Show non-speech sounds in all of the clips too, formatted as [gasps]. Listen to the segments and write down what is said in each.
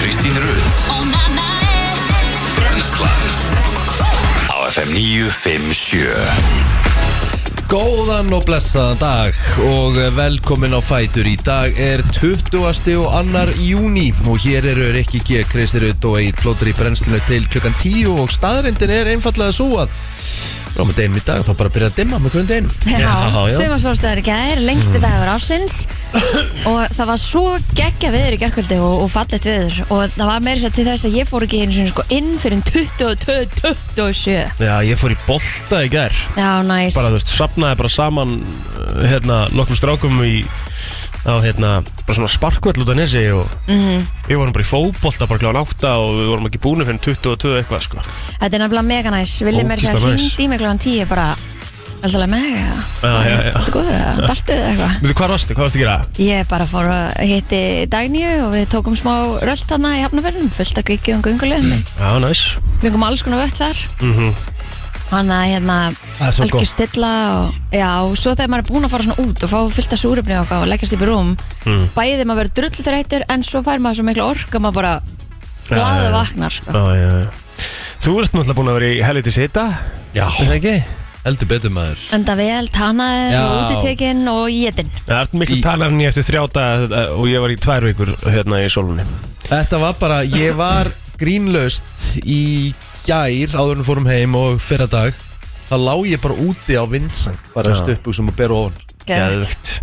Kristín Rut Brenslan Á FM 957 Góðan og blessaðan dag og velkomin á Fætur í dag er 20. og annar júni og hér eru Rikki G, Kristi Rutt og Egil Plóttur í brennslinu til klukkan 10 og staðrindin er einfallega svo að á með deginum í dag þá bara byrja að dimma með hverjum deginum Já, sumarsólstöður í gær, Mm. lengsti dagur ásins og það var svo geggja viður í gerkvöldi og, og fallet viður og það var meira sér til þess að ég fór ekki einu sinni sko inn fyrir 22, 27 Já, ég fór í bolta í gær Já, næs Bara, þú veist, sapnaði bara saman uh, hérna, nokkrum strákum í á, hérna, bara svona sparkvöll út af nesi og Mhm. við vorum bara í fótbolta bara kláðan átta og við vorum ekki búinu fyrir 22 eitthvað, sko Þetta er nefnilega mega næs, vilja meira sér Ógeðslega næs. hringd í mig klokkan 10 bara Veldalega með eða, Já, já, já góðu eða, dastu eða eitthvað Veitu, hvað varstu? Hvað varstu að gera? Ég bara fór að hitti Dagníu og við tókum smá rölt hana í hafnafjörnum fullt að giggi og göngulegum Já, næs Við komum alls konar vött þar mm Þannig að Það er svo hérna algjör gott. stilla og, já, og svo þegar maður er búinn að fara svona út og fá fullt af súrefni og eitthvað og leggjast upp í rúm Mm. bæði maður verður drull þreytur en svo fær maður svo miklu orka maður bara glaðu vaknar sko. Já, já, já Þú ert náttúrulega búin að vera í helviti sita Já, Er það ekki? heldur betur maður enda vel, tanaðir Já. og útitekinn og jedinn Það ert miklu Í- talar en ég eftir þrjá dag eh, og ég var í tvær vikur hérna í solunni Þetta var bara, ég var grínlaust í gær áður en við fórum heim og fyrra dag þá lá ég bara úti á vindsang bara Já. stöppu sem að bera ofan Geðveikt. Geðvikt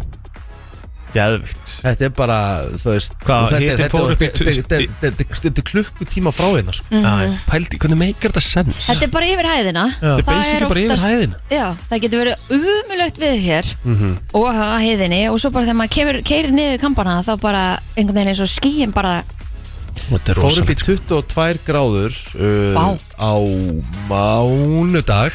Geðvikt Þetta er bara, þú veist Hvað, og þetta, hitinn þetta, fór upp í þetta, tu- þetta, þetta, þetta, þetta er klukkutíma frá hérna sko. mm. Pældi, hvernig meikar þetta sens? Mhm. Þetta er bara yfir hæðina Þetta er basically bara yfir hæðina. Mhm. já, Það getur verið umulögt við hér og að hæðinni og svo bara þegar maður kemur, keirir niður kampana þá bara einhvern veginn eins og skíin bara Þetta er Fór upp í rosalegt 22 gráður uh, Vá. á mánudag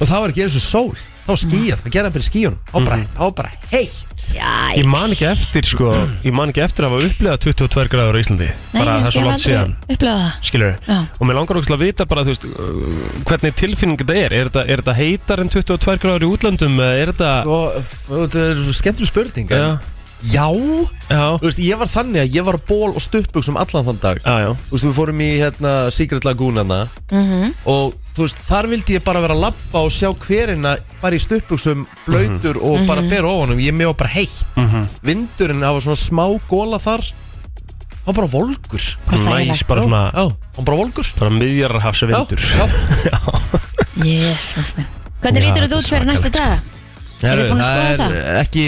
og það var ekki eins og sól þá skýjað, það gerði hann fyrir skýjun þá var Mhm. bara, þá var bara heitt Jæks. Ég man ekki eftir sko Ég man ekki eftir að hafa upplegað 22 gráður á Íslandi Nei, Bara ég, það er svo ég hef langt aldrei síðan upplifað það Skilur Já. Og mér langar ógæslega að vita bara þú veist uh, Hvernig tilfinning þetta er Er þetta, er þetta heitar en 22 gráður í útlandum eða Er þetta sko, f- þetta er skemmtileg spurning en- Ah. Já, já, Já, þú veist, ég var þannig að ég var á ból og stuppbuksum allan þann dag já, já. Þú veist, við fórum í hérna Secret Lagoon hana og þú veist, þar vildi ég bara vera að lappa og sjá hverina bara í stuppbuksum blöytur og bara bera ofanum ég með var bara heitt Mhm. vindurinn hafa svona smá góla þar hann var bara volgur Hvað það er Næs lagt? bara svona já, hann bara volgur Bara miðjararhafsvindur sko. já, Jésus minn. Hvernig Já, þetta lítur þetta er út fyrir svakalegt, næstu sko. dag? já. Eru þið búin að skoða það er ekki,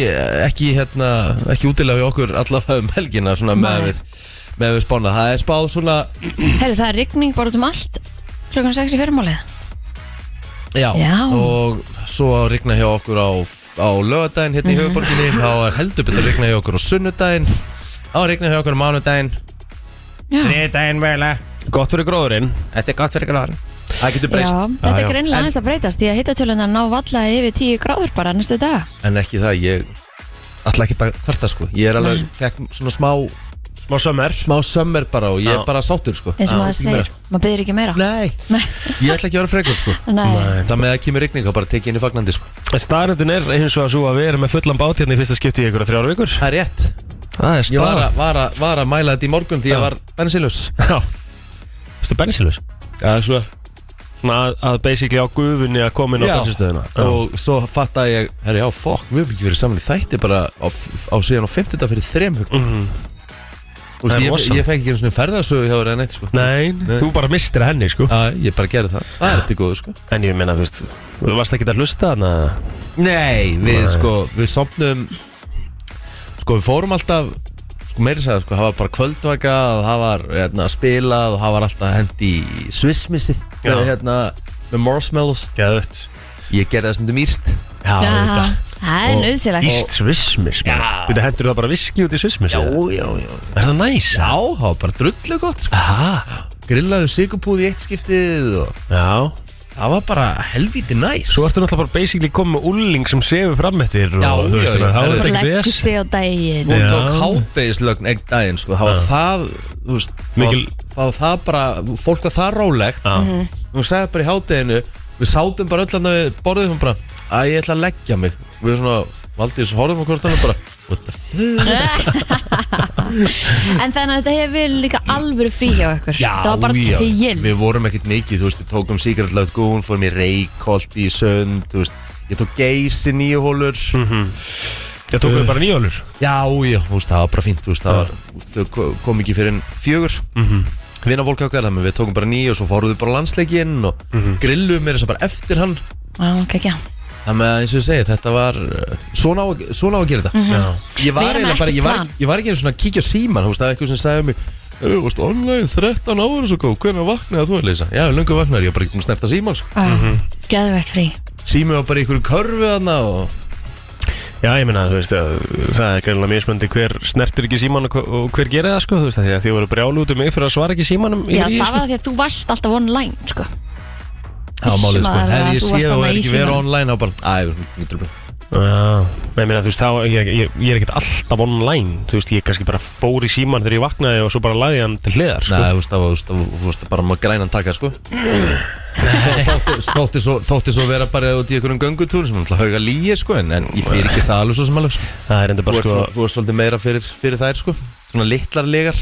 ekki hérna, ekki útilega hjá okkur allavega um helgina svona með Nei. við með við spána, það er spáð svona Herri, það er rigning bara út um allt klukkan 6 í fyrirmálið Já, Já. og svo að rigna hjá okkur á, á lögadaginn Mhm. hérna í höfuborginni þá er heldur betur að rigna hjá okkur á sunnudaginn þá er rigna hjá okkur á mánudaginn Já, þriðdaginn veglega Gott fyrir gróðurinn Þetta er gott fyrir gráðan Það getur já breyst þetta Já, er já. greinilega aðeins að breytast því að hittatölunar ná valla yfir 10 gráður bara næstu dag En ekki það, ég ætla ekki að kvarta sko Ég er alveg, fekk svona smá Smá sömmer smá sömmer bara og ég er Já. bara sáttur sko eins og Já. maður segir, maður byrðir ekki meira Nei, Nei. ég ætla ekki að vera frekur sko Nei, Það með að kemur rigning þá bara tekið inn í fagnandi sko Staðarendin er eins og að svo að við erum með fullan bát hérna í fyrsta skipti í ykkur þrjár vikur Það er rétt Það er Ég var staðan að, var að, var að mæla þetta í morgun því ég Já. var bensinlaus Já Vistu bensinlus? Já, svo Svona að, að basically á gufunni að koma inn á Já. bensinstöðuna og svo fattaði ég herri já, fokk, við hefum ekki verið saman í þætti bara á, á síðan á 50 fyrir þrem mm -hmm. Mhm. Það Úst, er ég, rosalegt. ég fekk ekki einu ferðarsögu hjá þér en eitt sko Nei, þú bara mistir henni sko Já, ég bara gerði það, það er eftir góðu sko En ég meina, þú veist, þú varst ekki að hlusta þannig að Nei, við sko, við sopnum Sko, við fórum alltaf Sko, meiri sagði, sko, það var bara kvöldvaka og það var, hérna, spilað og það var alltaf hendi í svissmissið Já. hérna, með marshmallows Geðut Ég gerði það stundum írst Já, Já, þetta það er nöðsilegt Íst svismis Býta hendur það bara viski út í svismis Já, Er já, já það næs? Já, það var bara drullu gott, sko Aha, grillaðu sigurbúð í eitt skiptið og já það var bara helvíti næs Svo ertu náttúrulega bara basically komið með ulling sem sefur fram eftir Já, og, þú já, veist, já. þannig að Það var Herru. og þetta leggur ekki þess sig á [laughs] daginn hún Já. tók hátdegislögn eitt daginn sko, það var það þú veist, Mikil- það, var það bara fólk var það rólegt Mhm. Já, hún sagði bara í hátdeginu við sátum bara öll að við borðið hún bara að ég ætla að leggja mig við svona Valdís horfum á hvort hann og bara what the fuck En þannig að þetta hefur verið líka alvöru frí hjá ykkur Það var bara já, til Við vorum ekkert mikið, þú veist, við tókum Secret Loud Goon, fórum í Reykholt í Sönd, þú veist, ég tók Geis í nýjuhólur, Ég tók við bara nýjólur já, já, þú veist, það var bara fínt, þú veist, það var, þau ko- kom ekki fyrir en fjögur, mm -hmm. vinna fólk okkar, þannig að við tókum bara nýju og svo fórum við bara landsleikinn og mm -hmm. grillum er þess að bara eftir hann, Já, þannig að eins og ég segi, þetta var, uh, svona á, að- svona á að gera þetta. Mhm. Ég var Vera með eiginlega bara, ekkert ég var, plan. ég var ekki einu svona að kíkja á síman, þú veist, það er eitthvað sem sagði mig "Eh, Þú veist, online 13 ára svo góð, hvernig vaknaði þú, Elisa? Já, lungu vaknaði, ég var bara ekki búin að snerta síman, sko Mhm. já, geðvegt Ah, frí Sími var bara í einhverju körfu þarna og Já, ég meina, þú veist, að, það er greinlega mismöndi hver snertir ekki síman og, hver- og hver gerir það, sko, þú veist, af því að þið voru brjálu út um mig fyrir að svara ekki símanum í Já, fríi, það var sko. að því að þú varst alltaf online, sko Það var málið, sko, Maður, hefði ég þú varst séð og þarna er í ekki verið símanum. online, þá bara, æ, mér trúið Já, ég meina, þú veist, þá, ég, ég, ég er ekkert alltaf online, þú veist, ég kannski bara fór í síman þegar ég vaknaði og svo bara lagði hann til hliðar, sko. Nei, þú veist, það var, þú veist, það var- þú veist, bara maður grænan taka, sko Þótti- Þótti svo, þótti svo vera bara út í einhverjum göngutúr sem náttúrulega hauga líi, sko, en, en ég fyrir ekki það alveg svo sem alveg, sko Það er enda Þú bara, ert sko, svona- þú ert svolítið meira fyrir, fyrir þær, sko Svona litlar legar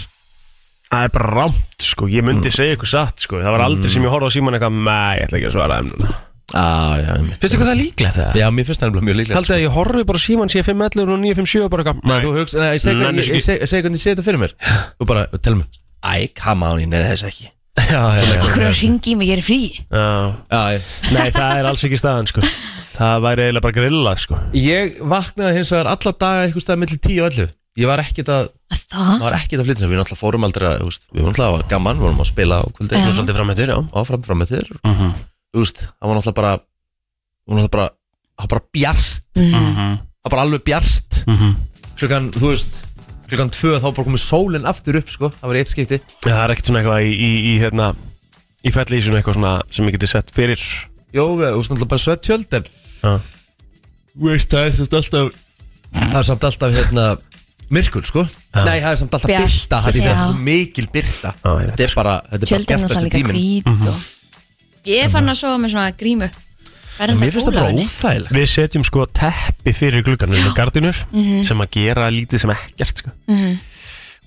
það er bara rámt, sko, ég myndi segja eitthvað satt, sko, það var aldrei sem ég horfði á síman eitthvað, mei, ég ætla ekki að svara þeim núna. Á, já, einmitt. Finnst þið hvað það er líklegt það? Já, mér finnst það nefnilega mjög líklegt Haldið að ég horfi bara á síman, sé 511 og 957 og bara eitthvað, Nei, þú nei, hugsa, nei, ég segi Nenni hvernig ekki. ég seg- segi hvernig ég segi þetta fyrir mér Þú bara, tel mér Æ, come on, ég neði þess ekki já, já, já, Akkur já, að ringi mig, ég er í frí já, Já, ég- Nei, það er alls ekki staðan sko Það væri eiginlega bara grilla sko Ég vaknaði hins vegar alla daga eitthvað stað millir 10 og 11 Ég var ekkert að, Það, maður var ekkert að flytja sig Við náttúrulega fórum aldrei að, þú veist, við vorum náttúrulega að var gaman Við vorum að spila á kvöldi Já. Nú svolítið fram með þér, já Áfram, fram með þér mm -hmm. Þú veist, það var náttúrulega bara Það var náttúrulega bara, það var bara bjart Mm Mhm. Það var bara alveg bjart Mhm. Klukkan, þú veist, klukkan 2 þá bara komið sólin aftur upp, sko Það var í eitt skipti Það er ekkert svona eitthvað í, í, í hérna Í felli í svona eitthvað svona sem ég geti sett fyrir Jó, við, þú veist, náttúrulega bara svett tjöld En Já, Þú veist, það er samt alltaf Það er samt alltaf hérna Myrkur sko Nei, það er samt alltaf Bjart, byrta Það er já. þetta er svo mikil byrta Já, ég veit Þetta er bara Þetta er bara tjöldin er bjartasti það líka tíminn. Hérna. hvít og... Mhm. Ég er fann að sofa með svona grímu En Verðum Mér finnst það bara óþægilegt Við setjum sko teppi fyrir gluggan Við gardinur sem að gera lítið sem ekkert sko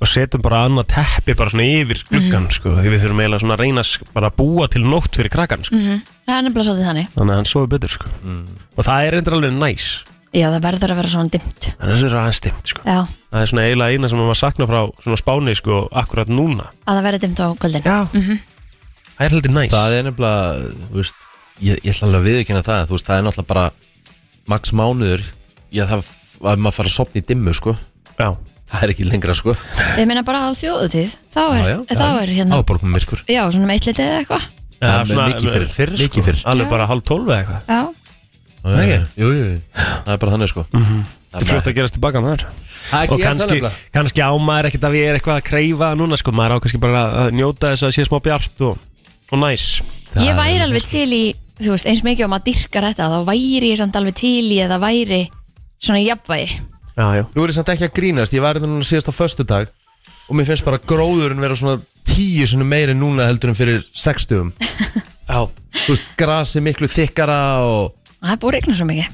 Og setjum bara annað teppi bara svona yfir gluggan sko Því við þurfum eiginlega svona að reyna að sk- bara að búa til nótt fyrir krakkan sko Það er nefnilega svolítið þannig Þannig að hann sofi betur sko Mhm. Og það er reyndar alveg næs Já, það verður að vera svona dimmt Þannig að það er aðeins dimmt sko Já, Það er svona eiginlega eina sem maður sakna frá svona spáni sko akkurat núna. að það verður dimmt á kvöldin Já. Það er heldur næst. Mhm. Það er nefnilega Þú veist Ég, ég ætla alveg að viðkynna það Þú veist, það er náttúrulega bara Max mánuður Ég það að maður fara að sopna í dimmu sko Já. Það er ekki lengra sko Ég meina bara á þjóðutíð Þá er, Já, já, já. þá er Þá hérna er bara komið myrkur Já, svona með eitt litið eða eitthvað Já, Já, svona mikið fyrr, fyrr, sko. mikið fyrr. Alveg Já. bara hálf tólf eða eitthvað. Já, Já, Nei, já, ekki? Jú, jú, jú Það er bara þannig sko Það Þetta er er fljótt að gerast tilbaka með þar. Og Það er það kannski, nefnilega kannski á maður ekkert að við erum eitthvað að kreyfa núna sko. Maður á kannski bara að njóta þess að sé smá bjart og, og næs. ég væri alveg til í Þú veist, eins mikið og maður dyrkar þetta Þá væri ég samt alveg til í að það væri Svona jafnvægi Já, já. Nú er ég samt ekki að grínast, ég var þetta núna síðast á föstudag og mér finnst bara gróðurinn vera svona tíu sinni meiri núna heldur en fyrir 60 Já. Þú veist, grasi miklu þykkara og Það er búið að regna svo mikið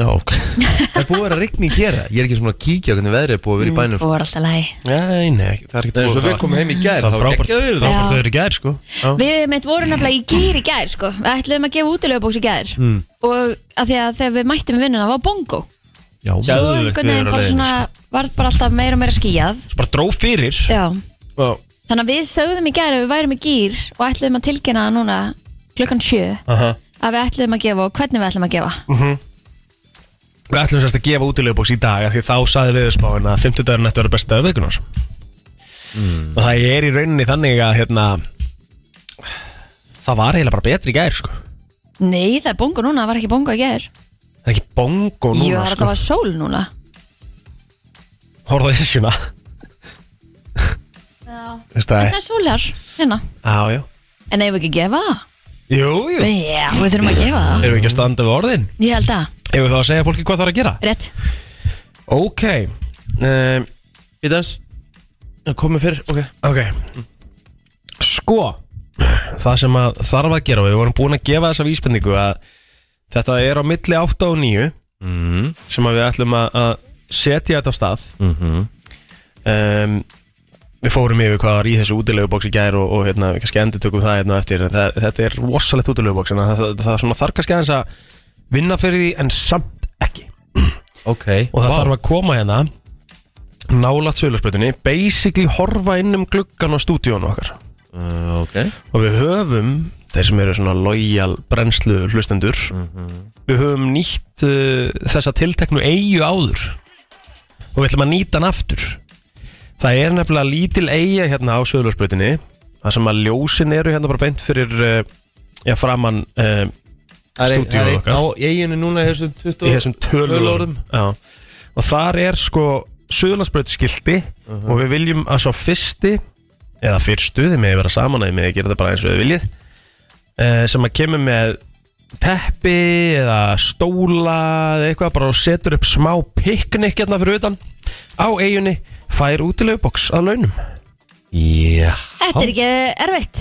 Já, ok [laughs] Það er búið að vera rigning hér Ég er ekki svona að kíkja á hvernig veðrið er búið að vera í Það bænum sko. er alltaf lægi Nei, nei, það er ekkert Það er eins og við komum heim í gær, Það þá var var frábært, geggjað við Já. frábært þau eru í gær sko. Já. Við mitt vorum nefnilega í gýr í gær sko. Við ætluðum að gefa útilegubóks í gær Hmm. mm. Og að því að þegar við mættum í vinnuna var bongo Já, Já. Svo Geðveikt einhvern veður veginn á leiðinni, sko. bara svona Varð bara alltaf meira og meira skýjað Svo bara dró fyrir. Já Já. Þannig að við sögðum í gær að við værum í gýr Og ætluðum að tilkynna núna klukkan sjö Aha. Að við ætluðum að gefa og hvernig við ætlum að gefa Við ætlum sérst að gefa útilegubóks í dag af því þá saði viðspáin að 50 dagur nættu verður besti dagur vikunar Hmm. og það er í rauninni þannig að hérna, það var heila bara betri í gær sko. Nei, það er bongo núna, það var ekki bongo í gær það er ekki bongo Jú, núna það er sko. alltaf sól núna horfðu þessu svona Veist það Það er sólar, hérna Já, já En eigum við ekki að gefa það? Jú, jú Já, við þurfum að gefa það Erum við ekki að standa við orðin? Ég held að, Erum við þá að segja fólki hvað það er að gera? rétt Ok um, Í dans Komið fyrir, ok Ok Sko Það sem að þarf að gera og Við vorum búin að gefa þessa vísbendingu að Þetta er á milli 8 og 9 mm. Sem að við ætlum að, að setja þetta á stað Mm -hmm. um, Við fórum yfir hvað var í þessu útilegubóks í gær og, og hérna, kannski endur tökum það hérna á eftir en það, Þetta er rosalegt útilegubóks en það, það, það, það svona þarf kannski aðeins að vinna fyrir því en samt ekki Ok og það Vá. þarf að koma hérna nálat sögulegsbröðinni basically horfa inn um gluggan á stúdíónu okkar uh, Ok og við höfum þeir sem eru svona lojal brennslu hlustendur við höfum nýtt uh, þessa tilteknu eigu áður og við ætlum að nýta hann aftur það er nefnilega lítil eiga hérna á sögulegsbröðinni það sem að ljósin eru hérna bara beint fyrir uh, já, framann uh, Það er ein- það er Stúdíóið einn okkar. á eiginu núna í þessum 20 í þessum tölulorðum Já. og þar er sko söðlarsbröð skilti og við viljum að svo fyrsti eða fyrstu, þið meði vera saman að þið meði gera þetta bara eins og þið viljið eh, sem að kemur með teppi eða stóla eða eitthvað bara og setur upp smá piknik hérna fyrir utan á eigunni fær útilegubóks að launum Já Þetta er ekki erfitt,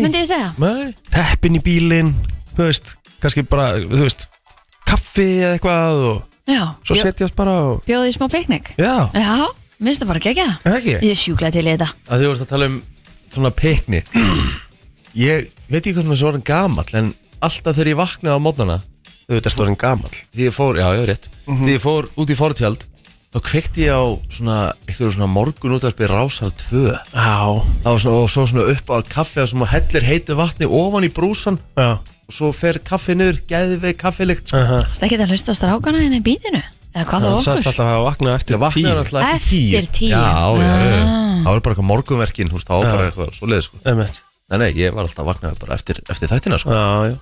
myndi ég segja Nei teppin í bílinn, þú veist kannski bara, þú veist kaffi eða eitthvað og Já, svo bjó- setjast bara og bjóðið í smá piknik já, Já, minnst það bara gegja er það ekki? Ég er sjúklega til í þetta að þið voru að tala um svona [clears throat] piknik ég veit ekki hvernig maður svo orðin gamall en alltaf þegar ég vaknaði á mótnana Auðvitað stóðin gamall því ég fór, já, ég er rétt Mhm. því ég fór út í fortjald þá kveikti ég á svona eitthvað svona morgun útvarpi rásar 2 Já, Það var svona, og svo svona upp á kaffi og svona hellir heitu vatni ofan í brúsan já og svo fer kaffi niður, geði við kaffilikt sko. Það Það ekki að hlusta á strákana hérna í bítinu Eða hvað þá sagðist okkur alltaf að vakna ég eftir vaknaði tíu náttúrulega Eftir tíu. já, já, já, já. Ah. það var bara eitthvað morgunverkin húst, það var bara eitthvað svoleiðis sko. Einmitt. nei, nei, ég var alltaf vaknaði bara eftir, eftir þættina sko. Já, já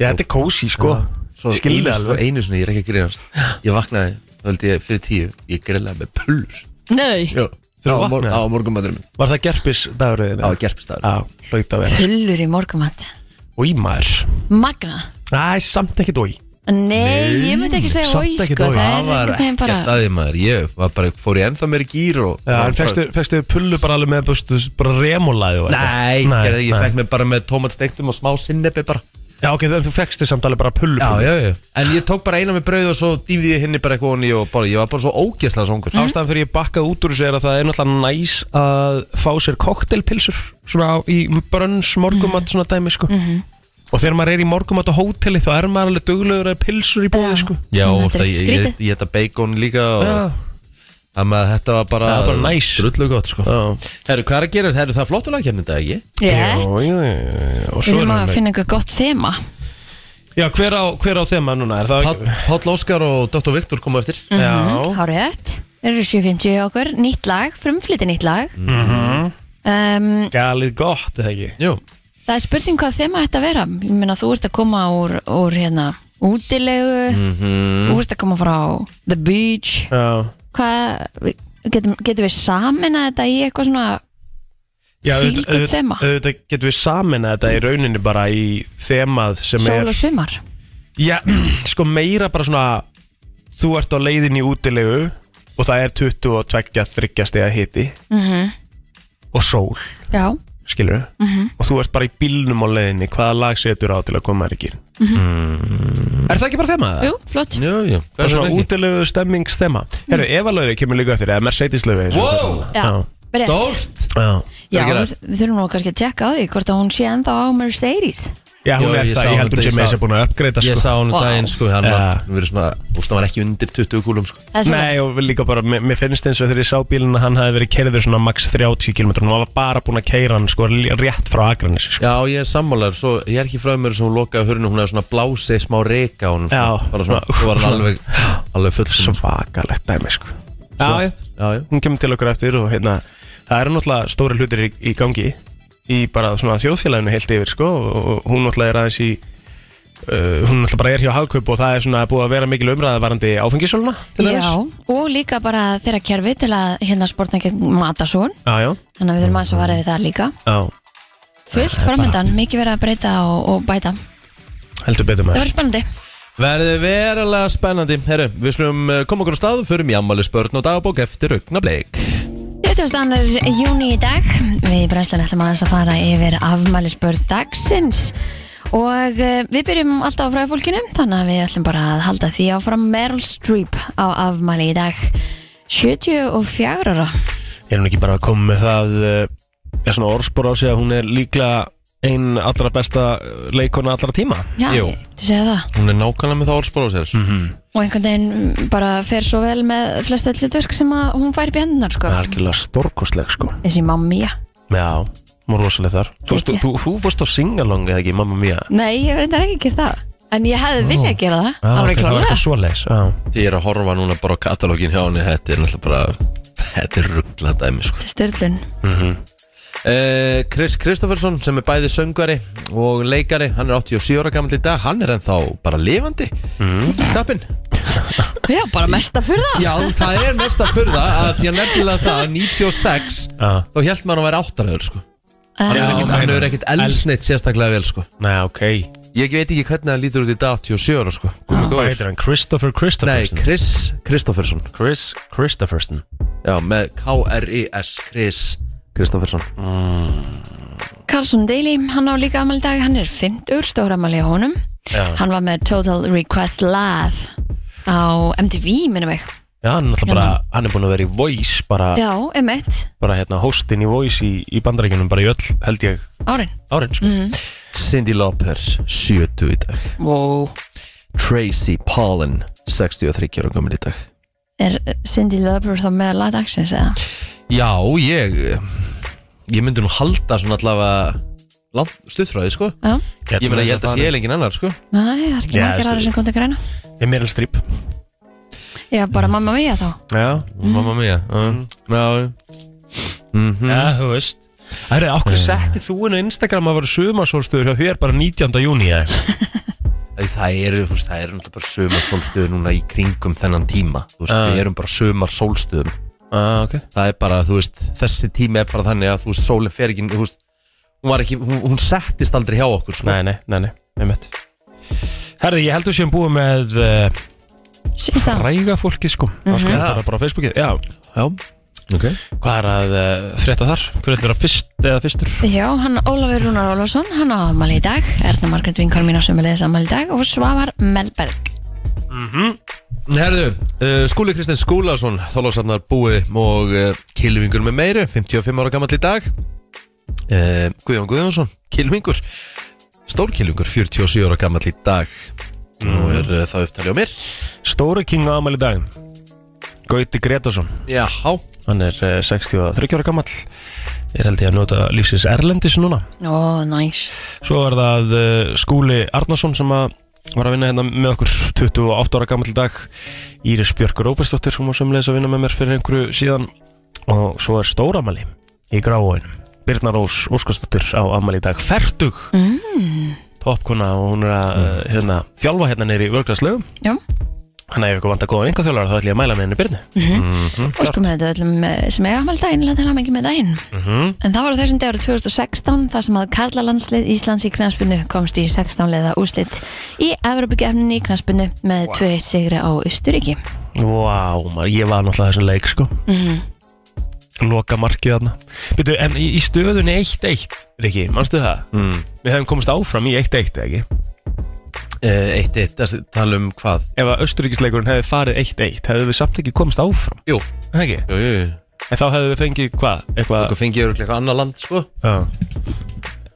Já, þetta er kósi, sko svo Skilði einu, svo alveg einu sinni, ég er ekki að grínast ég vaknaði, þá held ég fyrir tíu ég grillaði með pöllur Nei, Já, Þú á, mor vaknaðir? á morgunmætturum minn Var það gerpis dagurðið? á gerpistæður Já, hlaut að vera hullur í morgumatt Í maður Magna Æ, samt ekkert ói Nei, ég myndi ekki segja samt oi ekki sko oi. Það það var er einhvern ekki veginn að bara staði maður ég var bara, fór ég ennþá meiri gýr og Já, en fegstu, fegstu pullu bara alveg með bustu, bara remulaði og eitthvað? nei, nei, gerði, ég nei. fekk mig bara með tómatsteiktum og smá sinnebi bara Já, ok, þannig þú fegstu samt alveg bara pullu já, já, já. en ég tók bara eina með brauð og svo dýfði ég henni bara eitthvað onni og bara, ég var bara svo ógæslega songur Mm. Mhm. Ástæðan fyrir ég bakkaði út úr þessu er að það er náttúrulega næs að fá sér koktelpilsur svona á, í brönns morgumat Mhm. svona dæmi sko og þegar maður er í morgumat á hóteli þá er maður alveg duglegur að pilsur í búið Já. sko já, Þetta er ofta, ekkert ég, ég, skrítið. ég, ég þetta bacon líka og, Já. þannig að þetta var bara, Já, bara næs. drullu gott sko. Já. herru, hvað er að gera, herru, það er flottulagkefni þetta ekki? Rétt. Jú, jú, jú. og Við svo þurfum erum að við finna einhver gott þema Já, hver á, hver á þema núna? Er það Páll Páll Óskar og Dr. Viktor komu eftir Mhm. Já, Hárétt Þeir eru 7.50 hjá okkur, nýtt lag, frumflýti nýtt lag Mhm. um, galið gott, eða ekki? Mm. Jú, Það er spurning hvað þema þetta að vera Ég meina þú ert að koma úr, úr hérna, útilegu Þú ert að koma frá the beach Já, Hvað, við- getum, getum við samin að þetta í eitthvað svona Já Feel good auðvitað- þema. auðvitað getum við samin að þetta í rauninni bara í þemað sem er sól og sumar Já, [clears throat] sko meira bara svona Þú ert á leiðin í útilegu Og það er 22-30 stiga hiti Mhm. -hmm. Og sól, Já, skilur Mhm. -hmm. Og þú ert bara í bílnum á leiðinni Hvaða lag setur á til að koma þér ekki mm Er það ekki bara þema það? Mhm. jú, flott jú, jú, hvað Það er er svona þetta ekki? útilegu stemmingsþema Herru, Eva Laufey kemur líka eftir Eða Mercedes Laufey eins og Wow! hún kallar hana. Mm. Já, rétt. Stórt Já. Já, Ekki við, rætt. við þurfum nú kannski að tjekka á því hvort að hún sé ennþá á Mercedes Já, hún Jó, er ég það, sá ég held hún sem þetta, ég með sá- þess að búin að uppgreita Ég sá hann um Wow. daginn, sko, hann Já. var, hann verið svona, úst, hann var ekki undir 20 kúlum, sko Það er svo Nei leiðis. og líka bara, mér, mér finnst eins og þegar ég sá bílinn að hann hafi verið kerður svona max 30 km og hann var bara búin að keira hann sko rétt frá Akranis sko. Já, ég er sammálaður, svo ég er ekki frá mér sem hún lokaði hörnum, hún hefði svona blásið smá reyka á hún Já. bara svona, þú var hann alveg, alveg full Mm. Svakalegt dæmi sko Já, já, Já, já, hún kemur til okkur eftir og hérna það eru náttúrulega stóri hlutir í, í gangi í bara svona þjóðfélaginu heilt yfir sko og og hún náttúrulega er aðeins í Uh, hún náttúrulega bara er hjá hagkaup og það er svona búið að vera mikil umræða varandi áfengisöluna til Já, dæmis. og líka bara þeirra kerfi til að hérna spórna ekki matasón já, já, Þannig að við þurfum aðeins að vara við það líka já, Fullt framöndan, mikið verið að breyta og, og bæta heldur betur Það maður verður spennandi verði verulega spennandi Herru, við slum eh, koma okkur á stað, förum í ammali spörn og dagbók eftir augnableik 22. júni í dag Við í brennslan ætlum aðeins að fara yfir afmælisbörn dagsins Og eh, við byrjum alltaf á fræðfólkinu Þannig að við ætlum bara að halda því áfram Meryl Streep á afmæli í dag 74 ára Er hún ekki bara að koma með það eh, er svona orðspor á sig að hún er líklega einn allra besta leikona allra tíma Já, Jú. þú segir það Hún er nákvæmlega með það orðspóra sér Og einhvern veginn bara fer svo vel með flest öll hlutverk sem að hún fær upp í hendunar sko. Það er algjörlega stórkostleg sko Þessi mamma já Já, hún var rosaleg þar Þú, veist, Gekkja. þú, þú fórst á singalong eða ekki, mamma mía Nei, ég reyndar ekki að gera það En ég hefði viljað gera það, Já, ok, alveg Það var klálega eitthvað svoleiðis já. Ég er að horfa núna bara á katalógin hjá henni Þetta er náttúrulega bara Þetta er ruggla dæmi sko Þetta er styrlun Eh, Chris Kristoffersson sem er bæði söngari og leikari, hann er 87 ára gammal í dag hann er ennþá bara lifandi mm. Mhm. Kappin, Já, bara mesta fyrir það já það er mest að furða að því að nefnilega það 96, Já. þá held maður að vera áttaröður sko, Já, hann hefur ekkit- hann hefur ekkit Elst- elsneitt sérstaklega vel sko Nei, ok ég veit ekki hvernig hann lítur út í dag 87 ára sko Hvað heitir hann? Christopher nei, Christopherson Chris Kristoffersson Chris Christopherson já, með K-R-I-S Chris Kristoffersson Carlson Daly, hann á líka amal í dag Hann er 50 stóra amal í honum Já, Hann var með Total Request Live Á MTV, minnum ég já hann, er náttúrulega bara, hann er búin að vera í Voice bara, Já, emitt, bara hérna, hostin í Voice í, í bandarækjunum bara í öll, held ég árin árin sko. Cindy Lopez, 70 í dag wow. Tracy Pollen, 63 ára gammal í dag Er Cindy Lauper þá með Light Actions eða? Já, ég Ég myndi nú halda svona allavega langt stuðfræði, sko Já, Ég meina, ég held að sé ég lengin annar, sko næ, það er ekki Já, margir veistu- aðra sem kom til greina Ég meira strýp Já, bara mamma mia þá Já, Mamma mia uh, Já, já, þú veist Það er okkur setti þú inn á Instagram að vera sumarsólstöður hjá þér bara 19. júni eða eitthvað? Það eru, þú veist, það eru náttúrulega bara sömar sólstöðu núna í kringum þennan tíma Þú veist, við erum bara sömar sólstöðum ah, okay. Það er bara, þú veist, þessi tími er bara þannig að þú veist, sólinn fer ekki, þú veist Hún var ekki, hún, hún settist aldrei hjá okkur, sko Nei, nei, nei, nei, einmitt Herði, ég heldur séum búið með uh, Sýnst það? ræga fólki sko mm -hmm. Já. Það er bara á Facebookið Já, Já, ok hvað er að uh, frétta þar? Hver er þetta fyrst eða fyrstur? Já, hann Ólafur Rúnar Ólafsson, hann á afmæli í dag Erna Margrét Vinkar mín á sömulegis afmæli í dag og Svavar Melberg Herðu, uh, Skúli Kristinn Skúlason Þólasafnar búi og uh, Kilvingur með meiru, 55 ára gammal í dag uh, Guðjón Guðjónsson Kilvingur Stór Kilvingur, 47 ára gammal í dag Nú er uh, það upptalið á mér Stóri King á amal í dag Gauti Gretarsson Jáhá Hann er uh, 63 ára gamall Er held ég að nota lífsins Erlendis núna Ó, næs Svo er það uh, Skúli Arnarsson sem að var að vinna hérna með okkur 28 ára gammal dag Íris Björk Róbersdóttir hún var sömulegis að vinna með mér fyrir einhverju síðan og svo er stóramali í gráóinum Birna Rós Óskarsdóttir á amali í dag Fertug mm. toppkona og hún er að uh, hérna, þjálfa hérna neyri í vörglaslegum Já, Þannig að ef ykkur vantar góðan einhverþjólar þá ætlum ég að mæla með henni Birnu og sko með þetta öllum eh, sem eiga afmæli í dag innlega til hann ekki með daginn En það var á þessum dag árið 2016 þar sem að Karla landslið Íslands í knæspinu komst í 16 leða úslit í Evropagefninni í knæspinu með 2-1 sigri á Östuríki Vá, maður, ég var náttúrulega þessan leik sko Loka markið þarna Býtu, en í í stöðunni 1-1 Riki, manstu það? Mm. Við hefum komist áfram í 1-1, eða ekki? Uh, eitt eitt, þessi, tala um hvað Ef að Östuríkisleikurinn hefði farið 1-1 hefðu við samt ekki komist áfram, Jú, er það ekki? jú, jú, jú. En þá hefðu við fengið hvað? Eitthvað Okkur fengið örugglega eitthvað annað land, sko Já,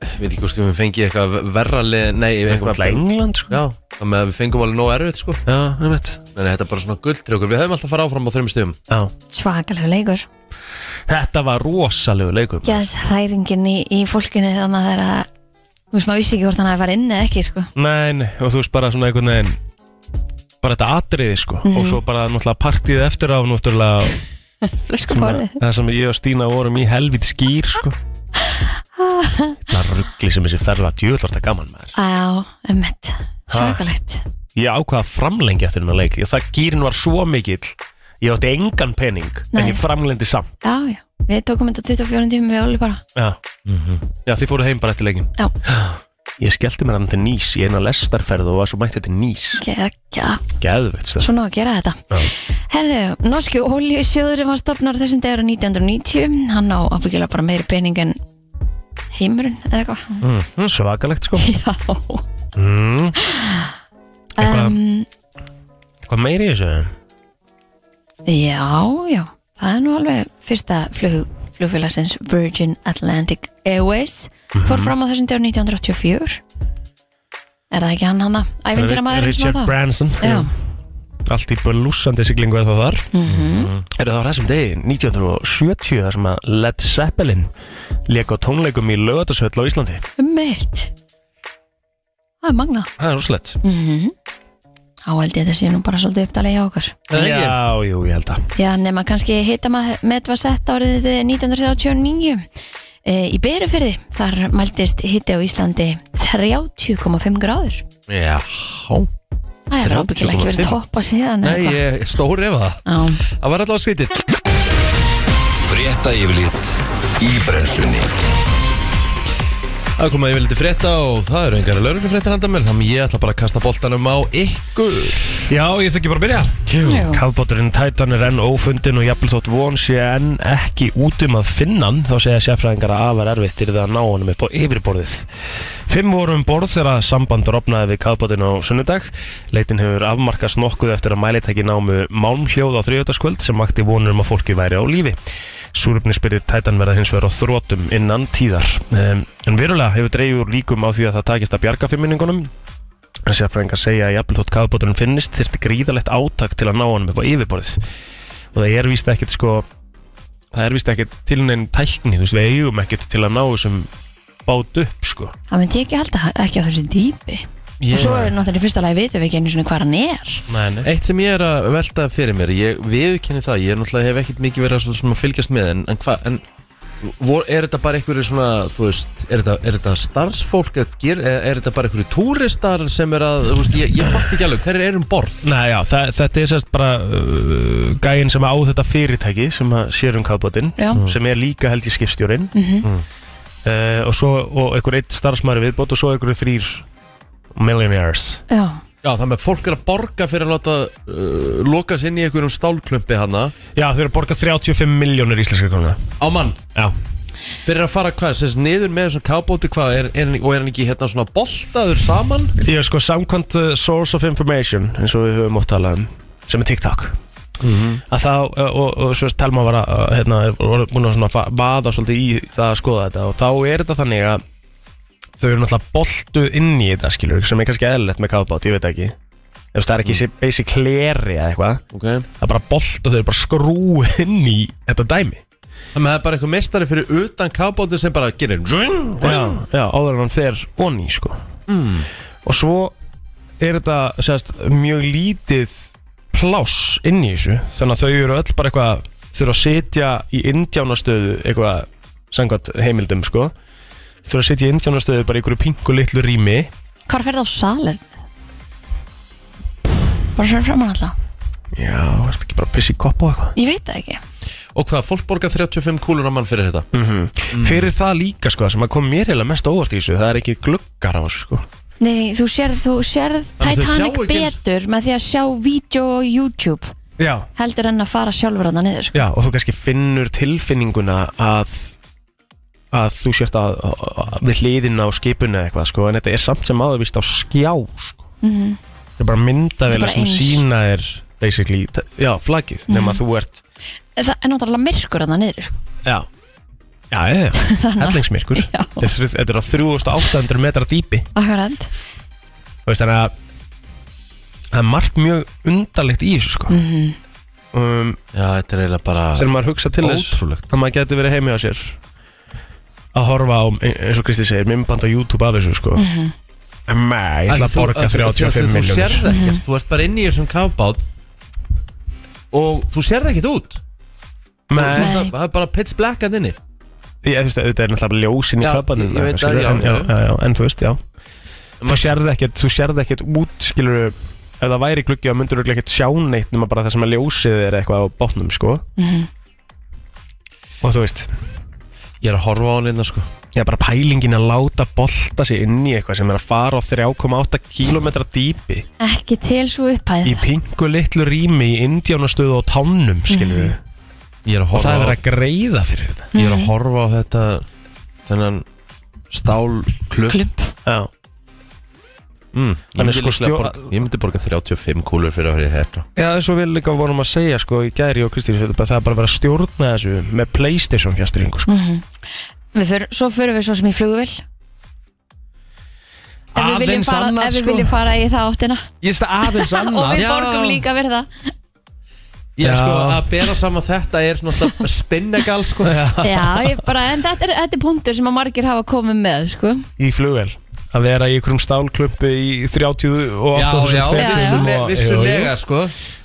Ég veit ekki hvort við fengið eitthvað verra lið Nei, eitthvað eitthvað til England, sko Já, það með að við fengum alveg nóg erfitt, sko Já, ég veit Nei, nei, þetta er bara svona guldtrykkur Við höfum alltaf að fara áfram á þreim stöðum Já Svakalegu leikur Þetta var rosalegu leikur maður. Gæðs hræringin í, í fólkinu þannig að það er að þú veist maður vissi ekki hvort hann að fara inn eða ekki sko Nei, nei, og þú veist bara svona einhvern veginn bara þetta atriði, sko og svo bara náttúrulega partíð eftir á náttúrulega Flöskuborðið það sem ég og Stína vorum í helvit skýr, [laughs] sko Það ruggli sem þessi ferða djöðlar þetta gaman maður Já, emmett, svakalegt Ég ákvaða að framlengja eftir hennar leik Það gýrin var svo mikill Ég átti engan pening En Nei. ég framlengdi samt Já, já, við tókum þetta á 24 tímum við Óli bara Já, Já þið fóruð heim bara eftir leikin Já, Mhm. Ég skellti mér hann til Nýs Í eina lestarferð og var svo mættið til Nýs gekkja Geðveikt stöð svona á að gera þetta Herðu, Norski Óljusjóður var stopnar þessum dagur á 1990 hann á afbyggilega bara meiri pening en heimurinn eða eitthvað Svakalegt sko [laughs] Já mm. Eitthvað um, eitthvað meiri í þessu Já, já, það er nú alveg fyrsta flug, flugfélagsins Virgin Atlantic Airways fór Mhm. fram á þessum dörr 1984 Er það ekki hann hanna? Ævindýramæður sem var Richard það? Branson Já, Allt í blúsandi siglingu eða þar mm Mhm. Er það á þessum degi 1970 þar sem að Led Zeppelin leik á tónleikum í lögatarsöll á Íslandi mitt Það er magna Það er rosalegt Þá held ég að þetta sé nú bara svolítið uppdalega hjá okkar það ekki? Já, jú, ég held að Já, nema kannski heita með var sett árið eh, 1939 e, í Berufyrði þar mæltist hitti á Íslandi 30,5 gráður Já, Það hefur ábyggilega ekki verið 30,5. topp á síðan eða nei, eitthvað. ég stór ef það Já. Það var alltaf skrítið Frétta yfirlit í brennslunni Það kom að ég vil frétta og það eru engar lögreglufréttir handa mér Þannig ég ætla bara að kasta boltanum á ykkur Já, ég þekki bara að byrja Já. Kafbáturinn Titan er enn ófundin og jafnvel þótt von sé enn ekki út um að finna hann þá segja sérfræðingar að afar erfitt er það að ná honum upp á yfirborðið. Fimm voru um borð þegar sambandur opnaði við kafbátinn á sunnudag. Leitin hefur afmarkast nokkuð eftir að mælitæki námu málmhljóð á þriðjötaskvöld sem vakti vonur um að fólki væri á lífi. Súröfnisbyrðir Titan verða hins vegar á þrótum innan tíðar. Um, en verulega hefur dreigður líkum á því að það takist að bjarga fimminningunum En sérfræðingar segja að jafnvel þótt kafbáturinn finnist þyrfti gríðalegt átak til að ná honum upp á yfirborðið og það er víst ekkit sko það er víst ekkit til neinn tækni þú veist við eigum ekkit til að ná þessum bát upp sko Það myndi ég ekki halda ekki á þessu dýpi Og svo er náttúrulega í fyrsta lagi vitum við ekki einu svona hvað hann er Nei, nei. Eitt sem ég er að velta fyrir mér Ég viðkynni það, ég er náttúrulega hef ekkert mikið verið að svo- svona fylgjast með En, en hvað, en vor, er þetta bara einhverju svona, þú veist Er þetta, er þetta starfsfólk að gera Er, er þetta bara einhverju túristar sem er að, þú veist, ég, ég fatt ekki alveg Hver er um borð? Nei, já, það, þetta er sérst bara uh, gæinn sem á þetta fyrirtæki sem að sér um kafbátinn Já. Mhm. sem er líka held í skipstjórin uh, og svo og einhver eitt starfsmæri viðbót og svo einhver þrýr millionaires Já, Já, þannig að fólk er að borga fyrir að láta uh, Lokas inn í einhverjum stálklumpi hana Já, þau eru að borga 35 miljónir íslenska krónuna Á mann Já, Fyrir að fara hvað, sérst niður með þessum kábóti hvað er, er, Og er hann ekki hérna svona boltaður saman? Ég er sko samkvæmt uh, source of information eins og við höfum oft talað um sem er TikTok að þá, uh, og, og svo telma var að uh, hérna, voru búin að svona fa- vaða svolítið í það að skoða þetta og þá er þetta þannig að þau eru náttúrulega boltuð inn í þetta skilur sem er kannski eðlilegt með kafbát, ég veit ekki ef það er ekki mm. basic leri eða eitthvað Ok Þannig það er bara bolt og þau eru bara skrúið inn í þetta dæmi að það er bara einhver mestari fyrir utan kábóti sem bara gerir Zung já, já, áður en hann fer onni sko. og svo er þetta sérst, mjög lítið pláss inn í þessu þannig að þau eru öll bara eitthvað þurfa að sitja í indjánastöðu eitthvað samkvæmt heimildum sko. þurfa að sitja í indjánastöðu bara í einhverju pingu litlu rými hvað fer það á salin? Bara fyrir framann alltaf já, er þetta ekki bara að pissa í kopp og eitthvað Ég veit það ekki Og hvað, fólk borga 35 kúlur á mann fyrir þetta fyrir það líka sko, sem að kom mér heila mest á óvart í þessu það er ekki gluggar á þessu sko. Nei, þú sérð, þú sérð Þannig þau Titanic sjá ekki eins- betur með því að sjá vídeo á YouTube já, heldur en að fara sjálfur hann niður sko. Já, og þú kannski finnur tilfinninguna að að þú sért að, að, að við hliðin á skipinu eða eitthvað, sko, en þetta er samt sem áður vist á skjá, sko Þetta er bara Mhm. Þetta myndavélar er bara sem eins. Mhm. sína er basically, t- já, flagið, nema að þú ert Það er náttúrulega myrkur hann niður sko. Já, já, já, [laughs] hellingsmyrkur Þetta er þrjú- þetta er á 3800 metra dýpi Akkurat Þú veist, þannig að það er margt mjög undarlegt í þessu, sko Mhm. um, Já, þetta er eiginlega bara þegar maður hugsa til þess Ótrúlegt. að maður getur verið heimi á sér að horfa á, eins og Kristi segir minnband á YouTube af þessu sko Nei, ég ætla að Þú- borga þú- þú- 35 Þú miljónir sérð ekkert, þú ert bara inni í þessum kábót Og þú sérð ekkert út Þú Nei, veist, Nei. Það það er bara pitch black að inni ég- þú veist, þetta er náttúrulega ljósin í Já, kapanum ég- ég veit það, já, en, já, já. já, já, en þú veist, já Þú maður- sérð ekkert, þú sérð ekkert út skilur, ef það væri gluggi þá myndur þú ekkert sjá neitt nema bara það sem að ljósið er eitthvað á botnum, sko Og þú veist Ég er að horfa á hann innan sko Já, bara pælingin að láta bolta sig inn í eitthvað sem er að fara á 3,8 km dýpi Ekki til svo upphæð í pingu litlu rými í indjánastöðu á tánum skilur við Ég er að og það er horfa á verið að greiða fyrir þetta Ég er að horfa á þetta Þennan stálklump Klump já. mm, ég, Hann er myndi sko sko stjó- borga, ég myndi borga 35 kúlur fyrir að fyrir þetta Já, það er svo vel líka vorum að segja sko í gæri og Kristín þetta er bara- það er bara að vera að stjórna þessu með Playstation fjastringu sko. Við Fyrir, svo fyrir við svo sem í flugvill Ef við viljum Aðeins fara, annað, ef við sko. viljum fara í það áttina Ég veist það aðeins [laughs] Og annað við já. borgum líka verið það Já, Já. sko, að bera saman þetta er svona alltaf spinnegal, sko Já, Já, ég bara, en þetta er, þetta er punktur sem að margir hafa komið með, sko í flugvel að vera í einhverjum stálklumpi í 38 og já, 8000 já, já. vissulega, og- vissulega, sko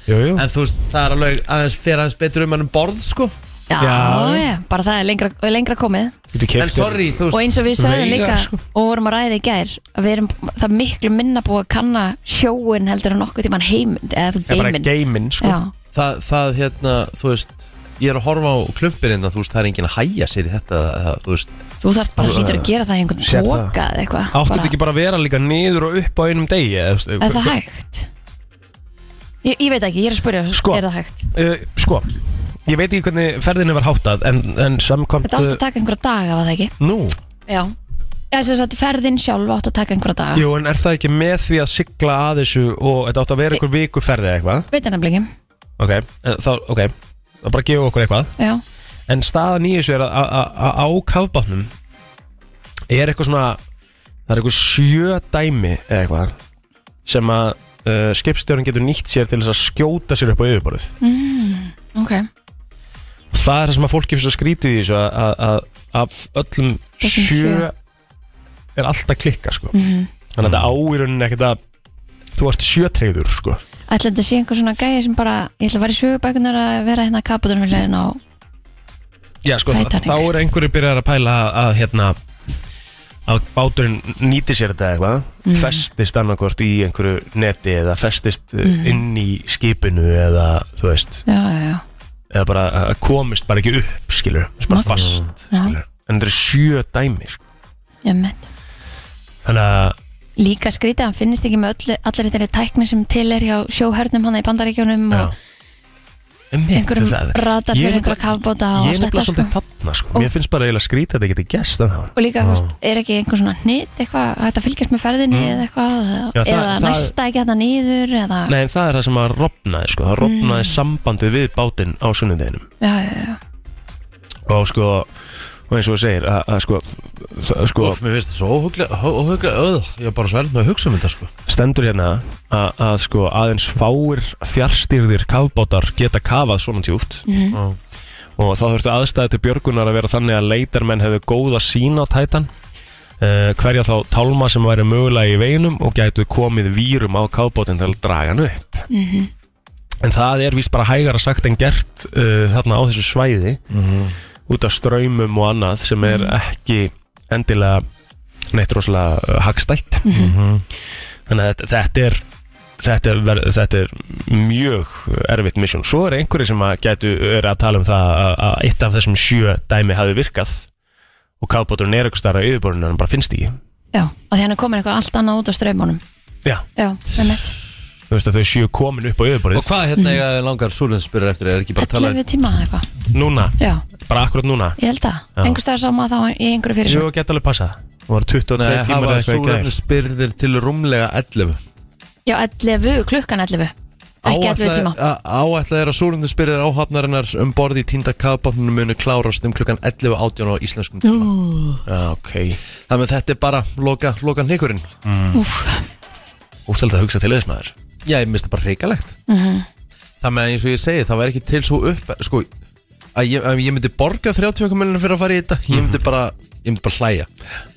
Jú, jú, jú. En þú veist, það er alveg aðeins fyrir aðeins betur um hann um borð, sko Já, Já. já, bara það er lengra, lengra komið Getur keypt En þér- sorry, þú Og veist, eins og við sögðum Veigar, líka sko. og vorum að ræða í gær að við erum, það er miklu minna búið að kanna sjóin heldur en nokkuð tímann heiminn eða þú Það er bara geiminn geimin sko. Já, það, það, hérna, þú veist Ég er að horfa á klumpirinn að þú veist, það er enginn að hæja sér í þetta, það, þú veist þú þarft bara hlýtur að gera það í einhvern Sér það. boka eða eitthvað Áttu bara- þetta ekki bara að vera líka niður og upp á einum degi eða, þú veist, Er það hægt? Ég, ég veit ekki, ég er að spyrja, Sko. er það hægt? Eh, Sko, ég veit ekki hvernig ferðinu var háttað en, en samkvæmt eh, Þetta átt að taka einhverja daga, var það ekki? Nú Já. Já, þess að ferðin sjálf átt að taka einhverja daga. Jú, en er það ekki með því að sigla að þessu og þetta átt að vera einhver vikuferði eða eitthvað Veit það nefnilega ekki. Ok, eh, þá, ok Það bara gefa okkur eitthvað Já. En staðan í þessu er að- að að- að á kafbátnum er eitthvað svona það er eitthvað sjö dæmi eða eitthvað sem að uh, skipstjórn getur nýtt sér til þess að skjóta sér upp á yfirborðið Ok. það er það sem að fólki finnst að skrítið í þessu að- að að af öllum Þessum sjö sjö. Mhm. er alltaf klikka sko. þannig að þetta á í rauninni ekkert að þú ert sjötreyður sko. Ætla þetta sé einhver svona gæði sem bara, ég ætla að vera í sögubækunar að vera hérna að kaputunum við leðin á. Já, sko, Nei, þá Titanic. þá er einhverju byrjar að pæla að, að hérna að báturinn nýti sér þetta eitthvað Mhm. festist annarkvort í einhverju neti eða festist Mhm. mm. inn í skipinu eða þú veist Já, já, já. eða bara að komist bara ekki upp skilur, bara Magnað. fast Já. skilur. en þetta er sjö dæmi sko. Ég meint. þannig að Líka skrítið, hann finnist ekki með öllu, allir þeirri tækni sem til er hjá sjóhörnum hann í bandaríkjónum Já. og Einmitt, einhverjum það- radar Ég er nefnilega- fyrir einhverja kafbóta og Ég er nefnilega allt þetta. svolítið sko. þarna sko. Og- Mér finnst bara eiginlega skrítið að þetta geti gest en það Og líka, þú veist, er ekki einhver svona hnit eitthvað, hægt að fylgjast með ferðinni eða Já, eitthvað, það- eða það- næsta ekki hægt að niður, eða, Nei, en það er það sem að rofnaði sko. Það rofnaði Mm. sambandið við bátinn á sunnudeginum já, já, já, Og sko Og eins og þú segir að, að sko, það, sko Óf, mér finnst það svo óhuglega, óhuglega, öð Ég er bara svo eld með að hugsa um þetta, sko Stendur hérna að, að sko aðeins fáir fjárstýrðir kafbátar geta kafað svona tjúft Já. og þá þurftu aðstæði til björgunar að vera þannig að leitarmenn hefðu góða sín á tætan uh, hverja þá tálma sem væri mögulega í veginum og gætu komið vírum á kafbótin til að draga hann upp en það er víst bara hægara sagt en gert uh, þarna á þessu svæði Mhm. út af ströymum og annað sem er ekki endilega neitt rosalega uh, hagstætt Mhm. þannig að þetta, þetta er þetta er, ver- þetta er mjög erfitt misjón. Svo er einhverju sem að gætu er að tala um það að, að eitt af þessum sjö dæmi hafi virkað og kafbáturinn er eitthvað starra yfirborðinu en hann bara finnst ekki. já, og því hann er komin eitthvað allt annað út á strömmunum, Já, já, með mitt, þú veist að þau sjö komin upp á Og yfirborðið. hvað hérna eiga þau langar súlunspyrir eftir Er ekki bara að tala um- 11 tíma eða eitthvað, Núna, já, bara akkurat núna. ég held að, Já. einhver staðar sá maður þá í einhverju fyrir Jú, geta alveg passað. Það var 22 Nei, tímar hafa eða eitthvað í gæðir. súlunspyrir til rúmlega 11 já, 11, klukkan 11, ekki 11 tíma, Áætlað er að súlunspyrir áhafnarinnar um borði í týnda kafbáttinu munu klárast um klukkan 11.18 á íslenskum tíma Já, ok. Þannig að þetta er bara loka, loka hnikurinn Mm. Ústæld að hugsa til þess maður. Já, ég minnst það bara hrikalegt Mhm. Það með að eins og ég segi, það var ekki til svo upp Sko, að ég, að ég myndi borga 30 miljonir fyrir að fara í þetta Ég myndi bara, ég myndi bara hlæja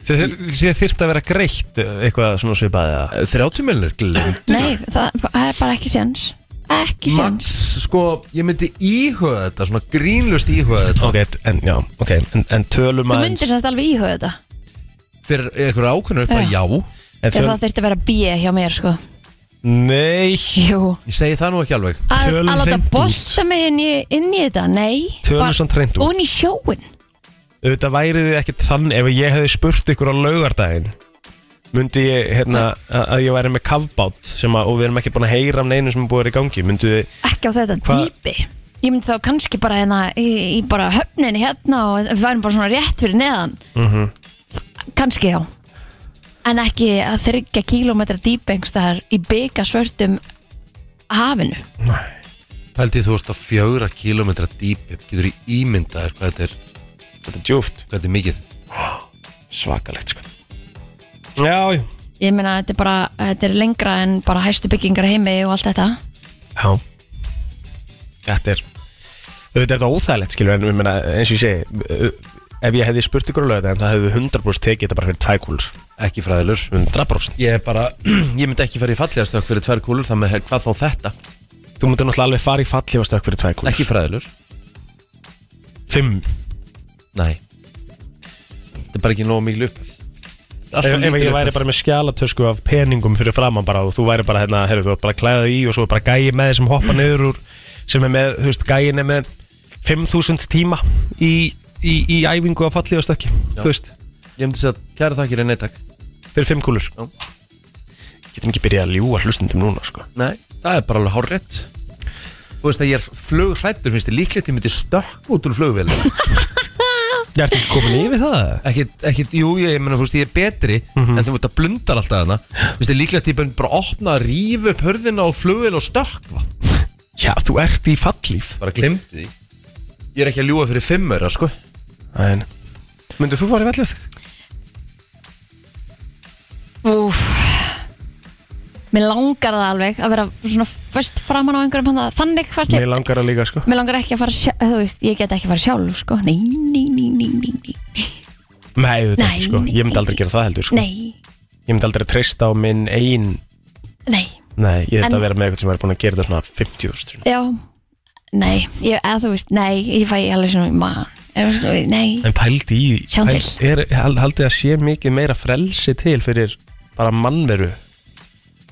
Þið þyrft að vera greitt eh, eitthvað svona svipaðið að... 30 miljonir, glemt nei, það það er bara ekki séns, ekki Max, séns, sko, ég myndi íhuga þetta Svona grínlust íhuga þetta Ok, en, já, ok, en, en tölum þú aðeins- myndir semst alveg íhuga þetta, Fyrir einhverja ákveðinu upp að já en ef töl- það þurfti að vera B hjá mér, sko, Nei, jú, Ég segi það nú ekki alveg að Tölum að láta hreint út. bosta mig inn í, inn í þetta, nei Tölum bara- samt hreint út. ofan í sjóin auðvitað væri þið ekkert þann ef ég hefði spurt ykkur á laugardaginn myndi ég, hérna, að að ég væri með kafbát sem að, og við erum ekki búin að heyra af neinu sem er búið að vera í gangi, myndi þið ekki á þetta Hva- dýpi ég myndi þá kannski bara hérna í, í bara Mhm. höfninni hérna og við værum bara svona rétt fyrir neðan mm kannski já en ekki að þryggja kílómetra dýpengstaðar í byggja svörtum hafinu Pældi þú ert á fjögra kílómetra dýpi Getur þú ímyndaðir hvað þetta er Þetta er djúft, Hvað þetta er mikið svakalegt sko Já, já, ég meina þetta er bara, þetta er lengra en bara hæstu byggingar í heimi og allt þetta já. Þetta er Þetta er þetta óþægilegt skilur En ég meina, eins og ég segi uh, Ef ég hefði spurt ykkur lögðu En það hefði 100% tekið þetta bara fyrir tækúls Ekki fræðilur 100% Ég er bara, [clears throat] ég myndi ekki fara í falliðastökk fyrir tvær kúlur Það með hvað þá þetta Þú mútur náttúrulega alveg fara í falli og stökk fyrir tækúls Ekki fræðilur, 5 nei Þetta er bara ekki nóg mikil upp Ef, ef ég væri bara með skjálatösku af peningum fyrir framann bara og þú væri bara hérna, herru, þú ert bara að klæða þig í og svo er bara gæi með þig sem hoppa niður úr sem er með, þú veist, gæin er með 5000 tíma í, í, í æfingu að falli og stökki þú veist, Ég myndi segja, kæra þakkir en neittak fyrir 5 kúlur Já. Getum ekki byrjað að ljúa hlustundum núna, sko Nei, það er bara alveg hárrett Þú veist að ég er flugrættur finnst þið líklegt ég myndi stökk út úr flugvél [laughs] Ég ert ekki komin yfir það? ekkit, ekkit, jú, ég meina, þú veist, ég er betri en þú veist að blundar alltaf þarna Þú veist, þið líklegt ég myndi bara opna að rífa upp hörðina á flugvél og stökkva Já, þú ert í fallíf Bara glemti því Ég er ekki að ljúga fyrir fimmur, sko En, myndir þú fara í falli og stökki? Úf Mér langar það alveg að vera svona fyrst framan á einhverjum hann þannig fast Mér langar að líka, sko Mér langar ekki að fara sjálf, þú veist, ég get ekki að fara sjálf, sko Nei, nei, nei, nei, nei, nei, Nei, þetta Nei, ekki, sko nei. Ég myndi aldrei gera það heldur, sko nei, Ég myndi aldrei treysta á minn ein nei. Nei, ég En- þetta að vera með eitthvað sem er búin að gera þetta svona 50 úrstun já Nei, ég, eða þú veist, nei, ég fæ alveg svona maður, eða sko, nei En pældi í, Sjáum til. er, hal- haldið að sé mikið meira frelsi til fyrir bara mannveru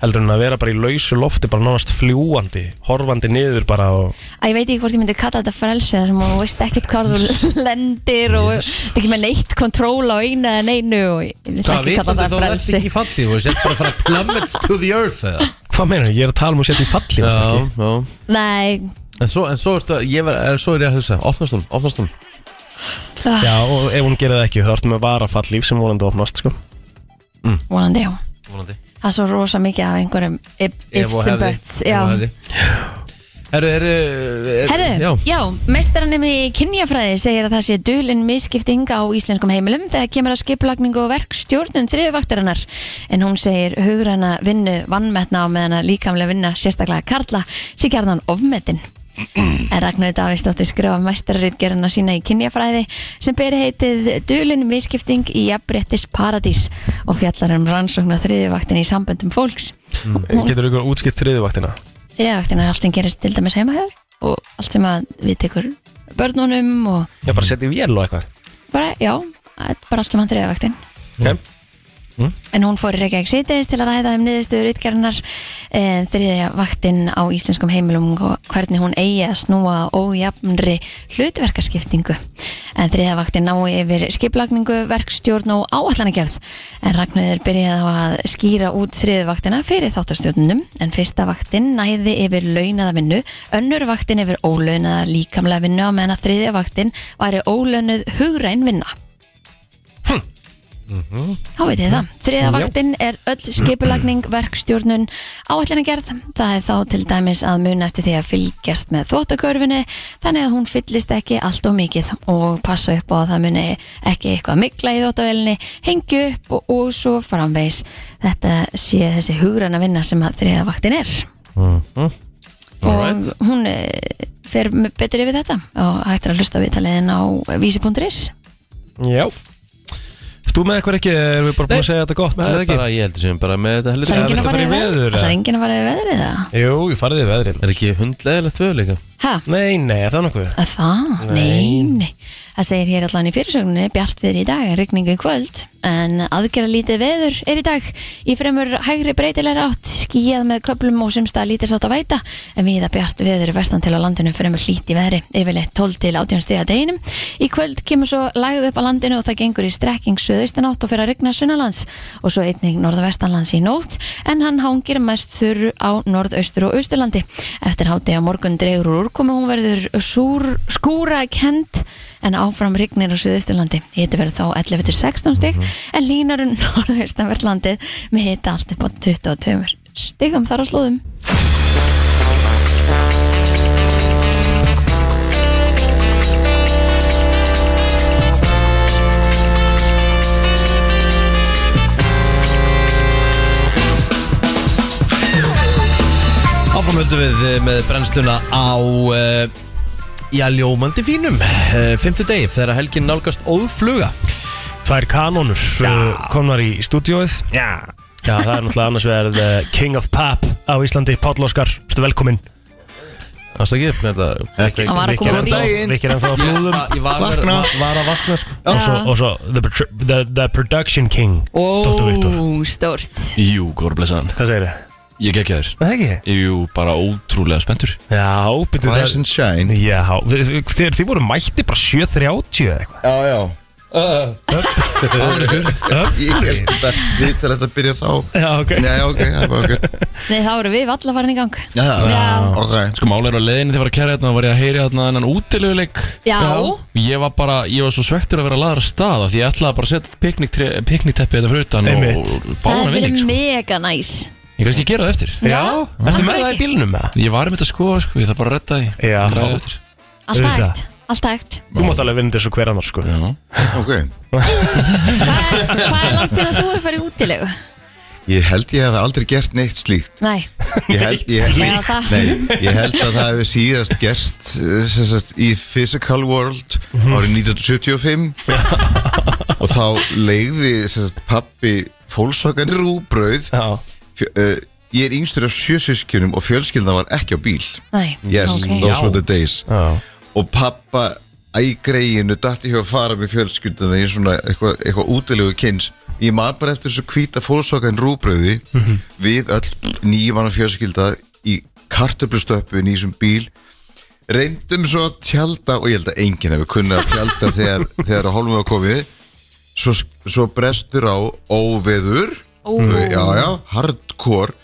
heldur en að vera bara í lausu lofti bara nánast fljúandi, horfandi niður bara og að ég veit ekki hvort ég myndi kalla þetta frelsi þar sem þú veist ekkert hvað [laughs] þú lendir og ert ekki með neitt kontról á einu en einu og ég vil ekki kalla vitandi það þá ertu frelsi ekki í falli Þú veist, ég er bara að [laughs] fara plummets to the earth eða hvað meina, ég er að tala um að setja í falli veist ekki? já Nei, En svo, en svo, ertu, að- ég, var, en svo er ég að hugsa, opnast hún, opnast hún Ah, Já, og ef hún gerir það ekki, þá ertu með varafall líf sem vonandi opnast, sko vonandi já Vonandi Það er svo rosa mikið af einhverjum if- Ef og ifs and hefði, buts ef og já. hefði. Herru, er, er, Herðu, já, já. já mestaranum í kynjafræði segir að það sé dulinn misskipting á íslenskum heimilum þegar kemur að skipulagningu og verkstjórnum þriðuvaktarinnar en hún segir hugræna vinnu vannmetna á meðan að líkamlega vinna sérstaklega karla sé gerðan ofmetin En Ragnar Davíðsdóttir skrifa mestararitgerina sína í kynjafræði sem beri heitið Dulin miskipting í jafnbrettis paradís og fjallar um rannsókn á þriðivaktin í samböndum fólks. Mm. Getur ykkur útskipt þriðuvaktina? Þriðivaktin er allt sem gerist til dæmis heimahjör og allt sem að við tekur börnunum og Já, bara setja í vél og eitthvað bara, já, það er bara allt sem að þriðivaktin. okay. En hún fór í Reykjavík síðdeis til að ræða um niðurstöður ytgerðarnar e, þriðja vaktin á íslenskum heimilum og hvernig hún eigi að snúa ójafnri hlutverkaskiptingu. En þriðja vaktin nái yfir skiplagningu, verkstjórn og áallanagerð. En Ragnarður byrjaði á að skýra út þriðja vaktina fyrir þáttarstjórnunum en fyrsta vaktin næði yfir launaða vinnu, önnur vaktin yfir ólaunaða líkamlega vinnu á meðan að þriðja vaktin væri ólaunuð hugræn vinna. Þá veit ég það. Þriða vaktin er öll [clears throat] skipulagning, verkstjórnun, áallinagerð. Það er þá til dæmis að muna eftir því að fylgjast með þvottakörfinni þannig að hún fyllist ekki allt og mikið og passa upp á að það muni ekki eitthvað mikla í þvottavélinni, hengju upp og, og svo framvegs. Þetta sé þessi hugræna vinna sem að þriða vaktin er. Mm, Alright. Og hún eh, fer með- betur yfir þetta og hættir að hlusta viðtaliðin á vísi.is. Já Stú með eitthvað ekki, erum við bara búin að segja þetta gott, Það eða er ekki? bara, ég heldur sem bara með þetta heldur Það er enginn viltu að fara fara í í veður, veðrið. eða? Það er enginn að fara í veðrið það. Jú, ég farið í veðrin Er ekki hundleðilegt við líka? Hæ? Nei, nei, það er nokkuð Að Það? Nei. nei. Það segir hér allan í fyrirsögninni bjart viður í dag, rigningu í kvöld en aðgerða lítið veður er í dag í fremur hægri breytilega átt skíjað með köplum og semst að lítið sátt að væta en viða bjart veður vestan til á landinu fremur hlít í veðri yfirleitt 12 til 18 stiga deginum í kvöld kemur svo lagð upp á landinu og það gengur í strekking söðaustan átt og fyrir að rigna sunnalands og svo einnig norðvestanlands í nótt en hann hangir mest þurr á norðaustur og austurlandi eftir háti á morgun dregur úr úrkomi hún verður súr, skúra kent en áfram rignir á Suðausturlandi. Hiti verður þá 11-16 stig en línar um [laughs] Norðaustanverðlandi með hita allt upp á 22 stigum þar á slóðum. Áframhöldu við eh, með brennsluna á uh, Já, ljómandi fínum uh, Fymtudegi, þegar helgin nálgast óðfluga Tvær kanónur uh, komnar í stúdíóið Já. það er náttúrulega annars vegar the King of Pop á Íslandi, Páll Óskar, stu velkomin Það sagði ég þetta Hann var að koma frí. Rikir ennþá á flúðum Ég var, var, Vakna. var að vakna sko og svo, Já. og svo the, Pro- the, the Production King Dr. Viktor, Ó, stórt. Jú, góður blessaðan hvað segir þið? Ég gekkja þér Er Það ekki? Jú, bara ótrúlega spenntur Já, byrju Rise and shine Já, við- við- þegar þið voru mætti bara 7.30 eða [laughs] eitthvað Já, já Uh, ég held að við þarfum þetta að byrja þá Já, ok Nei, ok, það var ok Nei, þá eru við allar farin í gang. Já, Já. ok Sko málega er á leiðinni þegar ég var að kæra hérna var ég að heyri hérna hennan útileguleik Já, Ég var bara, ég var svo svektur að vera að laðra staða því ég ætlaði bara að setja piknikteppi þetta hérna fyrir utan og, Einmitt. og fá það hana er vinning verið sko. mega næs. Ég kannski gera það eftir Já, ertu með Akkur það í ekki? bílnum með það? Ég var um þetta sko, sko, ég þarf bara að redda því Já. Græði það eftir Allt Auðvitað. hægt, allt hægt. Þú mátt alveg vinna þessu hver annar sko Já, Ok, Hvað er, hvað er langt síðan að þú hefur farið í útilegu? ég held ég hef aldrei gert neitt slíkt Nei, Ég held, ég, Eða held, það. nei, ég held að það hefur síðast gerst eh, sem sagt, í Physical World árið [laughs] 1975 og þá leiði sem sagt, pappi fólksvakan rúbröð já, Fjö- eh, Ég er yngstur af sjösískjunum og fjölskyldan var ekki á bíl nei. Yes, ok. those were the days já. og pappa æg greiðinu dætti hjá að fara með fjölskylduna í svona eitthvað eitthva útilegu kyns ég man bara eftir þessu hvíta fólksokan rúbröði við öll nýjumanna fjölskylda í kartöflustöppun í þessum bíl reyndum svo að tjálta og ég held að enginn hefur kunnað að tjálta þegar, þegar að hólmum var komið svo, svo brestur á óveður Ó. já já, hardcore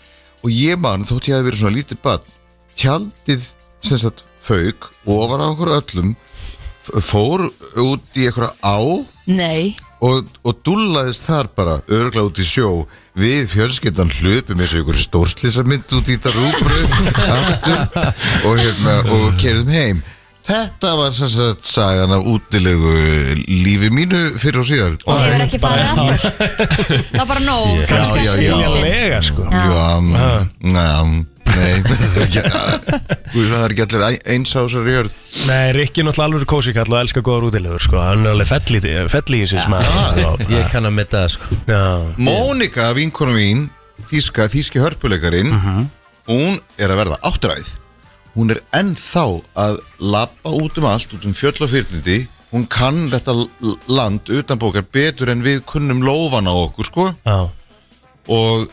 og ég man þótt ég hafi verið svona lítið bann tjaldið sem sagt fauk ofan á okkur öllum f- fór út í einhverja á Nei, og, og dúllaðist þar bara örgla út í sjó við fjölskyldan hlupum eins og einhverju stórslýsarmynd út í þetta rúbröð aftur, og, hérna, og kerðum heim þetta var sem sagt sagan af útilegu lífi mínu fyrir og síðar og hefur ekki farið aftur. Það var bara nóg. kannski já, ekki já. nóg. Lega sko Já. Já, næ, nei [laughs] það er ekki- Guð, það er ekki allir ein- eins á þessari jörð Nei, Rikki er náttúrulega alveg kósi kall og elskar góðar útilegur sko Hann er alveg fell í, fell í þessu sem að Ah. Ah. Ég kann að metta það sko Já, Mónika, vinkonu mín Þíska, þíski hörpuleikarin Mhm. Hún er að verða áttræð Hún er ennþá að labba út um allt, út um fjöll og fyrnindi Hún kann þetta l- land utanbókar betur en við kunnum lófana á okkur sko já og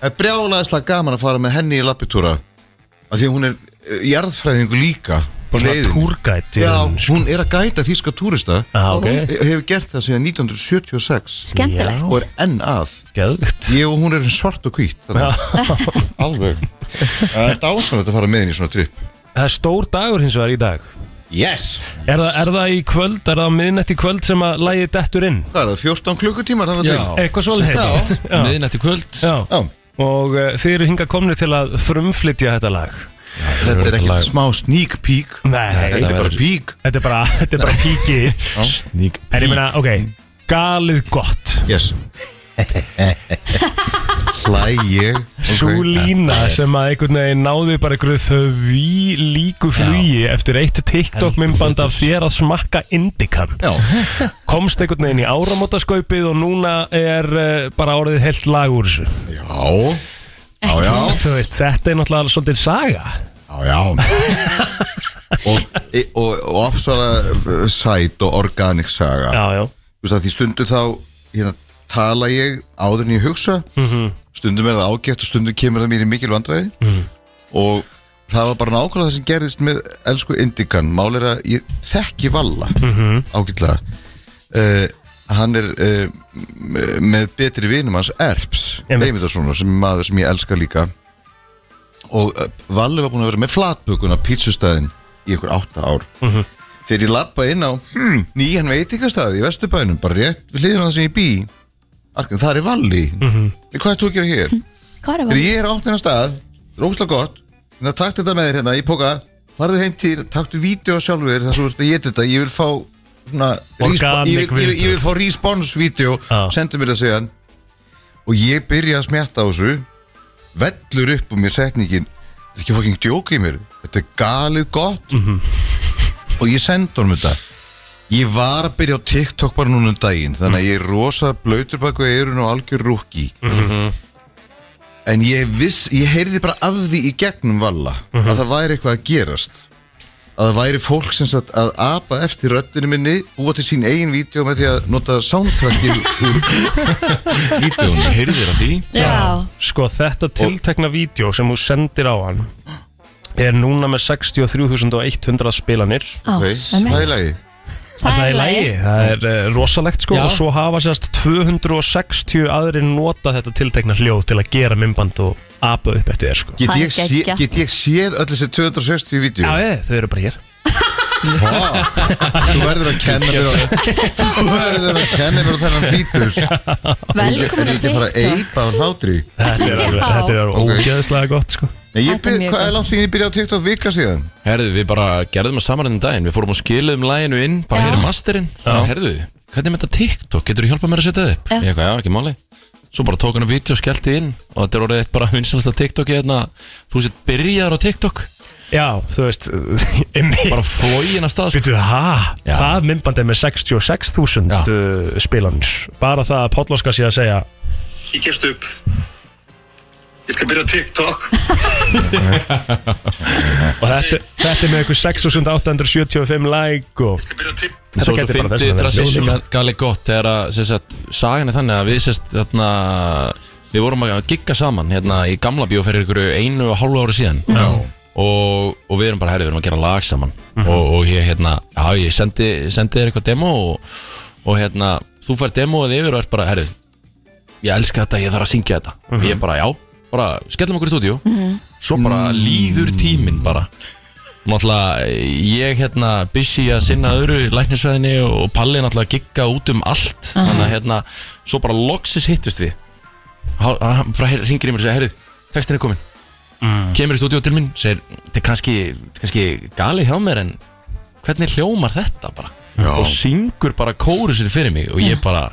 það er brjálæðislega gaman að fara með henni í lappitúra af því að hún er eh, jarðfræðingu líka Bara í svona leiðinni. túrgætt í Já, rauninni, sko. hún er að gæta þíska túrista Já, Ah, ok, hefur gert það síðan 1976 Skemmtilegt. og er enn að geðvikt Ég og hún er svart og hvít [laughs] Alveg Það er dásanlegt að fara með henni í svona tripp Það er stór dagur hins vegar í dag Yes Er, það, er það í kvöld, er það á miðnætt í kvöld sem að lægið dettur inn? Hvað er það, 14 klukkutímar það var Já. til? Eitthvað svolítið [laughs] Já. Miðnætti kvöld Já, Já, og uh, þið eru hinga komni til að frumflytja þetta lag þetta er ekkert smá sneak peek Nei, Þetta er bara peek þetta er bara, [laughs] þetta er bara píkið Sník En ég meina, ok, galið gott [laughs] Yes Hlæ ég Sú Ok. lína sem að einhvern veginn náði bara einhverju þau líku flugi eftir eitt TikTok-mymband af þér að smakka indikan Já, komst einhvern veginn í áramótaskaupið og núna er uh, bara orðið heilt lag úr þessu já, Ekki já. nóg. Þú veist, þetta er náttúrulega svolítið saga já, já. og, e- og, og ofsala sæt og organic saga Já, já, Þú veist að því stundu þá hérna, tala ég áður en ég hugsa stundum er það ágætt og stundum kemur það mér í mikil vandræði og það var bara nákvæmlega það sem gerðist með elsku Indikan, mál er að ég þekki Valla ágætlega uh, hann er uh, með betri vinum hans Erps, Einmitt. Heimildarssonar sem er maður sem ég elska líka og eh, Valli var búin að vera með flatbökun á pítsustæðin í einhver átta ár Þegar ég lappa inn á hmm, nýjan veitingastæði í Vesturbænum bara rétt við hliðin á það sem ég bý Arkan, það er valli Hvað er þú að gera hér? Hvað er Þegar það? ég er átt hennar stað, rókslega gott Þannig að takk þetta með þér hérna í póka Farðu heim til, taktu vídeo sjálfur þér þar sem þú ert að geta þetta Ég vil fá svona Organic ég, vil, ég, vil, ég vil fá respons-vídeó Já. Sendu mér það segjan Og ég byrja að smjatta á þessu Vellur upp um mér setningin Þetta er ekki fucking djók í mér Þetta er galið gott Mhm. Og ég sendi honum þetta Ég var að byrja á TikTok bara núna um daginn Þannig Mhm. að ég er rosa blöytur bak við eyrun og algjör rúkki Mhm. En ég viss, ég heyrði bara af því í gegnum valla Mhm. Að það væri eitthvað að gerast Að það væri fólk sem sagt að apa eftir röddinu minni Búa til sín eigin vídeo með því að nota soundtracki [laughs] úr vídeónu Heyrðu þér að því? Já, Sko þetta tiltekna vídeo sem þú sendir á hann er núna með 63.100 spilanir á, Ok, einmitt. Það er í lagi Það er í lagi. lægi, það er uh, rosalegt sko Já. og svo hafa sérst 260 aðrir nota þetta tiltekna hljóð til að gera mymband og apa upp eftir þér sko Get Það er ég, sé, geggjað. get ég séð öll þessi 260 vídeo? Já, ég, þau eru bara hér Vá, Þú verður að kenna mér á Þú verður að kenna mér á þennan fítus Velkomin að Er ég ekki að fara að TikTok eipa á hlátri? Þetta er alveg, Já. þetta er alveg Ok. ógeðslega gott sko Nei, ég Þetta er byr, mjög hvað gott. er langt síðan ég byrjaði á TikTok vika síðan? Herðu, við bara gerðum að saman enn daginn Við fórum og skiluðum læginu inn Bara Já. hér er masterinn Svona, Herðu, hvernig með þetta TikTok? Getur þú hjálpað mér að setja það upp? Já. Ég eitthvað, já, ekki máli Svo bara tók hann að vídeo og skellti inn Og þetta er orðið eitt bara [laughs] vinsalasta TikTok hérna, Þú sétt byrjaðar á TikTok Já, þú veist, [laughs] einmitt Bara flógin að stað sko. Býtu, hæ? Já. Það mymband er með 66.000 Já. uh, spilanir Bara það að Páll Óskar sé að segja Ég gefst upp Ég skal byrja á TikTok Og þetta, þetta er með einhver 6.875 like og Byrja á TikTok Svo svo gæti bara þess fyndi vegna verið transition ljóðlega. með gali gott Þegar að, sem sagt, sagan er þannig að við sérst þarna Við vorum að gigga saman hérna í gamla bíó fyrir ykkur einu og hálfu ári síðan Já og, og við erum bara, herri, við erum að gera lag saman Mhm. og, og ég, hérna, já, ég sendi, sendi þér eitthvað demo og, og hérna, þú fær demoið yfir og ert bara, herri, ég elska þetta, ég þarf að syngja þetta Mhm. og ég bara, já, bara, skellum okkur í stúdíu svo bara Mm. líður tíminn bara Náttúrulega, ég hérna busy að sinna öðru læknisveðinni og Palli náttúrulega gigga út um allt þannig að hérna, svo bara loksis hittust við Há- hann bara ringir í mér og segir, herru, textin er komin kemur í stúdíu til mín segir, þetta er kannski, kannski galið hjá mér en hvernig hljómar þetta bara og syngur bara kóru sér fyrir mig og ég bara,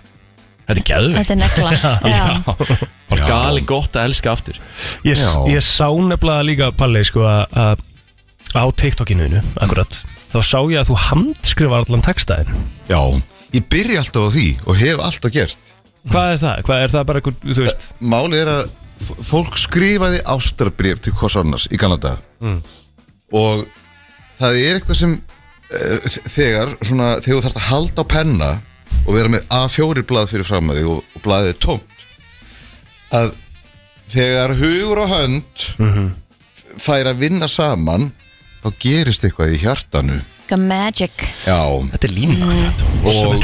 þetta er geðvegt Þetta er negla Já, bara galið gott að elska aftur Ég, Já. ég sá nefnilega líka Palli sko að- að á TikTokinu akkurat, þá sá ég að þú handskrifa allan textaðin Já Ég byrja alltaf á því og hef alltaf gert Hvað er það? Hvað er það bara einhver, þú veist Málið er að f- fólk skrifaði ástarbrif til hvers annars í Kanada Mm. Og það er eitthvað sem uh, þegar, svona, þegar þú þarft að halda á penna og vera með A4 blað fyrir fram að því og, og blaðið er tómt að þegar hugur og hönd Mhm. fær að vinna saman þá gerist eitthvað í hjartanu Eitthvað magic Já Þetta er lína og,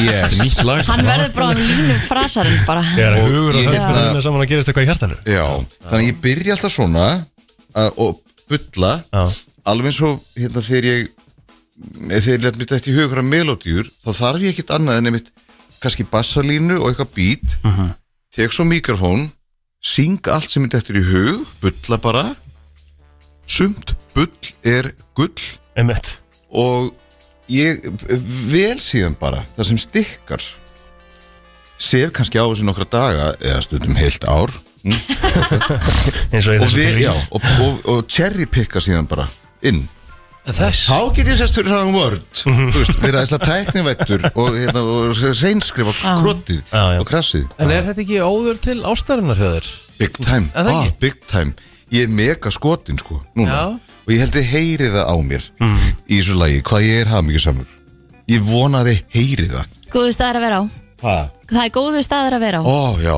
yes, nýtt lag Hann verður bara línum frasarinn bara Þegar Og hugur og ég- hönd Já. finna saman að gerist eitthvað í hjartanu Já, þannig að ég byrja alltaf svona að, og bulla Já. alveg eins og hérna þegar ég eða þegar ég let mér þetta í hugra melodíur þá þarf ég ekkert annað en einmitt kannski bassalínu og eitthvað bít tek svo mikrofón syng allt sem mér þetta í hug bulla bara sumt bull er gull Einmitt og ég vel síðan bara það sem stikkar sef kannski á þessu nokkra daga eða stundum heilt ár mm, Eins og í og, þessu við, tilviki. já, og, og, og cherry picka síðan bara inn Þess Mhm. þá get ég sérst fyrir hann vörd þú veist, vera þess að tæknivættur og, hérna, og reynskrifa krottið Já, já. og krassið En er þetta ekki óður til ástarinnar höður? big time, Ah, Er það ekki? big time ég er mega skotin sko, núna Já. Mhm. og ég held þið heyrið það á mér í þessu lagi, hvað ég er hafmyggjusamur ég vona að þið heyrið það Mm. Góðu staðar að vera á Hva? Það er góðu staðar að vera á Ó, já,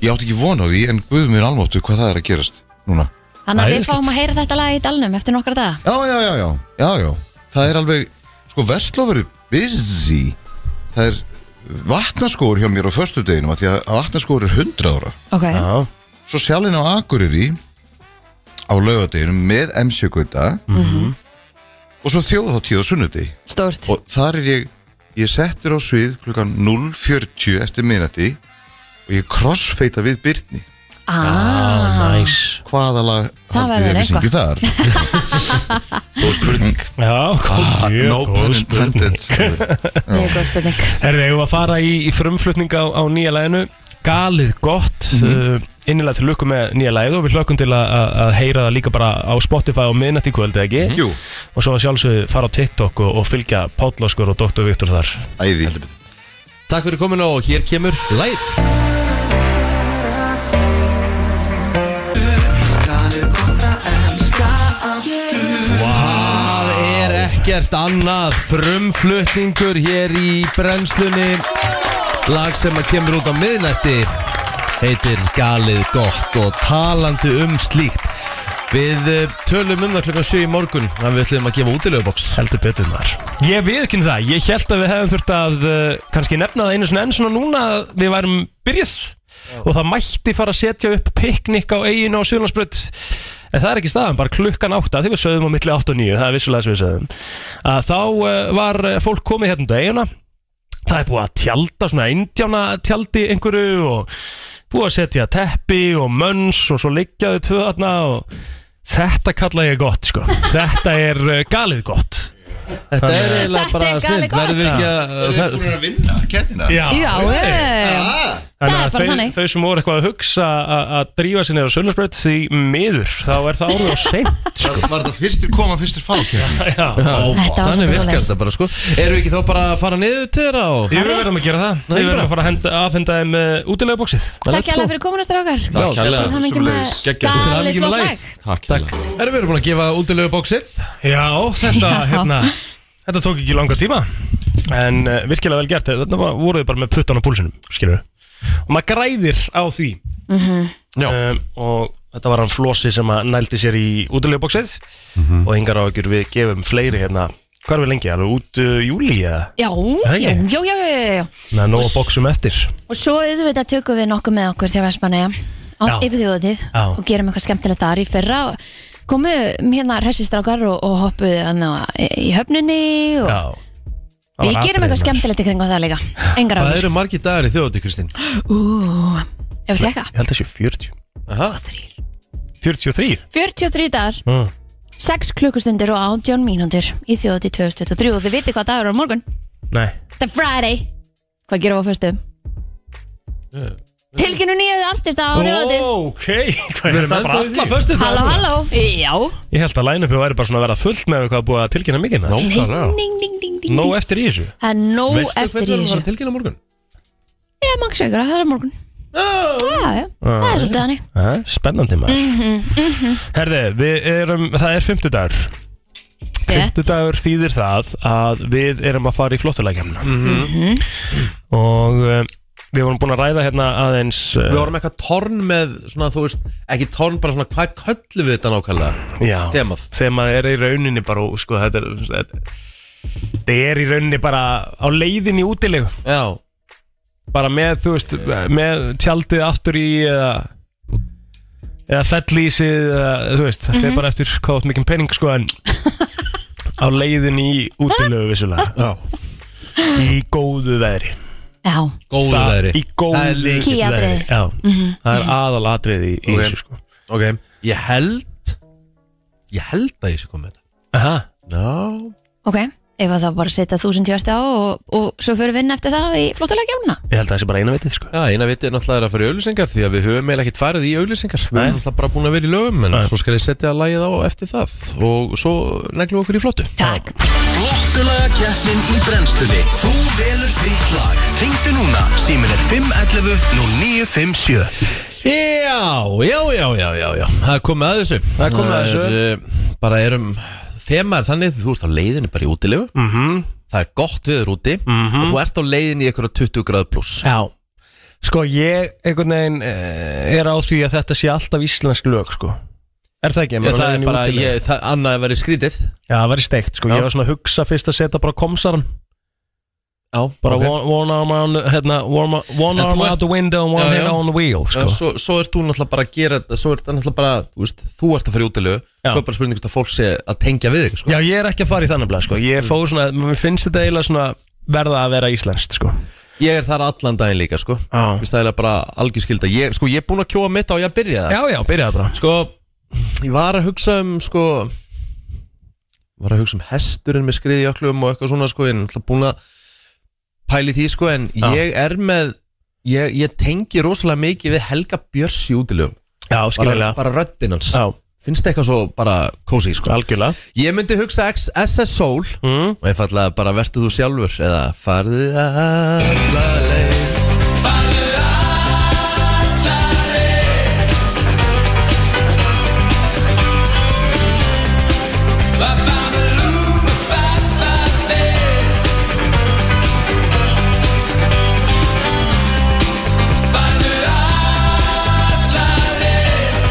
ég átti ekki vona á því en guð mér almáttu hvað það er að gerast núna Þannig að við Æðislegt. fáum að heyra þetta lag í dalnum eftir nokkra daga Já, já, já, já, já, já Það er alveg, sko, Vestló verður busy Það er vatnaskóur hjá mér á föstudeginum af Því að vatnaskóur er 100 ára Ok, Já, Svo sjálfinn Mhm. á Akureyri á laugardeginum með MC Gauta og svo þjóðháttíð á sunnuti Stórt og þar er ég ég er settur á svið klukkan 0.40 eftir minnati og ég crossfeita við Byrni ah, Næs hvaða lag Það verður haldið þið að við eitthvað. syngjum þar [laughs] og spurning Já, Ah, kom, mjög no góð pun spurning. intended Mjög góð spurning Herðu, eigum við að fara í, í frumflutninga á, á nýja læginu Galið gott mm Innilega til lukku með nýja lægið og við hlökkum til að, að- að heyra það líka bara á Spotify og miðnætt í kvöld, eða ekki? jú, Og svo að sjálfsögðu fara á TikTok og, og fylgja Páll Óskur og Dr. Viktor þar æði Takk fyrir komin og hér kemur Læð Það er ekkert annað frumflutningur hér í brennslunni Lag sem að kemur út á miðnætti heitir Galið gott og talandi um slíkt Við eh, tölum um það klokkan 7 í morgun að við ætlum að gefa útilegubóks Heldur betur maður Ég við ekki það, ég held að við hefum þurft að uh, kannski nefna það einu svona enn svona núna að við værum byrjuð og það mætti fara að setja upp piknik á eiginu á Suðlandsbrödd en það er ekki staðan, bara klukkan átta því við sögðum á milli 8 og 9, það er vissulega sem við sögðum að þá uh, var eh, fólk komið hérna út á eiguna það er búið að tjálta svona indjána tjaldi einhverju og búið að setja teppi og mönns og svo liggjaðu tvöðarna og þetta kalla ég gott sko þetta er uh, galið gott Þetta er Þannig- eiginlega Þetta bara er galið snill gott. Verðum við ekki að það- að vinna kettina Já, Já, eh, Ah, Ah. Þannig Það er að bara þau, þannig. þau sem voru eitthvað að hugsa að- að drífa sér niður á Sölnarsbröð því miður, þá er það orðið á [laughs] seint Var var þetta fyrstur koma, fyrstur fá kettina? Já, Þetta var Þannig svolítið virkar svoleiðis. þetta bara sko Erum við ekki þá bara að fara niður til þeirra og Jú, við verðum að gera það Nei, Við verðum bara. að fara að henda, afhenda þeim uh, útilega bóksið Takk hérlega fyrir komuna strákar Já, Takk Til hérlega hamingjum með sömuleiðis. Geggjað. Til hamingju galið með flott lagið. lag Takk Takk hérlega Erum við búin að gefa útilegu bóksið? Já, þetta, Já. hérna Þetta tók ekki langa tíma En uh, virkilega vel gert, þarna var- voru þið bara með puttan á púlsinum, skilur við Og maður græðir á því Mhm. Já. um, Og þetta var hann flosi sem að nældi sér í útilega bóksið Og yngar á ykkur við gefum fleiri hérna Hvað er við lengi, alveg út uh, júli eða? Já, Það já, ekki? já, já, já, já, já Næ, nóg að bóksum eftir Og svo auðvitað tökum við nokkuð með okkur til Vestmanneja Já. á yfir þjóðið Já. og gerum eitthvað skemmtilegt þar í fyrra og komu hérna hressistrákar og, og hoppuðu þarna í höfninni og Já Það við var gerum atriði, eitthvað maður. skemmtilegt í kringum það líka Engar Hvað áður eru margir dagar í þjóðati, Kristín? Ú, Ef við tjekka Ég held að sé 40 Þrír. 43 43 dagar, Mm. 6 klukkustundir og 18 mínútur í þjóðið 2023 og þið viti hvað dagur er á morgun Nei The Friday Hvað gerum við á föstum? Tilkynnu nýjaði artista á þjóðatíð ok [laughs] Hvað Við er erum þetta bara ennþá í því. alla föstu Halló, halló Já Ég held að line-upið væri bara svona að vera fullt með eitthvað að búa að tilkynna mikið Nó ding, ding, ding, ding. Nó e- eftir í þessu Það er nóg Veistu hvernig eftir við erum að fara í að þessu tilkynna á morgun? Já, maður segur að það er á morgun Já, já, það er svolítið hannig Aha, Spennandi maður Mhm, Herði, við erum, það er 50 dagur Rétt. þýðir það að við erum að fara í flottulækjamna Mhm. Og um, við vorum búin að ræða hérna aðeins uh, Við vorum eitthvað torn með svona, þú veist, ekki torn, bara svona, hvað köllum við þetta nákvæmlega? Já, Þemað. þemað er í rauninni bara og, sko, þetta, er, þetta, þetta er í rauninni bara á leiðin í útilegu Já, bara með, þú veist, með tjaldið aftur í eða, eða fellísið eða, þú veist, það fer bara eftir hvað átt mikið pening sko en á leiðin í útilegu vissulega já, í góðu veðri Já, góðu Það- veðri í góðu Það er líka- Kýatriði. Já, það er aðal atriði í, í Ok. þessu sko Ok, ég held, ég held að ég sé komið með þetta Aha. Já, ok Ef að það bara setja þúsund hjörst á og, og svo fyrir vinn eftir það í flottulegjumna Ég held að það sé bara eina vitið sko já, eina vitið er náttúrulega að fara í auglýsingar því að við höfum eiginlega ekkert farið í auglýsingar Við Nei. erum náttúrulega bara búin að vera í lögum en Nei. svo skal ég setja að lagið á eftir það og svo neglum við okkur í flottu Takk Flottulaga keppnin í brennstunni Þú velur þitt lag Ringdu núna, símin er 511 0957 Já, já, já, já, já, já Það er komið að þessu Það er komið að þessu. er, eh, Bara erum Þema er þannig, þú ert á leiðinni bara í útilegu Mm. -hmm. Mhm. Það er gott viður úti -hmm. Og þú ert á leiðinni í eitthvað 20 gráð pluss Já Sko ég einhvern veginn eh, er á því að þetta sé alltaf íslensk lög sko Er það ekki? Ég, það er bara, ég, það, annað er verið skrítið Já það væri steikt sko, Já. ég var svona að hugsa fyrst að setja bara komsaran Já, Bara ok. one, one arm, on, the- hérna, one, one En arm þú ert- out the window and one Já, hand já. on the wheel sko. Já, svo, svo ert þú náttúrulega bara að gera þetta Svo ert það náttúrulega bara, þú veist, þú ert að fara í útilegu Já. Svo er bara spurning hvort að fólk sé að tengja við þig sko. Já, ég er ekki að fara í þannig blað sko. Mm. Ég fór svona, mér finnst þetta eiginlega svona verða að vera íslenskt sko. Ég er þar allan daginn líka sko. Já. Vist, Það er bara algjörskilda ég, sko, ég er búin að kjóa mitt á ég að byrja það Já, já, byrjaði bara Sko, ég var að hugsa um sko, Var að hugsa um hesturinn með skriðjöklum og eitthvað svona sko, En náttúrulega búin að pæli því sko, En ég er með ég, ég tengi rosalega mikið við Helga Björns í útilegum Já, Bara, skiljulega bara röddinn hans Já, Finnst eitthvað svo bara kósi sko. algjörlega Ég myndi hugsa X- SS Soul Mm. og einfallega bara vertu þú sjálfur eða farðu alla leið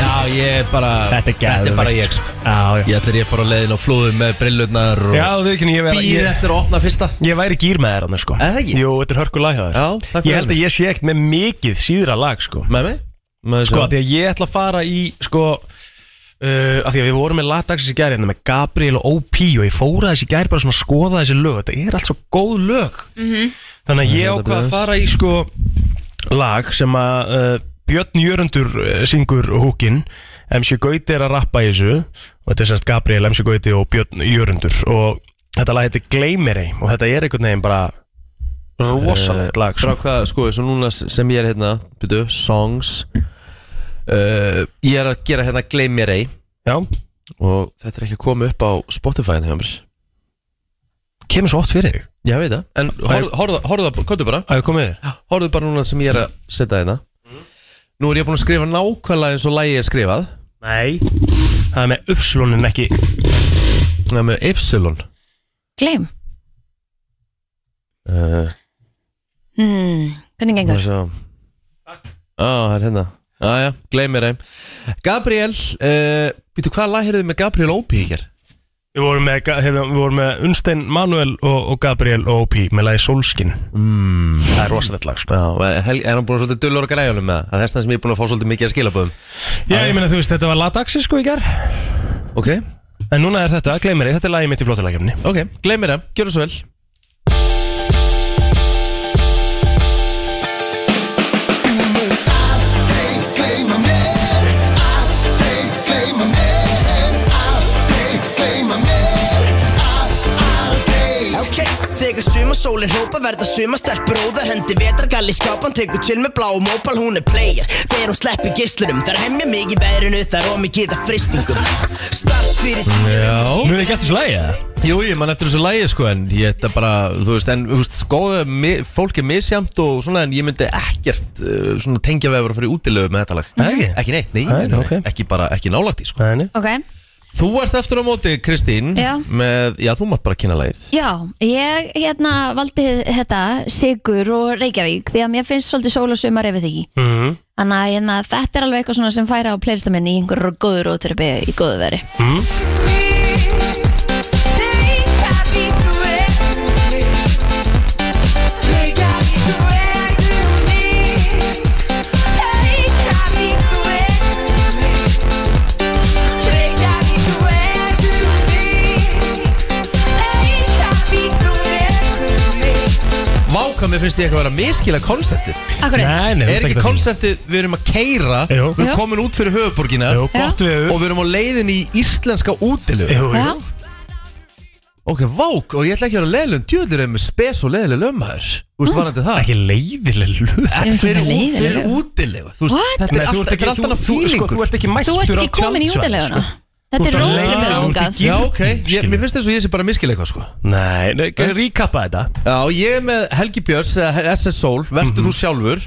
Já, ég er bara Þetta er Þetta er bara geðveikt. ég sko Já, já Ég ætlir ég bara á leiðin á flóðum með brillurnar og Já, við kynni, ég, væri- býð ég, eftir að opna fyrsta ég væri gýr með þér annars sko Er það ekki? Jú, þetta er hörkulag hjá þér Já, takk fyrir Ég held að ég sé ekkert með mikið síðra lag sko Með mig? Með Sko, því að ég ætla að fara í sko Uh, af því að við vorum með latdagsins í gær hérna með Gabriel og OP og ég fóra þessi gær bara svona að skoða þessi lög þetta er allt svo góð lög -hmm. þannig að ég þetta ákvað að bless. fara í sko lag sem að uh, Björn Jörundur uh, syngur húkin MC Gauti er að rappa í þessu og þetta er sérst Gabriel, MC Gauti og Björn Jörundur og þetta lag heitir Gleimirei og þetta er einhvern veginn bara rosalegt lag Frá sko. hvað, sko, eins og núna sem ég er hérna Byrju, songs uh, Ég er að gera hérna Gleimir ei Já, Og þetta er ekki að koma upp á Spotify þegar mér kemur svo oft fyrir þig Ég veit það En horfðu- horfðu horfðu- komdu bara að við komið þér Horfðu bara núna sem ég er að setja hérna Mhm. Nú er ég búin að skrifa nákvæmlega eins og lægi er skrifað Nei Það er með uppslunin ekki Það er með Ypsilon Gleim uh, hmm. Hvernig Má gengur? sjá Á, það er hérna Jæja, gleymir þeim Gabriel, uh, býtu hvaða lag heyrðu með Gabriel Ópi í hér? Við vorum með, Ga- hef- við vorum með Unstein, Manuel og, og Gabriel og OP með lagi Solskin mm. Það er rosalegt lag sko Já, er, er er hann búin að svolítið dullur og græjunum með það? Það er þess vegna sem ég er búin að fá svolítið mikið að skilaböðum Já, ég meina þú veist, þetta var lataxi sko í ger Ok, En núna er þetta, gleymir ég, þetta er lagi mitt í flottalagjöfni ok, gleymir þeim, gjörðu svo vel Ok, þegar sumarsólinn hrópa verða sumastelpur óðar hendi vetargalli skápan tekur chill með blá og mópal hún er player þegar hún sleppir gislurum þar hemja mig í veðrinu þar og mikið af fristingum start fyrir tíu Mjög ekki eftir þessu lagi eða? Jú, ég man eftir þessu lægi sko en ég þetta bara, þú veist, en þú veist, skoðu, mi, fólk er misjamt og svona en ég myndi ekkert uh, svona tengja við að vera að fara í útilegu með þetta lag Ekki? Ekki neitt, nei, Nei, nei, nei, ok. nei, ekki bara, ekki nálægt í sko Nei, nei. Ok, Þú ert eftir á móti, Kristín Já. með, já, þú mátt bara kynna lagið já, ég hérna valdi þetta Sigur og Reykjavík því að mér finnst svolítið sól og sumar ef við því Mhm. Þannig að hérna, þetta er alveg eitthvað svona sem færa á playlistaminni í einhverju góður og törpi í [laughs] góðu veri Váka, mér finnst ég eitthvað að vera að miskila konseptið Akkur er Nei, nei, Er þetta ekki að því. konseptið, við erum að keira Jú. Við Jú. erum komin út fyrir höfuborgina Jú, gott við Og við erum á leiðin í íslenska útilu Jú, jú Já, Ok, vák, og ég ætla ekki að vera leiðilegum Djöðlir er með spes og leiðileg lömmaður Þú veist, varandi það Ekki leiðileg lög En Ég er ekki Fyrir, út- með leiðileg fyrir lög. útilu Þú veist, What? þetta Nei, þú er ert allt- þetta ekki- er allt þú- annað sko, Þú fílingur ert ekki þú ert mættur á ekki komin í tjaldsvæði, útileguna sko. Þetta Þú er ert á rótrið leiðinni, með þú ert í ángað gírnum. Já, ok, ég, mér finnst þess að ég sé bara að miskila eitthvað sko Nei, nei, recapa þetta Já, ég er með Helgi Björns, eða SS Soul, vertu þú sjálfur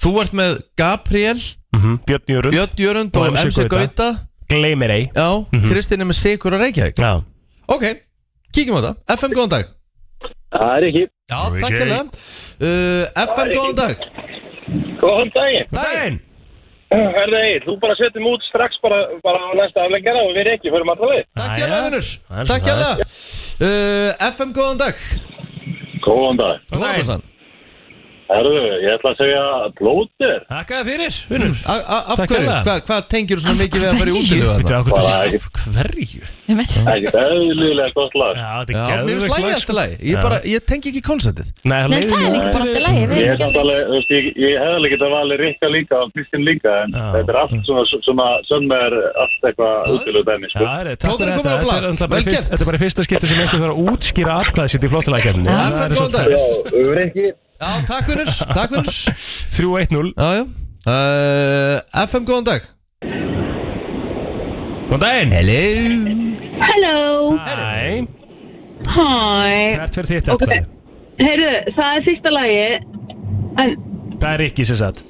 Þú ert með Gabriel, Mhm, Björn Jörund, Björn Jörund Og og MC MC Gauta Mhm. gleymir ei Já, Kristinn er með Sigur og Reykjavík Já Ok, kíkjum á þetta FM, góðan dag Það er ekki. Já, Ricky. takk hérlega uh, FM, góðan dag Góðan daginn. Daginn Herði Egil, Eh, þú bara setjum út strax bara, bara á næsta afleggjara og við ekki, förum alltaf leið. Takk Jæja. hérlega, vinnur Það er svo Takk það er. hérlega uh, FM, góðan dag Góðan góðan dag. Góðan Nei. blessan. Herðu, ég ætla að segja plótir. Þakka þér fyrir, vinnur Mm. A- a- Af Takk hverju? hérlega. Hva- Hvað tengjur svona mikið við að fara í útilu Býttu þarna? á hvort það Bara sé ekki. af hverju Já, [laughs] Ég veit það. Ekkert eðlilega gott lag. þetta Já, er mér finnst geðveikt lag, lagið alltaf sko. lagi Ég Já. bara, ég tengi ekki konseptið Nei, Nei, það er líka bara allt í lagi, við erum Ég hef ekki allir alveg, þú veist, ég, ég hef alveg getað valið Rikka líka og Kristinn líka, en Já. þetta er allt svona, svona, svona er allt eitthvað útilu dæmi, Já, sko. það er- takk Plóturinn fyrir kominn þetta. á blað. Þetta er náttúrulega bara í Vel fyrst- gert. þetta er bara í fyrsta skipti sem einhver þarf að útskýra atkvæði sitt í flottulækjarni Já, það er góðan dag Já, Rikki, Já, takk vinnur, takk vinnur 3-1-0 Já, já uh, FM, góðan dag Góðan daginn Hello Hello, Hæ, hi hvert fyrir þitt Ok. atkvæði? Heyrðu, það er fyrsta lagi En, Það er ekki sem sagt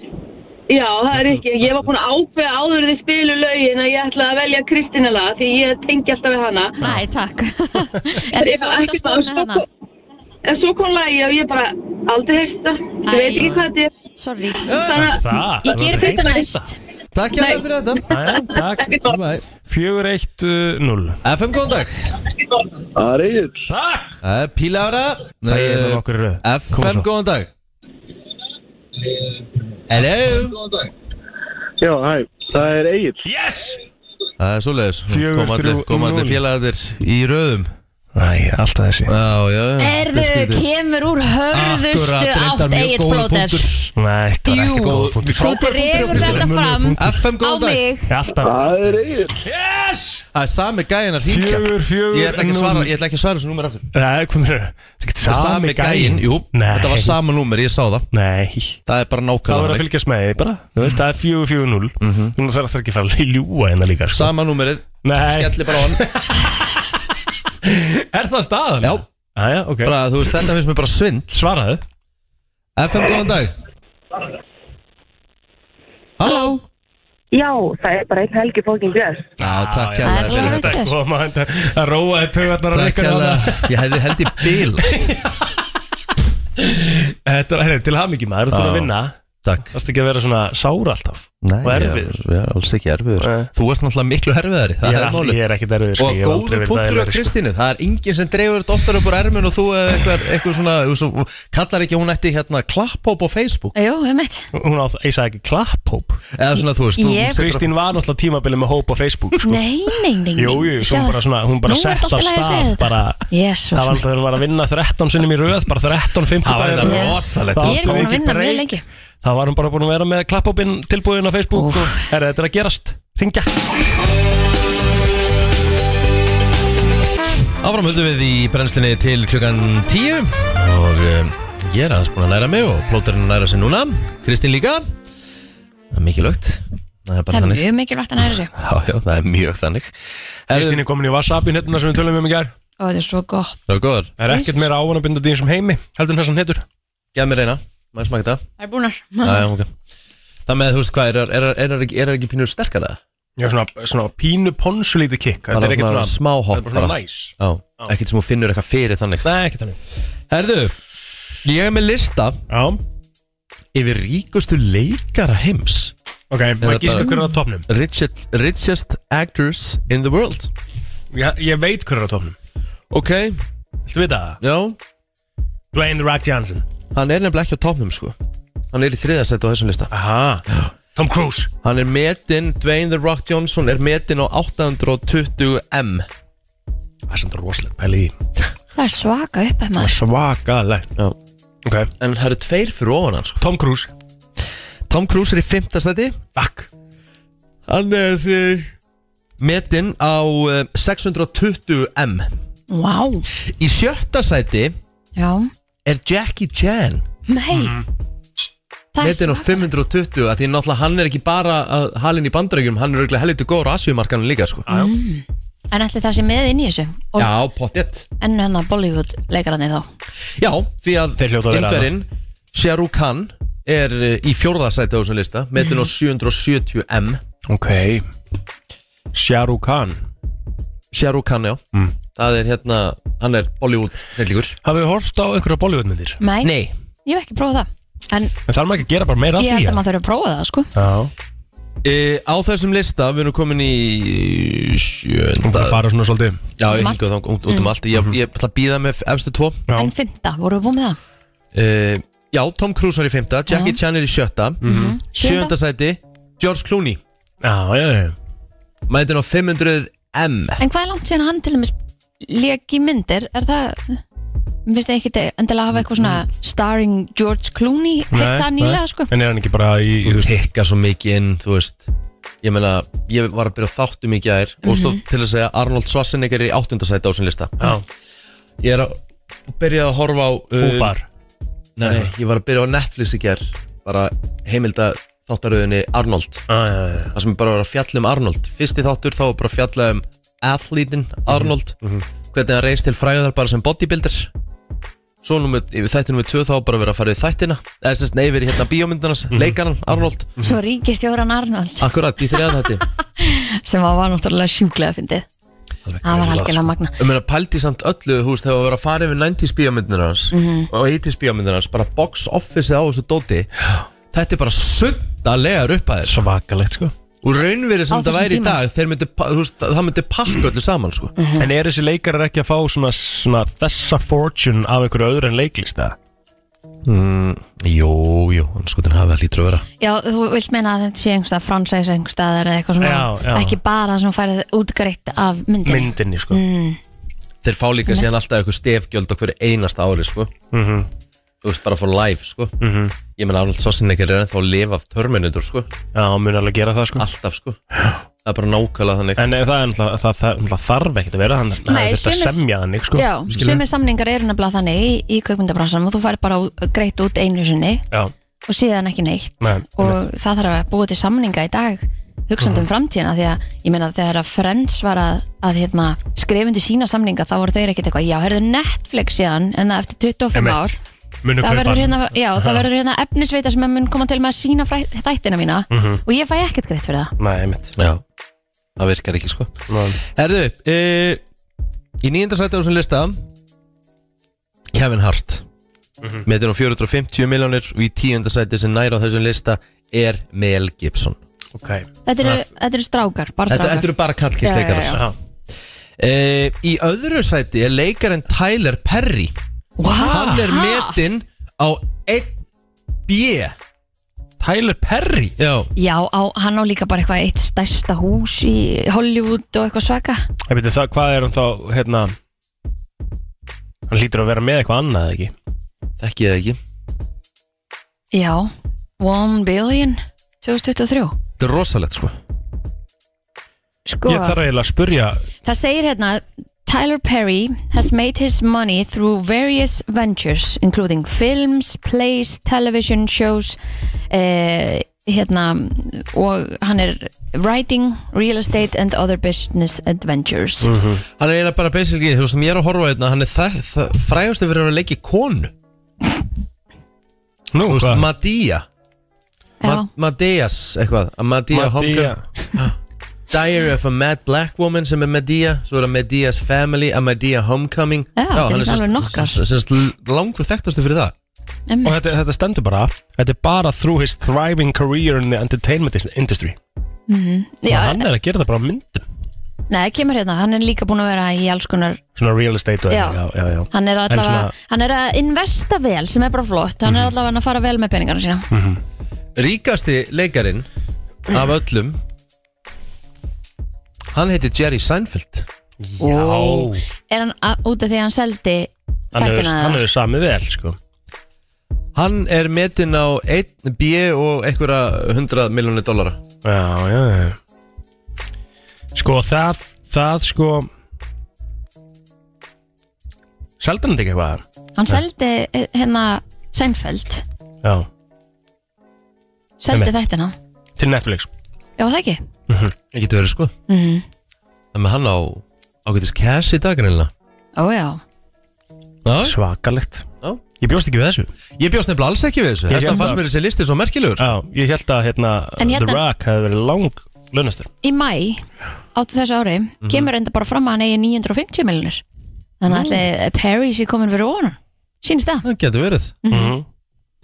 já, það er ekki Ég var búin að ákveða áður en þið spilu lögin að ég ætla að velja Kristina lag Því ég tengi alltaf við hana Næ, takk [laughs] En ég fór út að Ekkert mál, spóna svo hana kom- En svo kom lagi og ég bara aldrei heyrst það Ég Æ. veit ekki hvað þetta er Sorry Þannig að, Það Ég ger betur næst Takk hérna fyrir þetta Jæja, Takk ekkert mál. Bye. 4-1-0 FM, góðan dag það er Egil. Takk uh, Pílára Það er Uh, Eh, hérna með okkur í röð. Koma FM, svo. góðan dag Hello Já, hæ, það er Egil. Yes Það er svoleiðis Fjögur, Koma allir- þrjú, Koma allir núll. félagarnir í röðum Æ, alltaf þessi Já, já, já Erðu kemur úr Akkurat, hörðustu reyndar átt mjög eigið góður blóter punktur. Nei, þetta var ekki Jú, góð punktur þú dregur þetta fram FM, á góðan dag mig Alltaf Það er Egil. Yes Það er sami gæinn að hringja Fjögur, fjögur, Ég ætla ekki að svara, núll. ég ætla ekki að svara þessu númer aftur Nei, hvað er það? er ekki Það er sami gæinn, jú Nei Þetta var sama númer, ég sá það Nei Það Mhm. er bara Það nákvæmlega verður að þannig. fylgjast með því bara Þú veist, það er 4-4-0 Nú þarf það ekki að fara að ljúa hérna líka sko. Sama númerið, Nei, skellir bara á hann er það staðan? Já, Æja, Ah, ok bara, þú veist, þetta finnst mér bara svind Svaraðu FM, góðan dag Halló Já, það er bara einn helgi fókin græs. Já, takk já, Það er hérna alveg fyrir rétt. þetta Þetta koma þetta að róa þetta taugarnar á Takk ykkur hérna, hana. ég hefði held í [laughs] bíl Þetta er til hamingi maður, þú ert búin að Já. vinna Takk Það er ekki að vera svona sár alltaf og erfiður Já, alls ekki erfiður Nei. Þú ert náttúrulega miklu erfiðari, Ég það er er all- málið Ég er ekkert erfiður sko, Og ég hef aldrei góðu verið punktur á erfiður, sko. Kristínu Það er enginn sem dreifur þetta oftar upp úr ermin og þú eh, eitthvað, eitthvað svona, svo, kallar ekki að hún ætti hérna klapphóp á Facebook Jú, um eitt sko. Hún á það, ég sagði ekki klapphóp eða svona þú veist, Ég- þú Kristín var náttúrulega tímabilið með hóp á Facebook [laughs] sko. Nei, nei, nei, nei Jú, jú, svo hún bara svona, hún bara Nú er sett af þetta allt í lagi að segja stað þetta. bara Það Jésus var alltaf þegar hún var að vinna 13 sinnum í röð, bara 13, 15 Það var dagar í þetta röð. rosalegt. Það Ég áttum við er búin að ekki vinna mjög break. lengi. Það var hún bara búin að vera með klapphópin tilbúin á Facebook Úff. og herra, þetta er að gerast, ringja Áfram höldum við í brennslinni til klukkan 10 og um, ég er aðeins búin að læra mig og plóterinn að læra sig núna Kristín líka Það er mikilvægt Það er bara Það er þannig mjög mikilvægt að næra sig Já, já, það er mjög þannig Kristín er komin í WhatsAppin hérna sem við tölum um í gær Og það er svo gott Það var góður Það er ekkert meira ávann að binda dýn sem heimi heldur en þessan heitur Gef mér reyna, maður smaka þetta Það er búinar Já, já, ok Það með þú veist hvað, er það er, er, er, er, er ekki pínur sterkara? Já, svona, svona pínu ponsulítið kikk Þetta Bara er ekkert svona svona smá hopp Þetta er bara bara. svona næs Já, ekkert sem hún finnur eitthvað fyrir þannig Nei, ekkert þannig Herðu, ég er með lista Já, yfir ríkustu leikara heims ok, maður bara- gíska hver er á topnum richest, richest actors in the world ég, ég veit hver er á topnum Ok, Viltu vita það? já Dwayne The Rock Johnson Hann er nefnilega ekki á topnum sko Hann er í þriðasætt á þessum lista Aha Tom Cruise Hann er metinn, Dwayne The Rock Johnson er metinn á 820M Það er samt rosalegt pæli í Það er svaka upp maður Svakalegt Já. Ok En það eru tveir fyrir ofan hann sko Tom Cruise Tom Cruise er í fimmtastætti Fuck Hann er því Metinn á eh, 620M Vá Í sjötta sæti Já er Jackie Chan Nei Mhm. Það er Metinn á svaka 520 að Því náttúrulega hann er ekki bara að halinn í bandarækjum Hann er auðvitað helviti góður á asjumarkanum líka sko En allir það sé með inn í þessu Og Já, potjett enn hennar Bollywood leikararnir þá Já, því að Þeir hljóta að vera Indverinn Shah Rukh Khan er eh, í fjórðasæti á þessum lista metin á 770M Ok Shah Rukh Khan Shah Rukh Khan, já Mm. Það er hérna, hann er Bollywood nefnlíkur Hafið þið hort á einhverja Bollywoodmyndir? Nei, Nei, ég hef ekki prófað það En En þarf maður ekki að gera bara meira af því ég held að eða? maður þurfi að prófa það sko Já E, á þessum lista, við erum komin í sjönda Það fara svona svolítið Já, ég Út um allt. hingað þá út, út um Mm. allt Ég, ég ætla að býða með efstu tvo En fymta, vorum við búin með það? e, Já, Tom Cruise var í fymta, Jackie Chan er í sjötta Mhm. Sjöunda. Sjönda sæti, George Clooney Já, já, já Mætin á 500M En hvað er langt síðan hann til dæmis lék í myndir? Er það, mér finnst það ekki endilega að hafa eitthvað svona starring George Clooney heyrt það nýlega sko En er hann ekki bara í Þú tekka svo mikið inn, þú veist Ég meina, ég var að byrja á þáttum í gær Og stóð Mhm. til að segja Arnold Schwarzenegger er í áttundasæti á þessum lista Já Ég er að byrja að horfa á uh, Fúbar Nei, nei, ég var að byrja á Netflix í gær Bara heimilda þáttaröðinni Arnold ah, ja, ja. Það sem er bara að vera að fjalla um Arnold Fyrsti þáttur þá var bara að fjalla um Athletin Arnold Hvernig hann reist til fræðar bara sem bodybuilder Svo númer, yfir þætti nummer 2 þá var bara að vera að fara í þættina Eða sérst neyfir í hérna bíómyndarnas Leikaran Arnold Svo ríkistjóran Arnold Akkurat, í þriða þætti [laughs] sem að var náttúrulega sjúklega fyndið Það var algjörlega magna Ég meina pældi samt öllu, þú veist, þegar við varum að fara yfir 90s bíómyndina hans Mhm. og 80s bíómyndina hans, bara box office á þessu dóti, þetta er bara sundalegar upphæðir. Svakalegt, sko. Og raunverið sem Á þetta þessum væri í tíma. dag, þeir myndi, pa- þú veist, það myndi pakka öllu saman, sko. Mm. Mhm. En eru þessi leikarar ekki að fá svona, svona þessa fortune af einhverju öðru en leiklist eða? Mm, jú, jú, hann sko þannig hafa það lítur að vera. Já, þú vilt meina að þetta sé einhverstað fransæs einhverstaðar eða eitthvað svona Já, já. ekki bara það sem færið útgreitt af myndinni Myndinni, sko. mm. Þeir fá líka síðan alltaf eitthvað stefgjöld okkur einasta ári, sko. Mhm. Þú veist, bara for live, sko. Mhm. Ég meina, Arnold Schwarzenegger er ennþá að lifa af Terminator, sko. Já, hann mun alveg gera það, sko. Alltaf, sko. Það er bara nákvæmlega þannig. En eh, það, er náttúrulega- það, það, það þarf ekkert að vera hann hann Nei, hefði þurft að sumir- semja þannig sko. Já, Skilurðu? sumi samningar eru nefnilega þannig í, í kveikmyndabransanum og þú færið bara ú- greitt út einu sinni Já, og síðan ekki neitt Nei, og það þarf að búa til samninga í dag hugsandi Mhm. um framtíðina því að ég meina þegar að Friends var að, að hérna, skrifundi sína samninga þá voru þeir ekkert eitthvað já, herðu Netflix síðan en það eftir 25 Einmitt. ár Munu það kaupa verður hann. hérna, já, Ha. það verður hérna efnisveita sem mun koma til með að sína fræ, þættina mína Mhm. og ég fæ ekkert greitt fyrir það Nei, mitt Já, það virkar ekki sko Nei. Herðu, e, í nýjönda sæti á þessum lista Kevin Hart mm -hmm. Metin á 450 miljónir og í tíunda sæti sem næra á þessum lista er Mel Gibson okay. þetta eru, þetta eru strákar, bara Þetta, strákar þetta eru bara Já, já, kallkistleikarar já. e, Í öðru sæti er leikarinn Tyler Perry wow. Hann er metinn á 1B Tyler Perry? Já Já, á, hann á líka bara eitthvað eitt stærsta hús í Hollywood og eitthvað svaka Ég veit það, hvað er hann þá, hérna Hann hlýtur að vera með eitthvað annað, eða ekki? Sko. Þekki ég það ekki Já, One Billion 2023 Þetta er rosalegt sko Sko. Ég þarf eiginlega að spurja Það segir hérna Tyler Perry has made his money through various ventures including films, plays, television shows eh, hérna og hann er writing, real estate and other business adventures Mm. Hann er eiginlega bara basically, þú veist sem ég er að horfa á hérna, hann er það, það frægastu fyrir að vera að leikja konu Nú, veist, hvað? Madea Ma Madeas, eitthvað Madea Madea. Homecoming Diary of a Mad Black Woman sem er Medea svo er það Medea's Family, a Medea Homecoming Já, þetta er alveg nokkar. nokkar Langur þekktastu fyrir það Og þetta, þetta stendur bara Þetta er bara through his thriving career in the entertainment industry Mhm. Og Já, hérna hann er að gera það bara á myndum Nei, það kemur hérna, hann er líka búin að vera í alls konar Svona real estate og Já. já, já, já. hann En er, allavega, svona- Mhm. hann er að investa vel sem er bara flott, hann er allavega að fara vel með peningarna sína Mm. Ríkasti leikarin af öllum hann heitir Jerry Seinfeld Ó. Er hann að- út af því að hann seldi Hann hefur- þættina hann hefur- eða? Það er samið vel, sko Hann er metinn á 1B og einhverja 100 miljónir dollara Já, já, já Sko, það, það, sko Seldan þetta ekki eitthvað? Hann seldi eh, hérna Seinfeld, Já, seldi Einmitt. þættina til Netflix Já, það ekki Það getur verið sko Mhm. Það með hann á ágætis cash í dag reynilega Ó já, Svakalegt Já. Ég bjóst ekki við þessu Ég bjóst nefnilega alls ekki við þessu Ég Þess held að fannst að- mér þessi listi svo merkilegur Já, ég held að hérna, En hérna- The Rock hefði verið lang launastur í mæ áttu þessu ári Mhm. kemur enda bara fram að hann eigi 950 miljonir Þannig að Nú. ætli Perry sé komin fyrir ofan hann. Sýnist það? Það getur verið Mhm.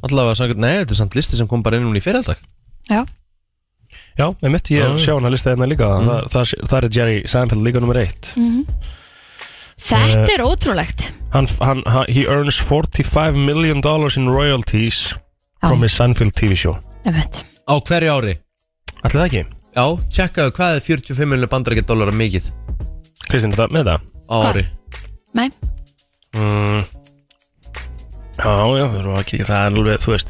Allavega, samkvæmt- nei, þetta er samt listi sem kom bara inn núna í fyriraldag Já Já, einmitt, ég er að sjá hana lista hérna líka mm. það, það er Jerry Seinfeld líka nummer eitt Mhm. Þetta Eh, er ótrúlegt hann, hann, hann, He earns 45 million dollars in royalties Já. from his Seinfeld TV show Einmitt. Á hverju ári? Ætli það ekki? Já, tjekkaðu hvað er 45 miljonir bandarækja dólar mikið Kristín, er það með það? Á ári Nei, mm. Já, já, það er ekki það er alveg, þú veist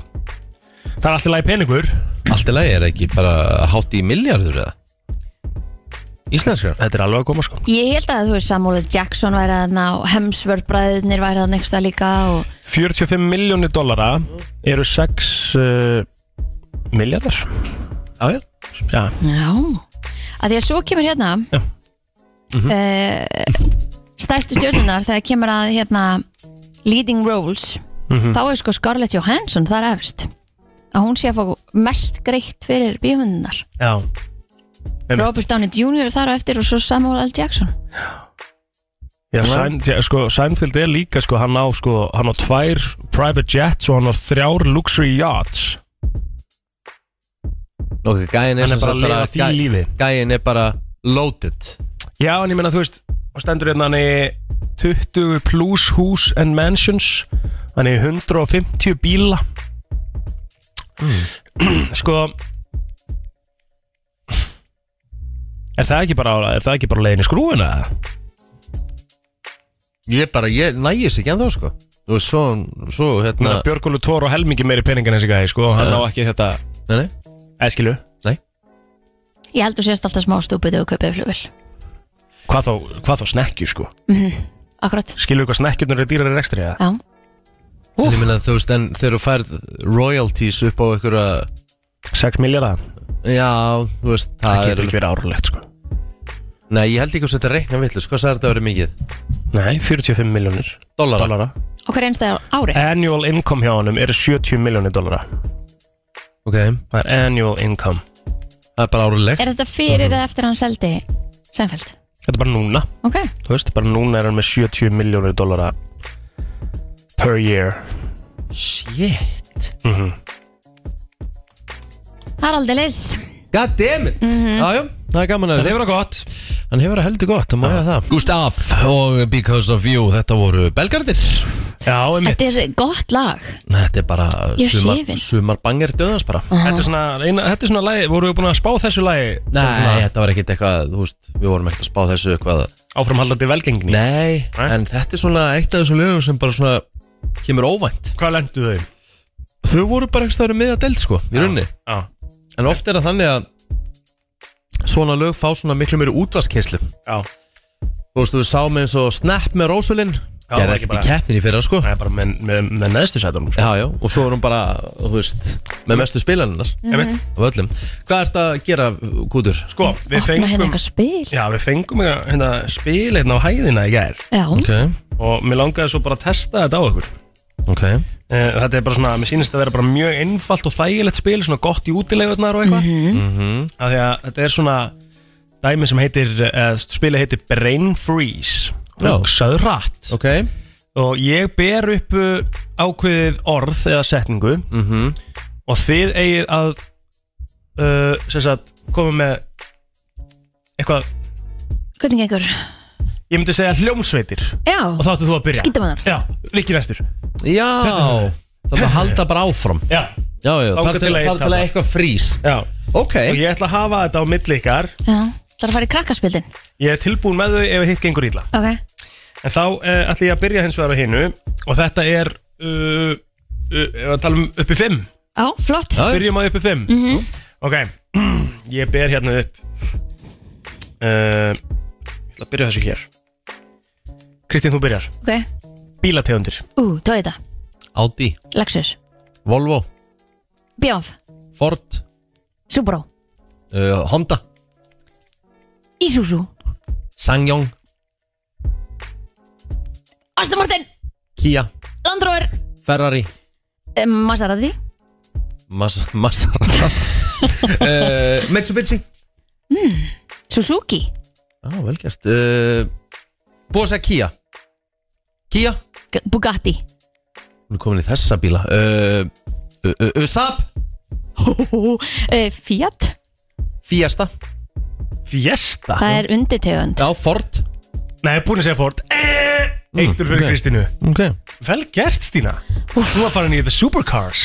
Það er alltaf lægi peningur Allt í lagi er ekki bara Eh, hátt í miljardur eða? Íslenskar? Þetta er alveg að koma sko ég held að þú veist Samuel L. Jackson væri þarna og Hemsworth bræðinir væri þarna einhversta líka og 45 miljónir dollara eru 6 uh, miljardar Já, já Já, já að því að svo kemur hérna Mhm. Já. eh, stærstu stjórnunar þegar kemur að hérna leading roles Mhm. þá er sko Scarlett Johansson þar efst að hún sé að fá mest greitt fyrir bíhundunar já Einmitt. Robert Downey Jr. þar á eftir og svo Samuel L. Jackson Já, Sæn, ja, sko, Sænfield er líka sko, hann á sko, hann á tvær private jets og hann á þrjár luxury yachts Ok, gæin er Hann er sem bara að sagt lifa því gæ- lífi. Gæin er bara loaded Já, en ég meina, þú veist, og stendur hérna hann í 20 plus hús and mansions hann í 150 bíla [clears throat] Sko Er það ekki bara, er það ekki bara leiðin í skrúfuna? Ég bara, ég nægis ekki ennþá sko Þú veist, svo, svo hérna Björgólu Tór og helmingi meiri peningin þessi gæði, sko, hann Já. á ekki þetta Nei, nei Eskilu? Nei ég held að sést alltaf smá stúpið og kaupið flugvel Hvað þá, hvað þá snekkju, sko? mm akkurat Skilur hvað snekkjurnar eru dýrar í rekstri, eða? já En Ég meina, þú veist, en þegar þú færð royalties upp á einhverja 6 miljardar Já, þú veist, það, Það getur er ekki verið árulegt, sko Nei, ég held ekki að þetta er reikna villus Hvað sagði þetta að vera mikið? Nei, 45 miljónir Dollara. og hver einstæðar ári Annual income hjá honum er 70 miljónir dollara Ok Það Það er annual income er bara árulegt er þetta fyrir eða eftir að hann seldi Seinfeld Þetta er bara núna ok Þú veist, bara núna er hann með 70 miljónir dollara Per year Shit mm -hmm. það er aldrei leys God damn it Mhm. Jájú, það er gaman að Það hefur það gott Hann hefur að heldur gott, það má ég að það Gustaf og Because of You, þetta voru belgardir Já, einmitt þetta er gott lag Þetta er bara Ég er sumar, hrifin. sumar banger döðans bara Þetta er svona, eina, þetta er svona lagi, voru við búin að spá þessu lagi Nei, þetta var ekkert eitthvað, þú veist, við vorum ekkert að spá þessu eitthvað Áframhaldandi velgengni Nei, en þetta er svona eitt af þessum lögum sem bara svona kemur óvænt Hvað lendu þau? Þau voru bara ekkert stöður með að delt sko, í rauninni Já, En oft er það þannig að svona lög fá svona miklu meiri útvaskeinslu já Þú veist, þú sáum eins og Snap með Rósulinn Já, ekki Gerði ekkert í bara- keppnin í fyrra sko Það er bara með, með, með neðstu sætunum sko. Já, já, og svo er hún bara, þú veist, með mestu spilaninnar Mhm. Einmitt. Af öllum Hvað ert að gera, Kútur? Sko, við opna hérna fengum eitthvað spil Já, við fengum hérna hérna spil hérna á hæðina í gær já Ok, og mér langaði svo bara að testa þetta á ykkur ok Eh, Þetta er bara svona, mér sýnist að vera bara mjög einfalt og þægilegt spil, svona gott í útilegurnar og eitthvað Af því að þetta er svona dæmi sem heitir, eða spilið heitir Brain Freeze Já. Hugsaðu rætt Ok, Og ég ber upp uh, ákveðið orð eða setningu mhm, og þið eigið að uh, sem sagt, koma með eitthvað, hvernig gengur ég myndi segja hljómsveitir já og þá ættu þú að byrja Skítamannar. Já, Rikki næstur Já, það er að halda bara áfram Já, Já, já, Þangað þar til, til að ég þar til að tapa. eitthvað frýs já Ok, Og ég ætla að hafa þetta á milli ykkar já það er að fara í krakkaspildin Ég er tilbúin með þau ef hitt gengur illa ok En þá uh, ætla ég að byrja hins vegar á hinu Og þetta er uh, uh, Ef að tala um uppi 5 já flott Já. Byrjum á uppi 5 Ok, [clears throat] ég ber hérna upp uh, Ég ætla að byrja á þessu hér Kristín, þú byrjar ok Bílategundir ú Toyota Audi, Lexus Volvo, Bjóf Ford, Subaru uh, Honda, Isuzu Sangyong, Aston Martin Kia, Land Rover Ferrari eh, Maserati Mas- [laughs] Maserati uh, Mitsubishi Suzuki Já, ah, velgjast uh, Búið að segja Kia Kia G- [laughs] Bugatti Nú komin í þessa Eh, bíla uh, uh, uh, uh, Saab Eh, Fiat Fiesta Fiesta? Það er undirtegund Já, Ford Nei, búin að segja Ford Eh, Eittur fyrir ok. Kristínu okay. Vel gert, Stína Þú var farin í The Supercars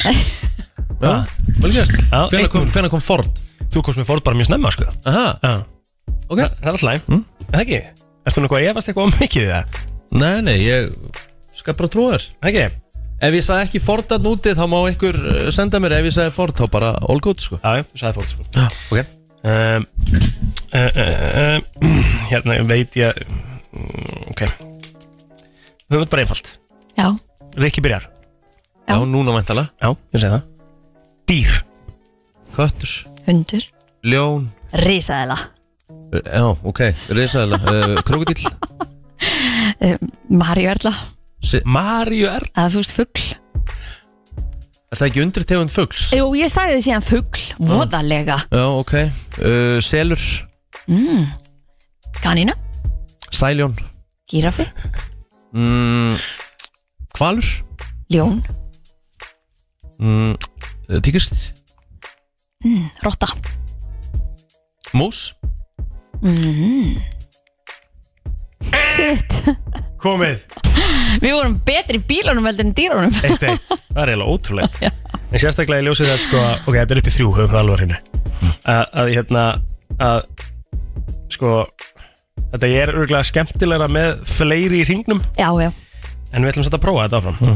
Já, vel gert Hvenær kom- Hvernig kom Ford? Þú komst með Ford bara mjög snemma, sko Aha. Já. Ok Það er alltaf læg mm? Það ekki Erstu nú eitthvað að efast eitthvað um mikið það? Nei, nei, ég skal bara trúa þér Ekki Ef ég sagði ekki Ford að núti þá má ykkur eh, senda mér Ef ég sagði Ford þá bara all good sko Já, þú sagði Ford sko Já, ok um, uh, uh, uh, Hérna veit ég mm, Ok Það er bara einfalt Já, Rikki byrjar Já, núna mæntala Já, ég segi það Dýr Köttur hundur Ljón Eh, Rísaðela Já, ok Risaðala uh, Krokodil Marjörla Maríu er Eða þú veist fugl Er það ekki undirtegund fugls? Jú, ég sagði þið síðan fugl Voðalega Já, ok uh, Selur mm. Kanína Sæljón Gíraffi mm, Hvalur Ljón mm, Tíkist mm. Rotta Mús mm. Shit Komið Við vorum betri í bílunum heldur en dýrunum Eitt eitt Það er eiginlega ótrúlegt En sérstaklega ég ljósi það sko Ok, þetta er upp í þrjú Höfum það alvar hérna Að hérna Að Sko Þetta er örgulega skemmtilegra með fleiri í hringnum Já, já En við ætlum satt að prófa þetta áfram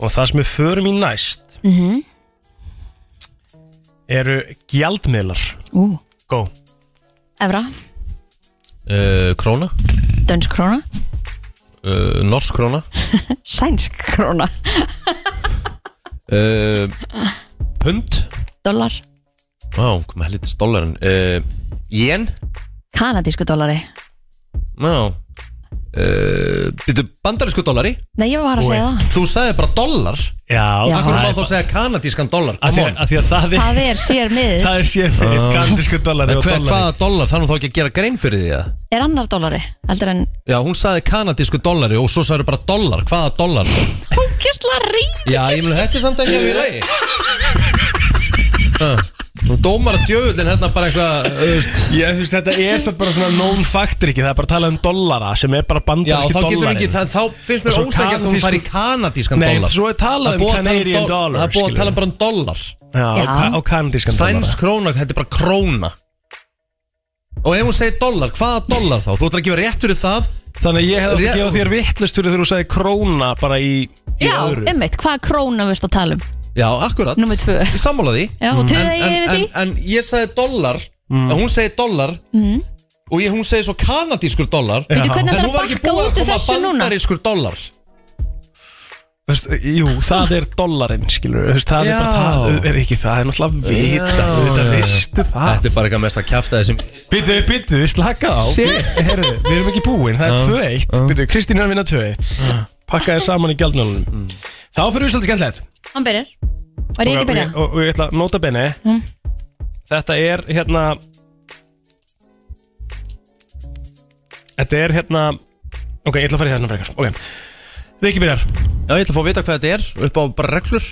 Og það sem við förum í næst mm -hmm. Eru gjaldmiðlar Ú. Go Evra, uh, Króna dönsk króna uh, Norsk króna Sænsk króna uh, Pund Dólar, Vá, hvað með lítist dólarinn uh, Jen kanadísku dólari Já uh, Býttu bandarísku dólari Nei, ég var að segja það Þú sagði bara dólar Já Akkur það má er þá segja kanadískan dólar Af því að- af því að það er Það er sér miðið Það er sér fyrir Já. Kandísku dollari og dollari Hvaða dólar? Þannig þá ekki að gera grein fyrir því að Er annar dólari, heldur en Já, hún sagði kanadísku dólari og svo sagði bara dólar Hvaða dólar? Kjæsla ring Já, ég mun þetta er samt ekki að við [laughs] lagi Ha, Nú dómar að djöfullin hérna bara eitthvað þú veist. Ég, þú veist, þetta er svo bara svona known factor ekki, það er bara að tala um dollara sem er bara Já, bandarski þá dollari getur ekki, það, þá finnst mér Og svo ósækjart að hún kanadísku- fari í kanadískan Nei, dólar svo er talað Það um búið að tala Canadian dó- dollar, Það er búið að tala skilurðu. bara um dólar Já, Já. Og, ka- og kanadískan Sæns króna, þetta er bara króna Og ef hún segir dólar, hvaða dólar þá? Þú ætlar að gefa rétt fyrir það dollara Þannig að ég hefði Ré- átt að gefa þér vittlust fyrir þegar þú sagði króna bara í, í Já, öðru einmitt, hvaða króna viðst að tala um? Já, akkurat Númer tvö. Ég sammála því Já, og töða Mm, en, ég yfir en, því en ég sagði dólar En hún segir dólar Mhm. Og ég, hún segir svo kanadískur dólar Veitu hvernig En ætlar hún að var ekki bakka búið út að úr þessu koma núna? bandarískur dólar Þú veist, Jú, það er dollarinn, skilur við, þú veist, það er bara Já. það, er ekki það, það er náttúrulega vita, Já, þetta já, já. veistu það Þetta er bara eitthvað mest að kjafta þessum Býttu, býttu, slaka á Shit. Herru, við erum ekki búin, það Já. er 2-1 Býttu, Kristín er að vinna 2-1 Pakka þér saman í gjaldmjölunum Mm. Þá fyrir við svolítið skemmtilegt Hann byrjar Var ég og, ekki byrja? og, og, og ég ætla að nota benni Mm. Þetta er hérna Þetta er hérna Ok, ég ætla að fara í þarna frekar Ok, Riki byrjar Já, ég ætla að fá að vita hvað þetta er Upp á bara reglur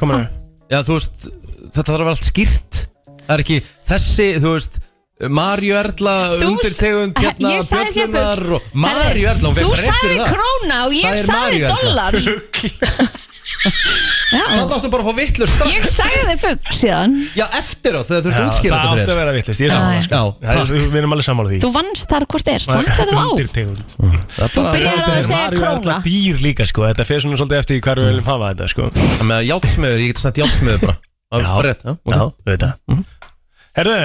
Komur nú Já, þú veist, þetta þarf að vera allt skýrt Það er ekki þessi, þú veist Marju Erla, Þú- undirtegund hérna, Ég sagði sér bjöllunar fugl. og Marju Erla, hún Þú vekar rétt sagði fyrir það króna og Það ég er sagði Maríu, Elsa. dólar [laughs] Já, Það áttu bara að fá vitlu strax ég sagði fugg síðan Já, eftir á þegar þú ert Já, útskýra Það þetta átti fyrir að þér. vera vittlist, ég er Já, sammála já. sko. Já, Það er- takk. Við erum alveg sammála því Þú vannst þar hvort er, Það er slangaðu á undirtegund. Það er Þú bara byrjar á Þetta að er segja Maríu króna alltaf dýr líka sko Þetta fer svona svolítið eftir í hverju við viljum hafa þetta sko Það með jáltsmiður, ég geti snett jáltsmiður bara [laughs] Það Já. var rétt, já, Já, ok við veit það Mhm. Herðu,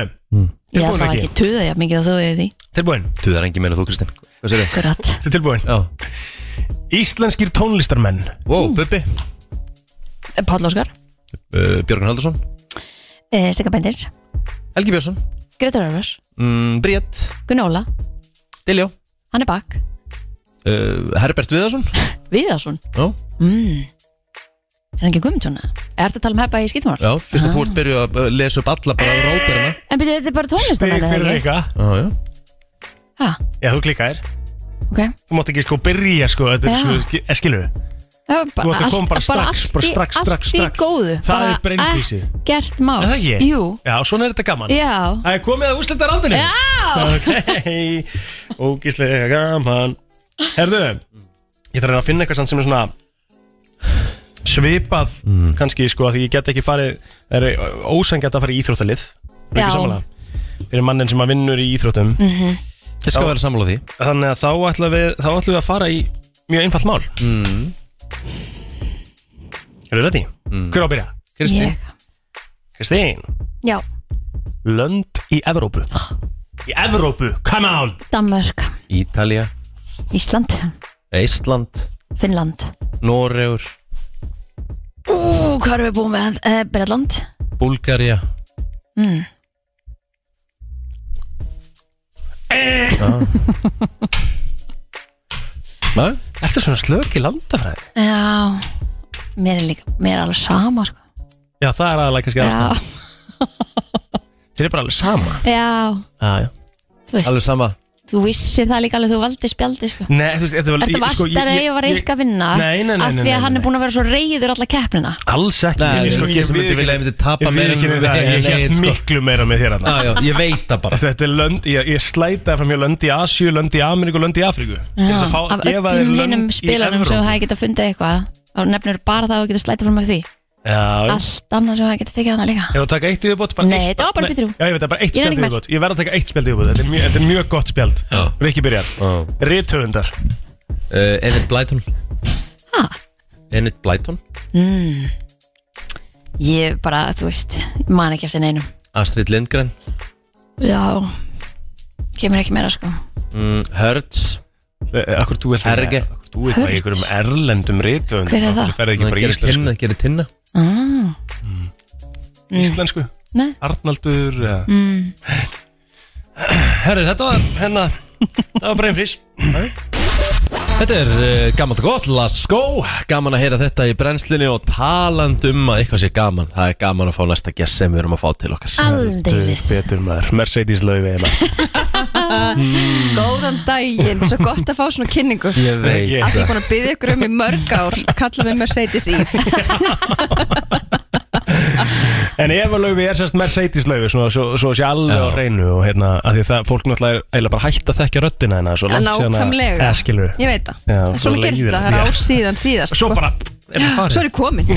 Ég Tilbúin, ætla Riki? ekki tuða jafn mikið og þú eða því tilbúin Þú er engi meira en þú, Kristinn Hvað sér þið? Akkurat Þetta er tilbúin Já, Íslenskir tónlistarmenn wow, Bubbi, Eh, Páll Óskar, uh, Björgun Haldursson eh, Sigga Bendir, Helgi Björnsson, Greta Rörvars, mm, Briett, Gunni Óla, Diljó Hanni Bakk, uh, Herbert Viðarsson Viðarsson Já, mm. Er hann ekki Guðmundsson? eða? Er þetta að tala um heppa í skýtumál? já, fyrst að þú ert byrjuð að uh, lesa upp alla bara rótarina En byrju, þetta er Fyrir bara tónlistamenn fyrir eða ekki? Rika Já, já Ha, Já, þú klikkaðir ok Þú mátt ekki sko byrja sko, þetta Já. er svo, skilur við Það var Þú átt að koma bara allt- strax, bara allt í- strax, strax, strax. Allt í góðu Það bara er brennvísi. Ekkert mál Er það ekki? Jú Já, svona er þetta gaman Já. Það er komið að úslita rándinu Já Ok, ógíslega gaman Herðu, ég þarf að reyna að finna eitthvað samt sem er svona svipað kannski sko að ég get ekki farið það er ósangjætt að fara í íþróttalið Það er Já. ekki sammála fyrir mannin sem að vinnur í íþróttum Mhm. Ég skal vera sammála því Þannig að þá ætlum við, þá ætlum við að fara í mjög einfalt mál mm. Eru ready? Hver á að byrja? Kristín. Ég. Kristín, Já, lönd í Evrópu Í Evrópu, come on Danmörk, Ítalja, Ísland, Ísland, Finnland Noregur, Ú, hvað erum við búin með? Uh, Breitland Búlgaria mm. Ná? Ertu svona slök í landafræði? Já Mér er líka, mér er alveg sama sko. Já, það er aðalega kannski Já. aðstæðan Þér er bara alveg sama Já, ah, Þú veist. Alveg sama þú vissir það líka alveg þú valdi spjaldi sko. Nei, þú veist, þetta var Ertu vastari sko, að ég var eitthvað að vinna Nei, nei, nei, Af nei, því að nei, hann er búin að vera svo reyður alla keppnina Alls ekki Nei, ég- sko, ég sem myndi viðurkenni- vilja- ég myndi tapa meira en- Ég viðurkenni það, en- ég nei, held sko. miklu meira með þér Ah. Já, já, ég veit það [laughs] bara Þetta er lönd, ég, ég slæta fram hjá lönd í Asíu, lönd í Ameríku, lönd í Afríku Til Já, þess að fá af að gefa þér öllum hinum lönd í spilunum sem þú Evrópu hefði getað fundið eitthvað þá nefnir bara það og getað slætið fram af því Já, allt annað sem þú hefði getað tekið þannig líka Ég var að taka eitt yfirbót bara Nei, eitt- þetta var bara Nei, betur. Já, ég veit, það er bara eitt Ég nenni spjald ekki meir. yfirbót Ég verð að taka eitt spjald yfirbót Þetta er mjög, þetta er mjög gott spjald Rikki byrjar Rithöfundar uh, Enid Blyton Enid Blyton mm. ég bara, þú veist ég man ekki eftir neinum Astrid Lindgren já, kemur ekki meira sko mm, Hertz eh, Akkur þú ert Herge Þú veit bara í einhverjum erlendum rithöfundum Hver er það? Ferði ekki bara í Gerir íslensku tinna, gerir tinna ah. Íslensku? Mm. Nei. Arnaldur eða- mm. Herri, þetta var hérna Það var bara einn frís Þetta er uh, gaman og gott, let's go Gaman að heyra þetta í brennslinni og taland um að eitthvað sé gaman Það er gaman að fá næsta gest sem við erum að fá til okkar Aldeilis. Betur maður, Mercedes laufi Góðan daginn, svo gott að fá svona kynningu Ég veit Af það. því ég er búin að byggja ykkur um í mörg ár að Kalla mig Mercedes Eve En Eva laufi er sérst Mercedes laufi Svo, svo, svo sé alveg á hreinu Og hérna, að því það, fólk náttúrulega er eiginlega bara hætt að þekkja röddina hennar Svo langt síðan að Nákvæmlega Eða, skilurðu. Ég veit það Já, En Svona gerist það, það er leiðinlegt. ár síðan síðast Svo bara er það farið. Svo er ég komin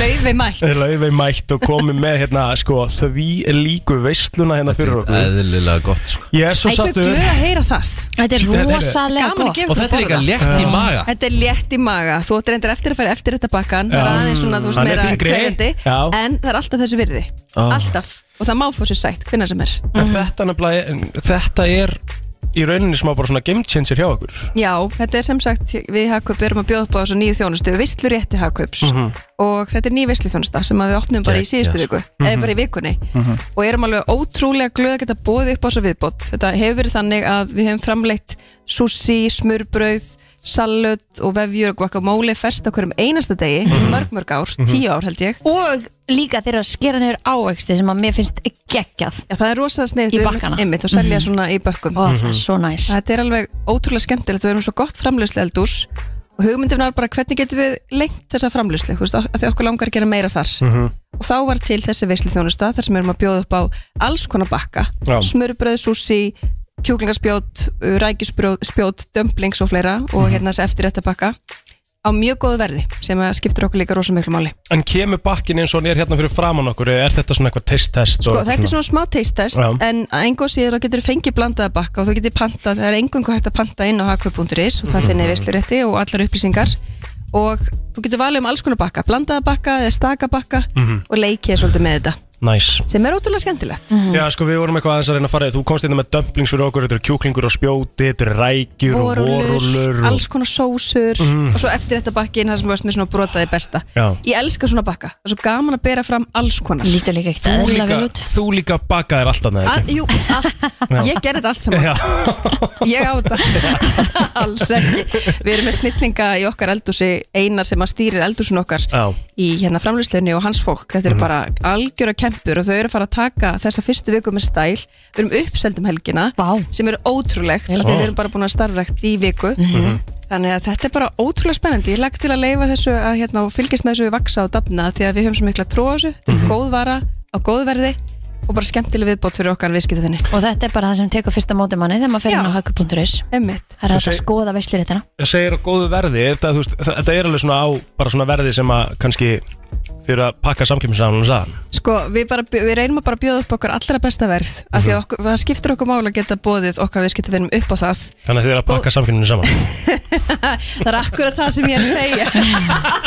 Laufi mætt Er Laufey mætt og komið með hérna sko því líku veisluna hérna fyrir okkur Eðlilega gott sko Ég er svo Æ, hvað er sattur glöð að heyra það Þetta er Þetta er- rosalega gott. Og þetta er líka létt í maga. Þetta er létt í maga Þú ættir endur eftir að fara eftir þetta bakkan Það er Já. aðeins svona, þú veist, Hann er meira þyngri. krefjandi Já. En það er alltaf þessu virði Já. Alltaf Og það má fá sér sætt, hvenær sem er En þetta nefnilega, en þetta er í rauninni smá bara svona game changer hjá okkur Já, þetta er sem sagt Við Hagkaup erum að bjóða upp á þessu nýju þjónustu Vistlu rétti Hagkaups Mhm. Og þetta er ný vistlu þjónusta sem að við opnum bara í Geggjað, síðustu sko. viku Mhm. Eða bara í vikunni og erum alveg ótrúlega glöð að geta bóðið upp á þessu viðbót. Þetta hefur verið þannig að við hefum framleitt sushi, smurbrauð, salut og vefjur og guacamole fest á hverjum einasta degi í Mhm. mörg mörg ár, tíu ár held ég. og líka þeirra að skera niður ávexti sem að mér finnst geggjað Já, það er rosa sniðt í bakkana Einmitt og selja Mhm. svona í bökkum. Ó, það er Mm. svo næs Þetta er alveg ótrúlega skemmtilegt, við erum svo gott framleyslu eldús og hugmyndin var bara hvernig getum við lengt þessa framleyslu, þú veist, af því okkur langar að gera meira þar. og þá var til þessi veislu þjónusta þar sem við erum að bjóða upp á alls konar bakka Já. smörbröð, súsi, kjúklingarspjót rækjuspjót, dömplings og fleira og hérna þessi eftirrætta bakka á mjög góðu verði sem að skiptir okkur líka rosa miklu máli En kemur bakkin eins og hann er hérna fyrir framann okkur eða Er þetta svona eitthvað test test? Sko, þetta er svona smá teistest Já. en að engu að síður þá getur þú fengið blandaða bakka og þú getur pantað, það er engungu hægt að panta inn á hk.is og það finnir Mhm. veislurétti og allar upplýsingar og þú getur valið um alls konar bakka, blandaða bakka eða staka bakka Mhm. og leikið svolítið með þetta Næs sem er ótrúlega skemmtilegt Já, sko, við vorum eitthvað aðeins að reyna að fara Þú komst hérna með dumplings fyrir okkur, þetta eru kjúklingur og spjóti Þetta eru rækjur og vorulur vorulur, og... alls konar sósur Mhm. og svo eftir þetta bakki inn það sem varst með svona brotaði besta Já. ég elska svona bakka, það er svo gaman að bera fram alls konar lítur líka ekkert Þú líka, þú líka bakaðir alltaf með þetta Jú, allt, Já. ég gerði þetta allt saman Já. [laughs] ég á þetta [laughs] alls ekki, við erum með snillinga í okkar eldúsi, einar sem að stýrir eldúsun okkar Já. í hérna framlýsleginni og hans fólk, þetta eru bara algjöra kempur og þau eru að fara að taka þessa fyrstu viku með stæl, við erum uppseldum helgina Vá. sem eru ótrúlegt, Vel af því við gert. erum bara búin að starfrækt í viku Mhm. Þannig að þetta er bara ótrúlega spennandi. Ég legg til að leifa þessu að hérna, og fylgjast með þessu við vaksa og dafna því að við höfum svo mikla trú á þessu. Þetta er góð vara á góð verði og bara skemmtileg viðbót fyrir okkar viðskiptafinni. Og þetta er bara það sem tekur fyrsta móti manni þegar maður fer inn á haku.is Emmitt Það er hægt að Þessi- skoða veislir þetta Það segir á góðu verði er þetta, þú veist, þa- þetta er alveg svona á bara svona verði sem að kannski þau eru að pakka samkjöfnisáðan saman Sko, við, bara, við reynum að bara bjóða upp okkar allra besta verð af því að okkur, það skiptir okkur mála að geta bóðið okkar viðskiptafinnum upp á það. Þannig að þau eru að pakka samkjöfninu saman það er akkurat það sem ég er að segja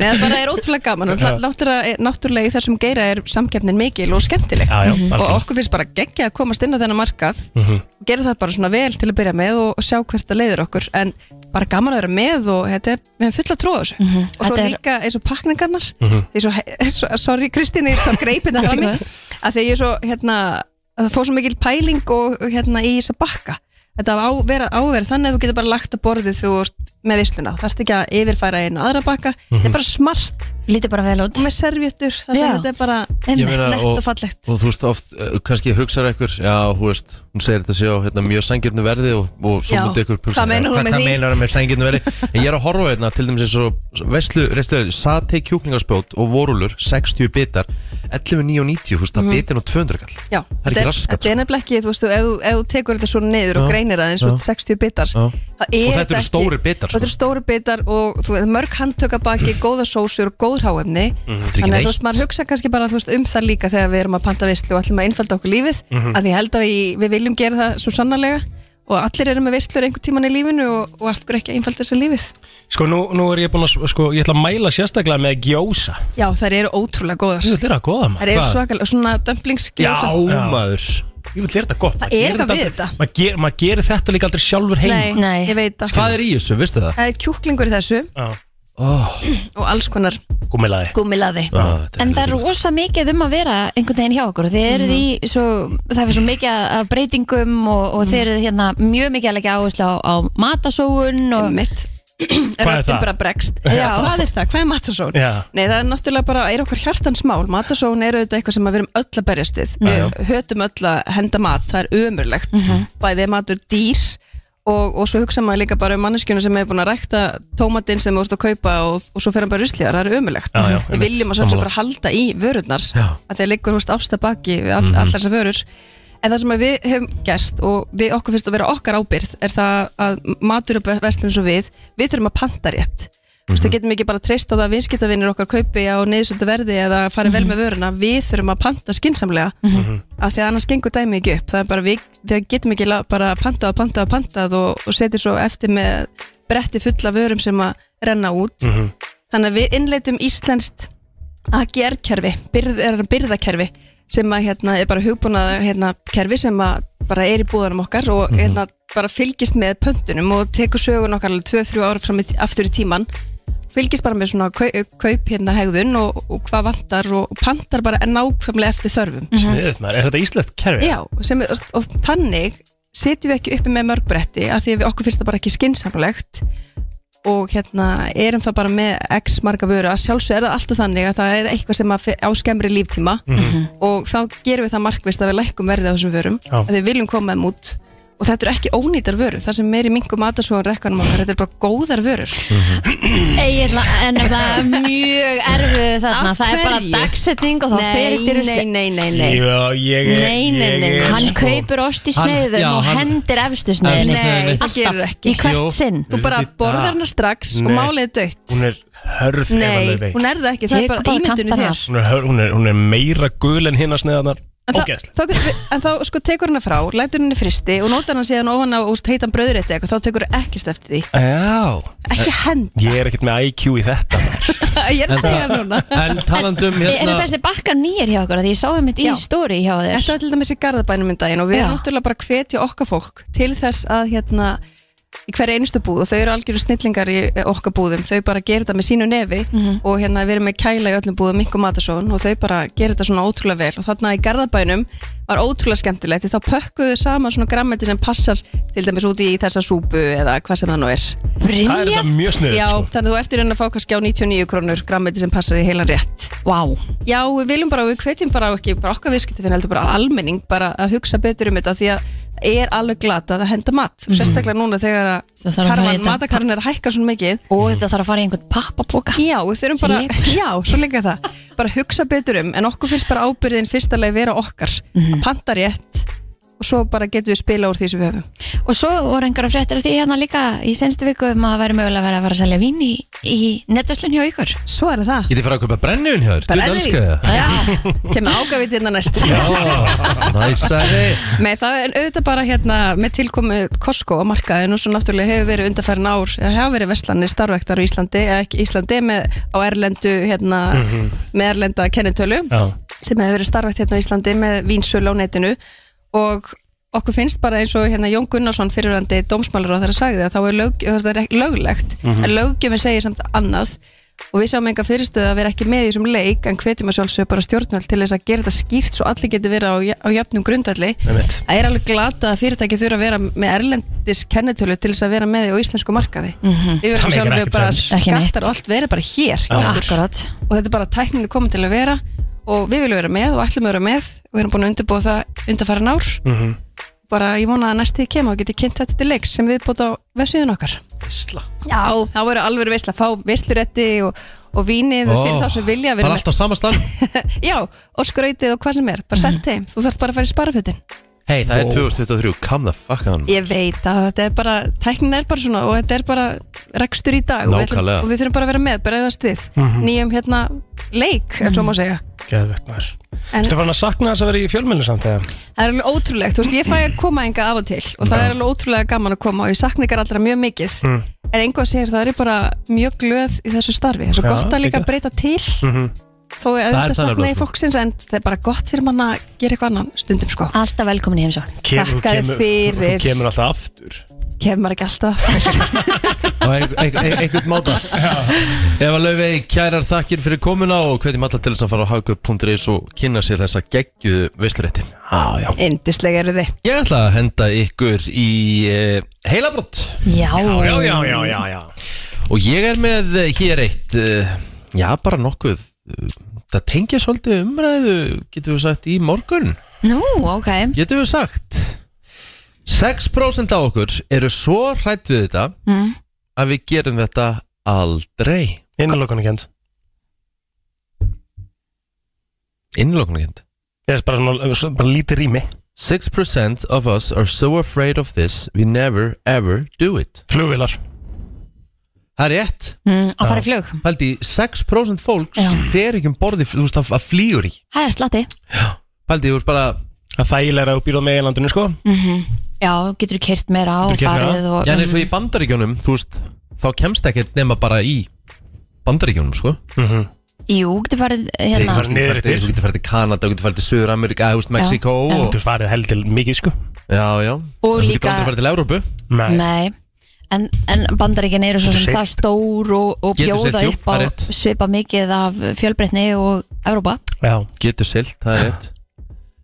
Nei, það bara er ótrúlega gaman og Já. það- náttúrulega, náttúrulega í þessum geira er samkeppnin mikil og skemmtileg Já, já, Mhm. og algjörlega. okkur finnst bara geggja að komast inn á þennan markað Mhm. og gera það bara svona vel til að byrja með og, og sjá hvert það leiðir okkur en bara gaman að vera með og þetta er, við hefum fulla trú á þessu og svo Mhm. Þetta er- líka eins og pakningarnar Mhm. því svo, he- svo, sorry Kristín ég þá [laughs] greipin það Allt mig í að því að ég er svo hérna að það fór svo mikil pæling og hérna í þess að bakka þetta á að vera, á að vera þannig að þú getur bara lagt að borðið þú ert með visluna það þarfst ekki að yfirfæra einu aðra bakka þetta er bara smart lítið bara vel út og með serviettur það sem Já. þetta er bara Ég meina, nett og, fallegt og þú veist oft, uh, kannski hugsaður ekkur já, þú veist, hún segir þetta sé á hérna, mjög sangirnu verði og, og svo Já, mútið ykkur hvað meinar hún hvað, með hvað því? meinar hún með sangirnu verði en ég er að horfa á hérna, til dæmis eins og veslu, restur, sati kjúklingarspjót og vorulur, 60 bitar 11.990, þú veist, það Mhm. bitin á 200 kall já, Það er ekki raskat, þetta er nefnilega ekki, þú veist, ef, þú- ef þú tekur þetta svona niður og Já. greinir það eins Já. og 60 bitar Já. það er Og þetta eru ekki- stórir bitar, sko. þetta eru stóri bitar og þú veist, mörg handtöka baki, góða sósur og góð hráefni Mhm. Þetta er ekki þannig að þú neitt. veist, maður hugsa kannski bara þú veist, um það líka þegar við erum að panta vislu og ætlum að einfalda okkur lífið Mhm. að ég held að við, við viljum gera það svo sannarlega og allir eru með vislur einhvern tíman í lífinu og, og af hverju ekki að einfalda þessu lífið Sko, nú, nú er ég búin að, sko, ég ætla að mæla sérstaklega með gjósa já, þær eru ótrúlega góðar Þú ætlir að góða maður þær eru Hvað? svakalega, svona dömplingsgjósa Já, maður Ég vil lera þetta gott Það maður er gerir eitthvað við aldrei- maður ger- Maður gerir þetta líka aldrei sjálfur heim Nei, ég veit það Hvað er í þessu, veistu það? Það er kjúklingur í þessu Oh, og alls konar Gúmilaði gúmilaði ah, En það er rosa mikið um að vera einhvern veginn hjá okkur Þið eruð í Mhm. svo, það er svo mikið af breytingum og, og Mhm. þið eruð hérna mjög mikið að leggja áherslu á, á matasóun og Mitt Ah. Hvað er Röddin það? bara bregst Já. Hvað er það? Hvað er matasón? Já. Nei, það er náttúrulega bara, er okkur hjartansmál Matasón er auðvitað eitthvað sem að við erum öll að berjast við Já, Mhm. já. Við hötum öll að henda mat Það er ömurlegt Bæði er matur dýr og, og svo hugsa maður líka bara um manneskjuna sem hefur búin að rækta tómatinn sem þú ert að kaupa og, og svo fer hann bara ruslíðar, það er ömurlegt Já, já, Við einmitt. viljum að sjálfsög Sammála. bara halda í vörurnar Já. að þegar liggur húst ástabaki við all, Mhm. allar þessar vörur en það sem að við höfum gert og við okkur finnst að vera okkar ábyrð er það að matur og verslun eins og við við þurfum að panta rétt þú Mhm. veist, við getum ekki bara treyst á það að viðskiptavinnir okkar kaupi á neðsöndu verði eða fari Mhm. vel með vöruna við þurfum að panta skinsamlega af því að annars gengur dæmi ekki upp það er bara við, við getum ekki la- bara pantað og pantað og pantað og, og setja svo eftir með bretti fulla vörum sem að renna út Mhm. þannig að við innleitum íslenskt AGR-kerfi, byrð, er byrðakerfi sem að hérna er bara hugbúnað hérna, kerfi sem að bara er í búðanum okkar og Mhm. hérna bara fylgist með pöntunum og tekur sögun okkar alveg 2-3 ára fram í, aftur í tíman fylgist bara með svona kaup, kaup hérna hegðun og, og hvað vantar og, og pantar bara nákvæmlega eftir þörfum Sniðugt maður, er þetta íslenskt kerfi? Mhm. Já, sem, er- og þannig setjum við ekki uppi með mörgbretti af því að við okkur finnst það bara ekki skinsamlegt og hérna erum það bara með x marga vöru að sjálfsög er það alltaf þannig að það er eitthvað sem að fe- á skemmri líftíma Mhm. og þá gerum við það markvist að við lækkum verðið á þessum vörum Já. að við viljum koma þeim út og þetta eru ekki ónýtar vöru það sem meiri mingum aðarsóðan rekkanum okkar þetta eru bara góðar vörur Egil, en það er mjög erfið þarna Af Það er bara hverju? dagsetning og þá Nei, fer þetta í rusli nei, nei, Já, ég er Nei, nei, nei, ég er hann sko- kaupir ost í Hann- sneiðum já, og hann- hendir efstu Efstu sneiðinni sneiðinni. það gerur Alltaf, ekki í hvert sinn þú bara borðar hana strax og Nei. málið er dött Hún er hörð Nei, hún er það ekki, það er Tekur bara bara ímyndunni kantana. þér Hún er, hörð- hún er, hún er meira gul en hinn að sneiðarnar En þá- Ógæðslega þá getur við, en þá sko tekur hana frá, lætur henni fristi og notar hann síðan ofan á úst, heitan brauðrétti eitthvað, þá tekur hann ekkert eftir því Já Ekki henda Ég er ekkert með IQ í þetta Ég er að segja það núna En talandum hérna- Eru þessi bakkar nýjar hjá okkur? Því ég sá um mitt í Já. stóri hjá þér Þetta var til dæmis í Garðabænum en daginn og við Já. erum náttúrulega bara að hvetja okkar fólk til þess að hérna í hverja einustu búð og þau eru algjöru snillingar í eh, okkar búðum, þau bara gera þetta með sínu nefi og hérna við erum með kæla í öllum búðum, mink og matasón og þau bara gera þetta svona ótrúlega vel og þarna í Garðabænum var var ótrúlega skemmtilegt því þá pökkuðu þau saman svona grammeti sem passar til dæmis úti í þessa súpu eða hvað sem það nú er Brilliant. Það er þetta mjög sniðugt, Já, sko. þannig að þú ert í raun að fá kannski á 99 krónur grammeti sem passar í heilan rétt Vá Já, við viljum bara, við hvetjum bara á ekki bara okkar viðskipti fyrir heldur bara almenning bara að hugsa betur um þetta því að það er alveg glata að það henda mat Mhm. og sérstaklega núna þegar Það að þarf að fara í karfan, þetta. matakarfan er að hækka svona mikið og þetta þarf að fara í einhvern pappaboka Já, við þurfum bara, Lékur. já, svo líka það bara hugsa betur um, en okkur finnst bara ábyrðin fyrstalega vera okkar, að panta rétt og svo bara getum við spila úr því sem við höfum Og svo voru einhverja fréttir af því hérna líka í senstu viku um að það væri mögulega að vera að fara að selja vín í, í netverslun hjá ykkur Svo er það Getið fara að kaupa brennivinn hjá þér, þú elskar það Já, kemur ágafið hérna næst Næsari Nei, það er auðvitað bara hérna með tilkomu Costco á markaðinu sem náttúrulega hefur verið undarfærin ár, eða hafa verið verslanir starfæktar á Íslandi, eða ekki Íslandi með á erlendu, hérna Mhm. með erlenda kennitölu Já. sem hefur verið starfækt hérna á Íslandi með vínsölu á netinu og okkur finnst bara eins og hérna Jón Gunnarsson fyrirrandi dómsmálur á þeirra sagði að þá er, lög, það er ekki löglegt Mhm. en löggjöfin segir samt annað og við sjáum enga fyrirstöðu að vera ekki með í þessum leik en hvetjum að sjálfsögja bara stjórnvöld til þess að gera þetta skýrt svo allir geti verið á, ja- á jafnum grundvalli Einmitt. Það er alveg glata að fyrirtæki þurfa að vera með erlendis kennitölu til þess að vera með því á íslensku markaði Mhm. Við Það verðum meikar sjálfum ekkert bara sens. Ekki neitt. skattar og allt verið bara hér hjá Já. okkur. og þetta er bara tækninu komin til að vera og við viljum vera með og ætlum að vera með og við erum búin að undirbúa það undarfæra nár Mhm. bara ég vona að næstíði kemur og geti kynnt þetta til leiks sem við bóta á vessiðun okkar Veisla Já, það voru alveg veisla, fá veisluretti og, og vínið Ó, fyrir þá sem vilja Það er allt á sama stað Já, og skrautið og hvað sem er, Mhm. bara sent heim Þú þarft bara að fara í sparafötin Hei, það er Ó. 2023, come the fuck on Ég veit að þetta er bara, tæknin er bara svona og þetta er bara rekstur í dag og við, ætlum, Nákvæmlega. og við þurfum bara að vera með, bara eðast við Mhm. nýjum hérna leik, ef svo má segja Geðvegt maður En- Þetta var hann að sakna þess að vera í fjölmjölu samt þegar Það er alveg ótrúlegt, þú veist, ég fæ að koma enga af og til og það Já. er alveg ótrúlega gaman að koma og ég sakna ykkar allra mjög mikið Mm. en einhvað segir það er ég bara mjög glöð í þessu starfi, það er svo Já, gott að líka geggjað. breyta til þó að Það er auðvitað það sakna nefnilega, ég sko. fólksins en það er bara gott fyrir mann að gera eitthvað annan stundum sko Alltaf velkomin í heimsókn Takk að þið Þú fyrir kemur alltaf aftur Kemur ekki alltaf Á ein- ein- ein- einhvern [laughs] máta Eva Laufey, kærar þakkir fyrir komuna og hvetjum alla til þess að fara á hagkaup.is og kynna sér þessa geggjuðu veislurétti ah, já. Indislega eru þið Ég ætla að henda ykkur í eh, heilabrótt Já Já, já, já, já, já Og ég er með eh, hér eitt eh, Já, bara nokkuð eh, Það tengja svolítið umræðu Getum við sagt í morgun Nú, ok Getum við sagt 6% af okkur eru svo hrætt við þetta mm. að við gerum þetta aldrei Innlokunarkend Innlokunarkend Ég er bara svona, bara lítið rými 6% of us are so afraid of this we never ever do it Flugvilar Það er rétt Mm, að fara í flug. Haldi, 6% fólks fer ekki um borði, þú veist, að flýur í Það er slatti Haldi, þú veist bara Það þægilega er að býra með eilandinu sko mm Já, getur þú kert meira á farið og, Já, en eins og í bandaríkjónum, þú veist Þá kemst ekkert nema bara í bandaríkjónum, sko -hmm. Jú, getur farið hérna Þú getur farið til Kanada, þú getur farið til Suður-Ameríka, þú veist, Mexiko Já. og- Þú getur farið held til mikið, sko Já, já Og En Þú líka- getur aldrei farið til Evrópu Nei En, en bandaríkjan eru svo Getur sem það siglt. stór og, og Getur bjóða siglt, jú, upp það er á rétt. svipa mikið af fjölbreytni og Evrópa Já Getur silt, það er rétt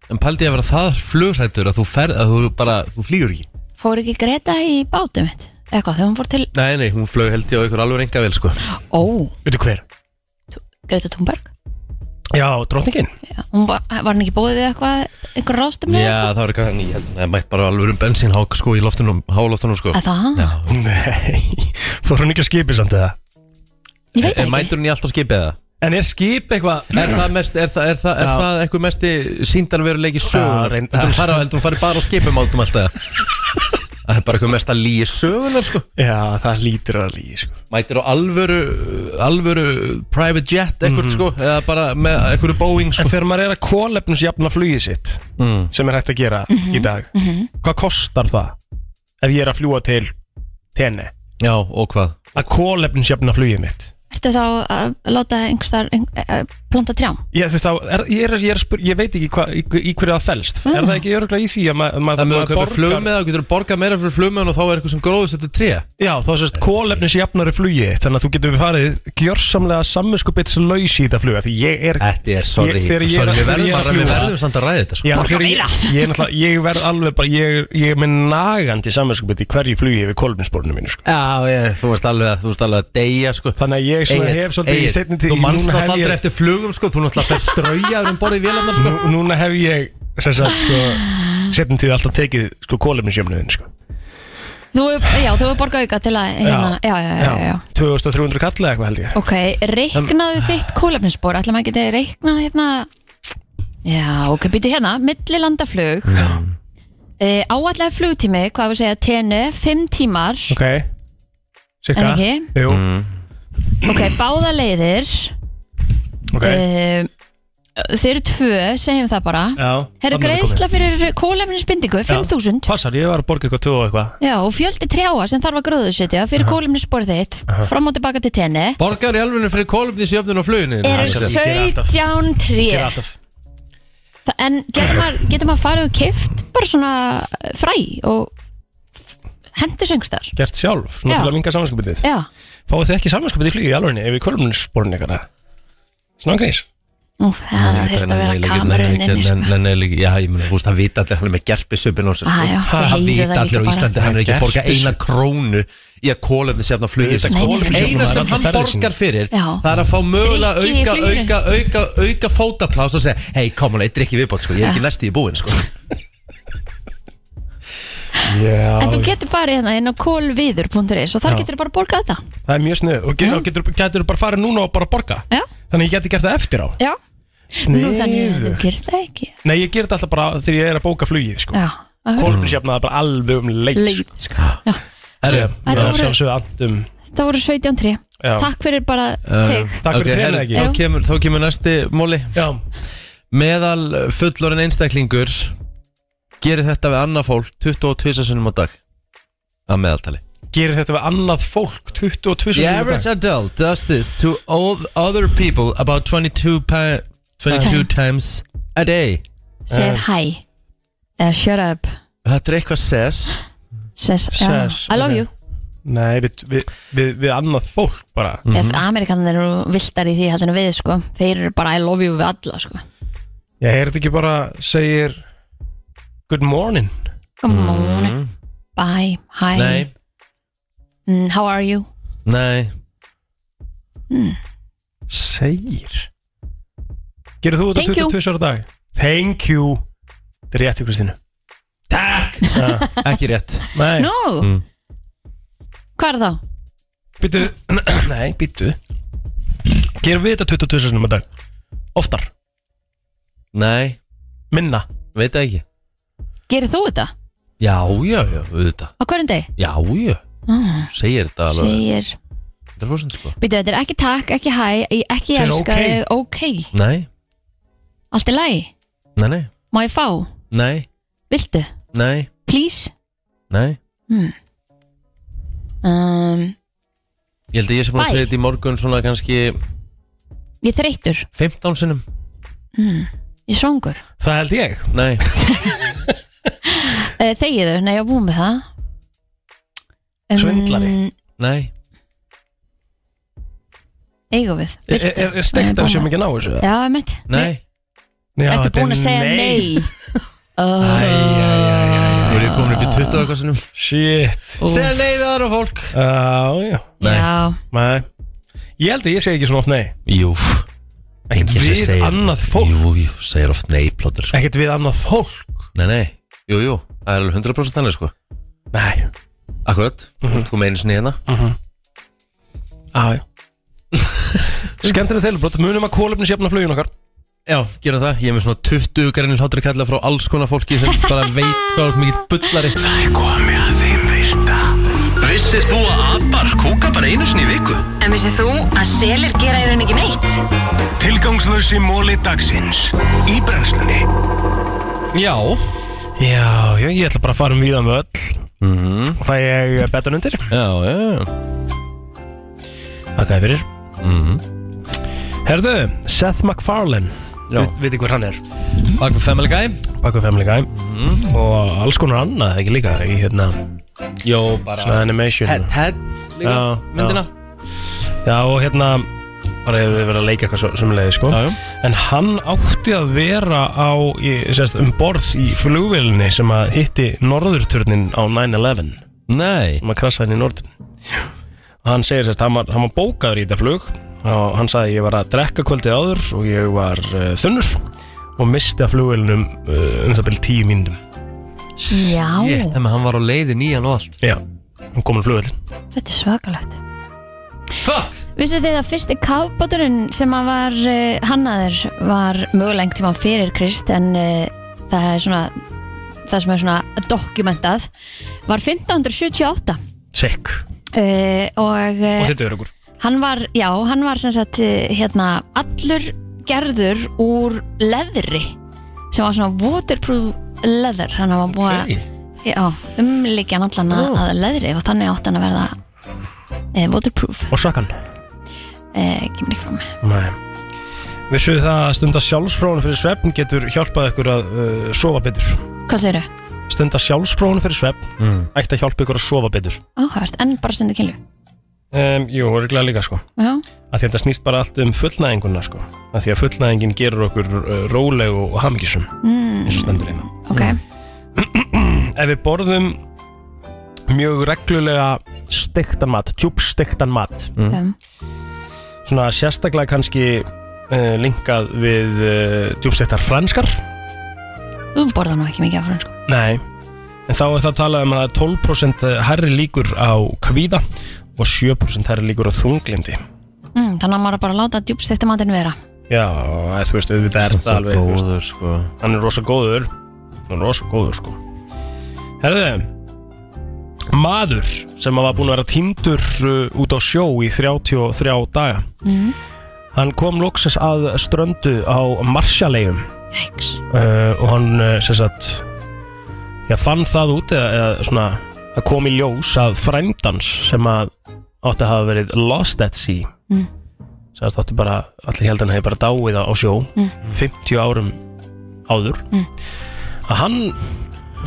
En paldi að vera það flugrættur að þú ferð, að þú bara, þú flýgur ekki Fór ekki Greta í bátum mitt? Eitthvað, þegar hún fór til Nei, nei, hún flög held ég á ykkur alveg enga vel, sko Ó Veitu hver? Greta Thunberg Já, drottningin Hún var, var hann ekki bóðið við eitthvað, einhver ráðstöfni? Já, það var eitthvað hann í held Nei, mætt bara alveg um bensínhák, sko, í loftunum, háloftunum, sko Að það? Já. Nei [laughs] Fór hún ekki að skipi samt eða? Ég veit ekki Mætur hún í alltaf skipið eða? En er skip eitthvað Er það, mest, er það, er það, er Já. það eitthvað mesti síndarveruleiki sögunar? Já, reynd- Heldur hún fari, heldur hún fari bara á skipum átum alltaf? það er bara eitthvað mest að líi sögunar sko Já, það lítur að líi sko Mætir á alvöru, alvöru private jet ekkert sko Eða bara með einhverju Boeing sko En þegar maður er að kólefnusjafna flugið sitt sem er hægt að gera í dag hvað kostar það ef ég er að fljúa til tenni Já, og hvað? að kólefnusjafna flugið mitt Ertu þá að láta einhverstaðar ein, að planta trjám? Ég, þú veist, á- er, ég, er, ég, er spyr, ég veit ekki hva, í, í hverju það felst Er það ekki örgulega í því að ma- ma- Það maður mögum að kaupa flugmiða, þú getur borgað meira fyrir flugmiðan og þá er eitthvað sem gróðist þetta tré Já, þá er sérst kólefnis jafnari flugi þitt, Þannig að þú getur farið gjörsamlega samvinskupits laus í þetta fluga Því ég er Þetta er, sorry, ég, þegar ég er sorry, að- við verðum þegar ég er bara- við verðum samt að ræða þetta, sko. Já, Borga þegar ég, ég, er náttúrulega- ég verð alveg bara Ég, ég er með nagandi samvinskupit í hverju flugi Við kólefnisborinu mínu sko. Já, ég, þú veist alveg að, þú veist alveg að deyja sko. Þannig að ég svona hef svolítið í seinni tíð- Þú manst núna hef náttúrulega ég- aldrei eftir flugum sko, þú náttúrulega fer straujaður um borðið vélarnar sko. Nú, Núna hef ég sem sagt, sko, setjum tíð alltaf tekið sko, kólefnisjöfnuðin sko. Þú, já, þú er borgað auka til að hérna, já, já, já, já, já. 2300 kall eða eitthvað held ég Ok, reiknaðu þitt kólefnisbor ætla maður getið reiknað hérna Já, ok, býtu hérna millilandaflug e, áallega flugtími, hvað við segja TNU, 5 tímar Ok Sikka Er ekki? Jú Mm. ok, báða leiðir Ok e, þeir eru tvö, segjum það bara Já Herru, þarna er greiðsla komið. fyrir kólefnisbindingu, 5.000 Já, Passar, ég var að borga eitthvað 2 og eitthvað Já, og fjöldi trjáa sem þarf að gróðusetja fyrir Aha. kólefnisborð þitt Aha. fram og tilbaka til tenni Borgar í alveg fyrir kolumnisjöfnun á fluginu eru 17 tré Gera alltaf. Þa- En getur maður, getur maður farið og kift bara svona eh, fræ og hendi söngstar Gert sjálf, svona Já. til að minga samanskupið Já, Fáið þið ekki samanskupið í flugi í alvegni ef við kolumnisborun eitthvað Svona grís nú, það þurft að vera kamerun inn í sko. Nei, líka, já, ég meina, þú veist, hann vita allir, hann er með gerpisöpun á sér, Ah, já, sko. Hann þeir eru vita það allir á líka Íslandi, bara. hann er ekki að borga eina Gerpisubbi. krónu í að kólefnisjöfna flugið Auðvitað kolefnisjöfnun, Eina það er sem allir hann ferðir borgar fyrir, Já. það er að fá mögulega Drykki í auka, fluginu. auka, auka, auka fótaplás og segja, hei, kom hann, eitt drikki viðbótt, sko, ég er ekki næstu í búin, sko Já En þú getur farið hérna inn á kolviður.is og þar Já. getur þú bara borgað þetta Það er mjög snöð Og getur, getur, getur bara farið núna og bara borga Já. Þannig að ég geti gert það eftir á Já, nú þannig að þú Sniður gerir það ekki Nei, ég ger þetta alltaf bara þegar ég er að bóka flugið sko. Já, Kolumnisjöfnaði bara alveg um leit Leit, sko. Herru, Þetta það voru- er sjálfsögðu allt um það voru 17 tré Já. Takk fyrir bara Eh, þig Ok, herru, Þá kemur, þá kemur næsti móli Já. Meðal fullorinn einstaklingur gerir þetta við annað fólk 22 sinnum á dag að meðaltali Gerir þetta við annað fólk 22 The sinnum á average dag? adult does this to all other people about 22, pa- 22 times a day eh. Segir hæ Eða shut up Þetta er eitthvað sess Says, já, Says, I love ok. you Nei, við, við, við, við annað fólk bara mm Amerikanir eru viltar í því heldur en við sko Þeir eru bara I love you við alla sko Ég heyrði ekki bara segir Good morning Come on, bye, hi Mm-hmm. Nei. mm, How are you? Nei Segir Gerir þú Thank þetta you. 22 sinnum á dag? Thank you Þetta er rétt ykkur Kristínu Takk Ekki rétt Nei No. Mm. Hvað er þá? Býttu [clears throat] Nei, býttu Gerum við þetta 22 sinnum á dag? Oftar Nei Minna Veit það ekki Gerir þú þetta? Já, já, já, auðvitað Á hverjum deg? Já, já, Mm. segir þetta alveg Segir Þetta er fórsind sko Býtu, þetta er ekki takk, ekki hæ, ekki Segir elska ok. þig, ok, Nei, allt er lægi, nei, nei, má ég fá, nei, viltu, nei, please nei hmm. um, Ég held að ég sem búin að Bye. segja þetta í morgun svona kannski Ég er þreytur, 15 sinnum mm. ég er svangur, Það held ég Nei Eh, þegiðu, nei ég er búin með það um, Svindlari. Nei Eigum við, Er, viltu er, er steikt að sjöfum ekki að ná þessu? eða? Já, mitt Nei Já, Ertu þetta er búin að segja [laughs] nei? Oh, Nú er ég komin upp í 20 og eitthvað sinnum Shit Segja nei við aðra fólk Já, já Já Nei Ég held að ég segi ekki svona oft nei Jú Ekkert Enginn sem við segir- annað fólk Jú, jú, segir oft nei plótur sko. Ekkert við annað fólk Nei, nei, jú, jú, það er alveg 100% þannig sko Nei Akkurat, þú ert komið einu sinni hérna Já, já [laughs] Skemmtileg þeilbrot Munum að kólefni sjöfna flugin okkar Já, gerum það, ég er með svona 20 grænil hlátur kalla frá alls konar fólki sem bara veit hvað er mikið bullari Það er komið að þeim virta Vissir þú að abar kúka bara einu sinni í viku? En vissið þú að selir gera í rauninni ekki neitt? Tilgangslösi móli dagsins Í brennslunni Já Já, já, ég ætla bara að fara um víðan völl Mhm. mm. Fæ ég eh, betan undir Já, já Þakka þér fyrir Mhm. Herðu, Seth MacFarlane Já. Við- Vitið hver hann er Bakvið Family Guy Bakvið Family Guy Mhm. Og alls konar annað, ekki líka Í hérna Jó, bara Svona animation Head, head líka, Já, myndina. Já, já og hérna bara hefur verið að leika eitthvað sumulegi sko já, já. en hann átti að vera á í, sérst, um borð í flugvélinni sem að hitti norðurturnin á 9-11 Nei sem að krasa henni í norðin og hann segir sérst, hann var, hann var bókaður í þetta flug og hann sagði ég var að drekka kvöldið áður og ég var uh, þunnur og misti að flugvélinum uh, um það byrjum tíu mínum Já, Shit, en hann var á leiðin í hann og allt Já, hann kom á flugvélin þetta er svakalegt Fuck Vissu þið að fyrsti kafbáturinn sem að var uh, hannaður var mögulega einhvern tíma fyrir Krist en uh, það er svona það sem er svona dokumentað var 1578 Sick uh, og, uh, og þetta er okkur Hann var, já, hann var sem sagt eh, hérna, allur gerður úr leðri sem var svona waterproof leather hann var búið að já, umlíkja hann allan að, að leðri og þannig átt hann að verða e, waterproof og sakkan e, kemur ekki fram Nei Vissuðu það að stunda sjálfsfrónu fyrir svefn getur hjálpað ykkur að uh, sofa betur hvað segirðu? Stunda sjálfsfrónu fyrir svefn ætti að hjálpa ykkur að sofa betur áhört, en bara stundu kynlu um, Jú, örgulega líka sko já, að Þetta snýst bara allt um fullnæðinguna sko að Því að fullnæðingin gerur okkur uh, róleg og, og hamgisum Mm. eins og stendur einu ok, Ef við borðum mjög reglulega stektan mat, djúbstektan mat um, svona sérstaklega kannski uh, linkað við uh, djúbstektar franskar þú borðar nú ekki mikið af frönsku Nei, en þá er það talað um að það er 12% herri líkur á kvíða og 7% herri líkur á þunglindi mm, þannig að maður bara að láta djúbstekta matinn vera Já, eða þú veist, auðvitað er Samt það svo alveg þú veist. góður, sko. Hann er rosa góður Hann er rosa góður sko Herðu, maður sem var búin að vera týndur uh, út á sjó í 33 daga mm. Hann kom loksins að ströndu á Marsjaleigum uh, og hann uh, sem sagt já, fann það út eða, eða svona að kom í ljós að frændans sem að átti að hafa verið lost at sea Mm. sem að átti bara, allir heldan hefði bara dáið á á sjó Mm. 50 árum áður Mm. að hann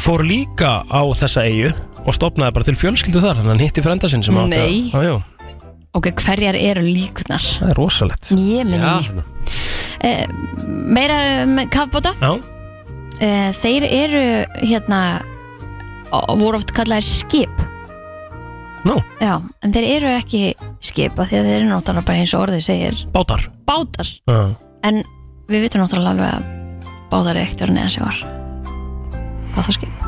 fór líka á þessa eigu og stopnaði bara til fjölskyldu þar þannig að hann hitti frænda sinn sem átti Nei. að, að, ok, hverjar eru líkunar? það er rosalegt ég minni e, meira um kafbáta Já, Eh, Þeir eru hérna ó- voru oft kallaðir skip Nú? Já, en þeir eru ekki skip af því að þeir eru náttúrulega bara eins og orðið segir bátar Bátar, Já. en við vitum náttúrulega alveg að bátar er ekkert verið neðan sig var Bátar skip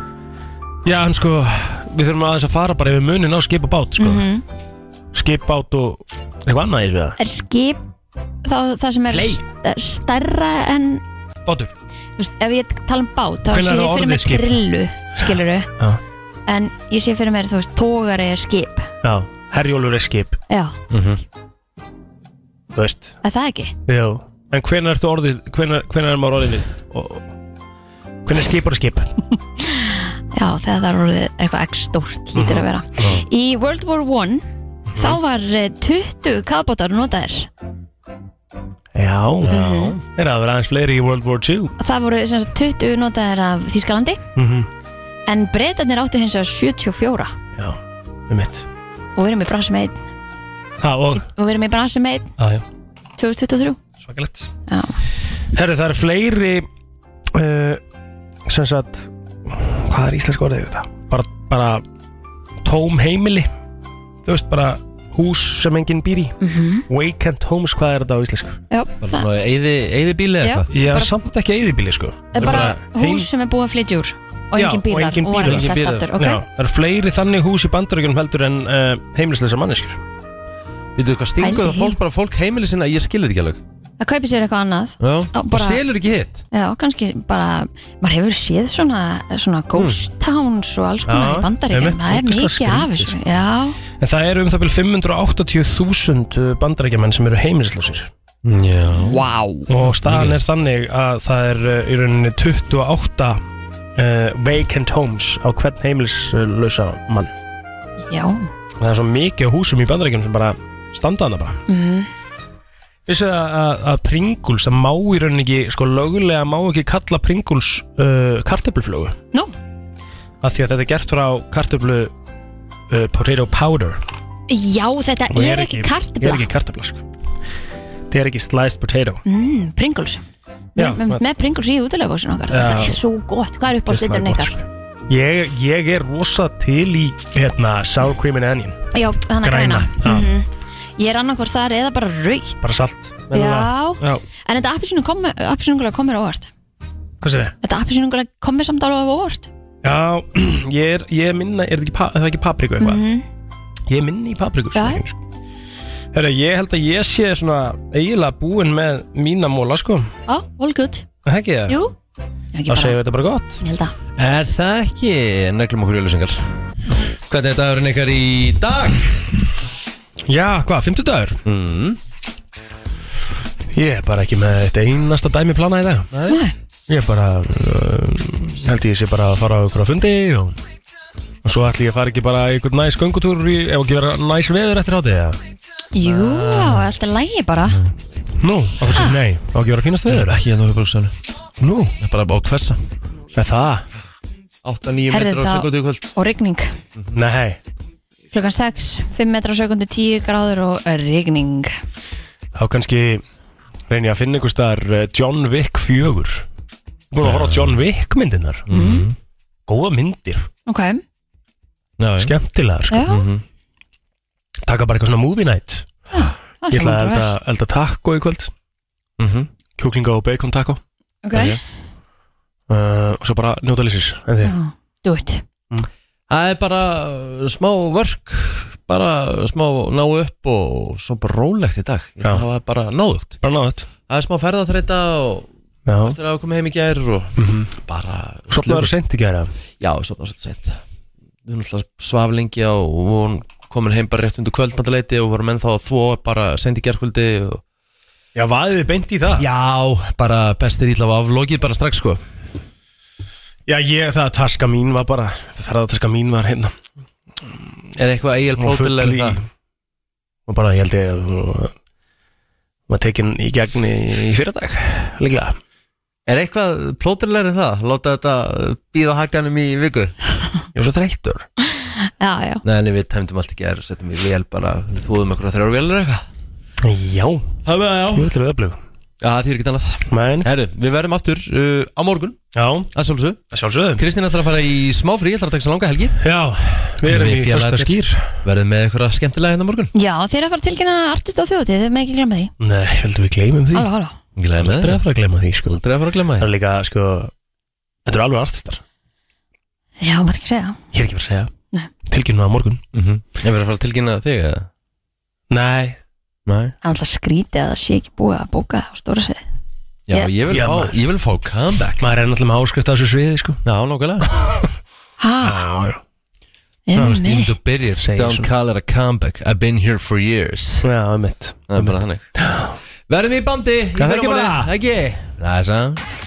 Já, en sko, við þurfum aðeins að fara bara yfir munin á skip og bát, sko. Skip, bát og eitthvað annað í þessu eða? Er skip þá, það sem er st stærra en Bátur. þú veist, Ef ég tala um bát, þá Hvenær sé er ég orðið fyrir mér skip? krillu skiluru, Já. en ég sé fyrir mér þú veist, tógari er skip Já, herjólfur er skip. Já, Þú veist. er það ekki? Já. En hvenær ertu orðið, hvenær, hvenær er maður orðið við? Og- Hvenær skip er skip? Já, þegar það er orðið eitthvað ekki stórt lítur að vera. Í World War I Mhm. þá var eh, 20 kafbátar notaðir. Já. Já. Er að vera aðeins fleiri í World War II. Það voru sem sagt 20 notaðir af Þýskalandi Mm -hmm. en breytanir áttu hins vegar 74 Já, um mitt. og við erum í brasi með einn Já, og, og við erum í brasi með einn já, já, 2023. svakalegt. Já. Herri, það er fleiri, uh, sem sagt, hvað er íslensk orðið þetta? Bara, bara tóm heimili. Þú veist, bara hús sem enginn býr í. Mhm. Vacant homes, hvað er þetta á íslensku? Já, Bara svona eyðibíli eða Já, eitthvað? Já, bara- samt ekki eyðibíli sko Það er bara heim- hús sem er búið að flytja úr og Já, engin bílar og, engin var bílar. ekki selt aftur. Já, Okay? Það eru fleiri þannig hús í bandaríkjunum heldur en uh, heimilisleisa manneskjur Veitu hvað stingur það Pældi í. fólk bara fólk heimili sinna Ég skilði þetta ekki alveg Það kaupi sér eitthvað annað. Já. Á, Og bara- selur ekki hitt Já, kannski bara, maður hefur séð svona, svona ghost towns og alls Hmm. konar Já, í bandaríkjum, einmitt, það er ógeðslega mikið af skrítið, þessu, sko. já. En það eru um það byrjum 580.000 bandaríkjumenn eh, sem eru heimilisleisir Já Vá wow. Og staðan er þannig að það er uh, í rauninni 28 uh, vacant homes á hvern heimilislausa mann Já, Og Það er svo mikið af húsum í bandaríkjunum sem bara standa hana bara mm Vissu að, að, að Pringles, það má í rauninni ekki, sko lögulega má ekki kalla Pringles uh, kartöfluflögu Nú? Af því að þetta er gert frá kartöflu uh, potato powder Já, þetta Og er ekki Það kartibla er ekki kartöfla, sko Það er ekki sliced potato mm, Pringles Já, Við- með, það- með Pringles í útilegfósin okkar Já. Það er svo gott, hvað er Veist það upp á er stýtturinn gott, ykkar? ég, ég er rosa til í, hérna, sour cream and onion Já, þannig að græna Mhm. Já, Ég er annarkvort þar eða bara raukt Bara salt Já. Já, En þetta appisjónungulega kom mér á óvart hvað sér þið? Þetta appisjónungulega kom mér samt alveg á óvart Já, [clears throat] ég er, ég er minna, er það ekki, pa, er það ekki papriku eitthvað? Mhm. Ég er minni í papriku sko. Já. Herra, ég held að ég sé svona eiginlega búinn með mína móla sko Já, all good Er Það ekki það? Jú, Þá segjum við þetta bara gott ég held að Er það ekki? Neglum okkur jölusengar Hvernig er dagurinn ykkar í dag? Já, hvað, 50 dagur? Mm. Ég er bara ekki með eitt einasta dæmi plana í dag Nei. Ég er bara, uh, held ég sé bara að fara á ykkur á fundi og, og svo ætli ég að fara ekki bara í ykkur næs göngutúr í, ef ekki vera næs veður eftir hátíð eða? Jú, á, allt er lægi bara Nú, af hversu, nei, á ekki að vera að fínast veður Ekki hérna á höfuborgsöðinu Nú? Það er bara á hvessa Er það? 8-9 Herðu metrar á þá- sekundu í kvöld Og rigning Nei, Klukkan 6, 5 metrar á sekundu, 10 gráður og rigning þá kannski reyni ég að finna ykkur staðar eh, John Wick 4 Búin að horfa á John Wick myndinar mm. Góða myndir, Ok, skemmtilegar sko. Já. Mhm. Taka bara eitthvað svona movie night það Ég ætla hljómar að bara elda, elda taco í kvöld mm Mhm. -hmm. Kjúklinga og bacon taco Ok, uh, Og svo bara njóta lýsir En því Já. do it Það er bara uh, smá vörk Bara smá ná upp og svo bara rólegt í dag Ég ætla að hafa bara náðugt Bara náðugt Það er smá ferðaþreita og Já. eftir að hafa komið heim í gær og Mhm. bara Sofnaður sent í gæra Já, sopnaður svolítið sent Við erum alltaf svaflingi á og hún komin heim bara rétt undir kvöldmantaleiti og vorum ennþá að þvó bara sent í gærkvöldi og... Já, vaðið beint í það Já, bara bestir ítla af aflókið bara strax sko Já, ég, það taska mín var bara Ferðartaska mín var hérna Er eitthvað eigil Hún var full plótilega í- það? og bara ég held ég að hún var tekin í gegn í, í fyrirdag líklega Er eitthvað plótilegar en það? Láta þetta býða hakanum í viku? Ég var svo þreyttur Já, já Nei, en við tæmdum allt í gerð og settum í vél bara Við þúðum okkur að þrjára vélir eitthvað Já Það með já Þú ætlum við öflug Já, því er ekki annað Men. Herru, við verðum aftur uh, á morgun Já Að sjálfsögðu Að sjálfsögðu Kristín ætlar að fara í smáfrí, ætlar að taka sér langa helgi Já, við erum í fösta skýr. Verðum með eitthvað skemmtilega hérna á morgun Já, þeir eru að fara að tilkynna artist á þjóðatíð, þið með ekki glemma því Nei, ég held að við gleymum því Halló, halló Gleymum því Aldrei að fara að gleyma því sko Aldrei að fara að gleyma því Það er líka sko Þetta eru alveg artistar Já, maður ekki segja Ég er ekki bara að segja Nei. Tilkynna á morgun mm -hmm. Ég verður að fara að tilkynna þig eða? Nei Nei Það er alltaf skrítið að það sé ekki búið að bóka það á stóra svið Já, Ég- ég vil, Já, fá, maður. ég vil fá comeback Maður er náttúrulega með áskrift á þessu sviði sko Já, nokkulega Ha, Já, emmi Þú byrjir, Segir don't svona. call it a comeback I've been here for years já, einmitt [gasps] Það er bara þannig Verðum í bandi í Hvað það ekki fyrramálið. bara? Ekki Það er sann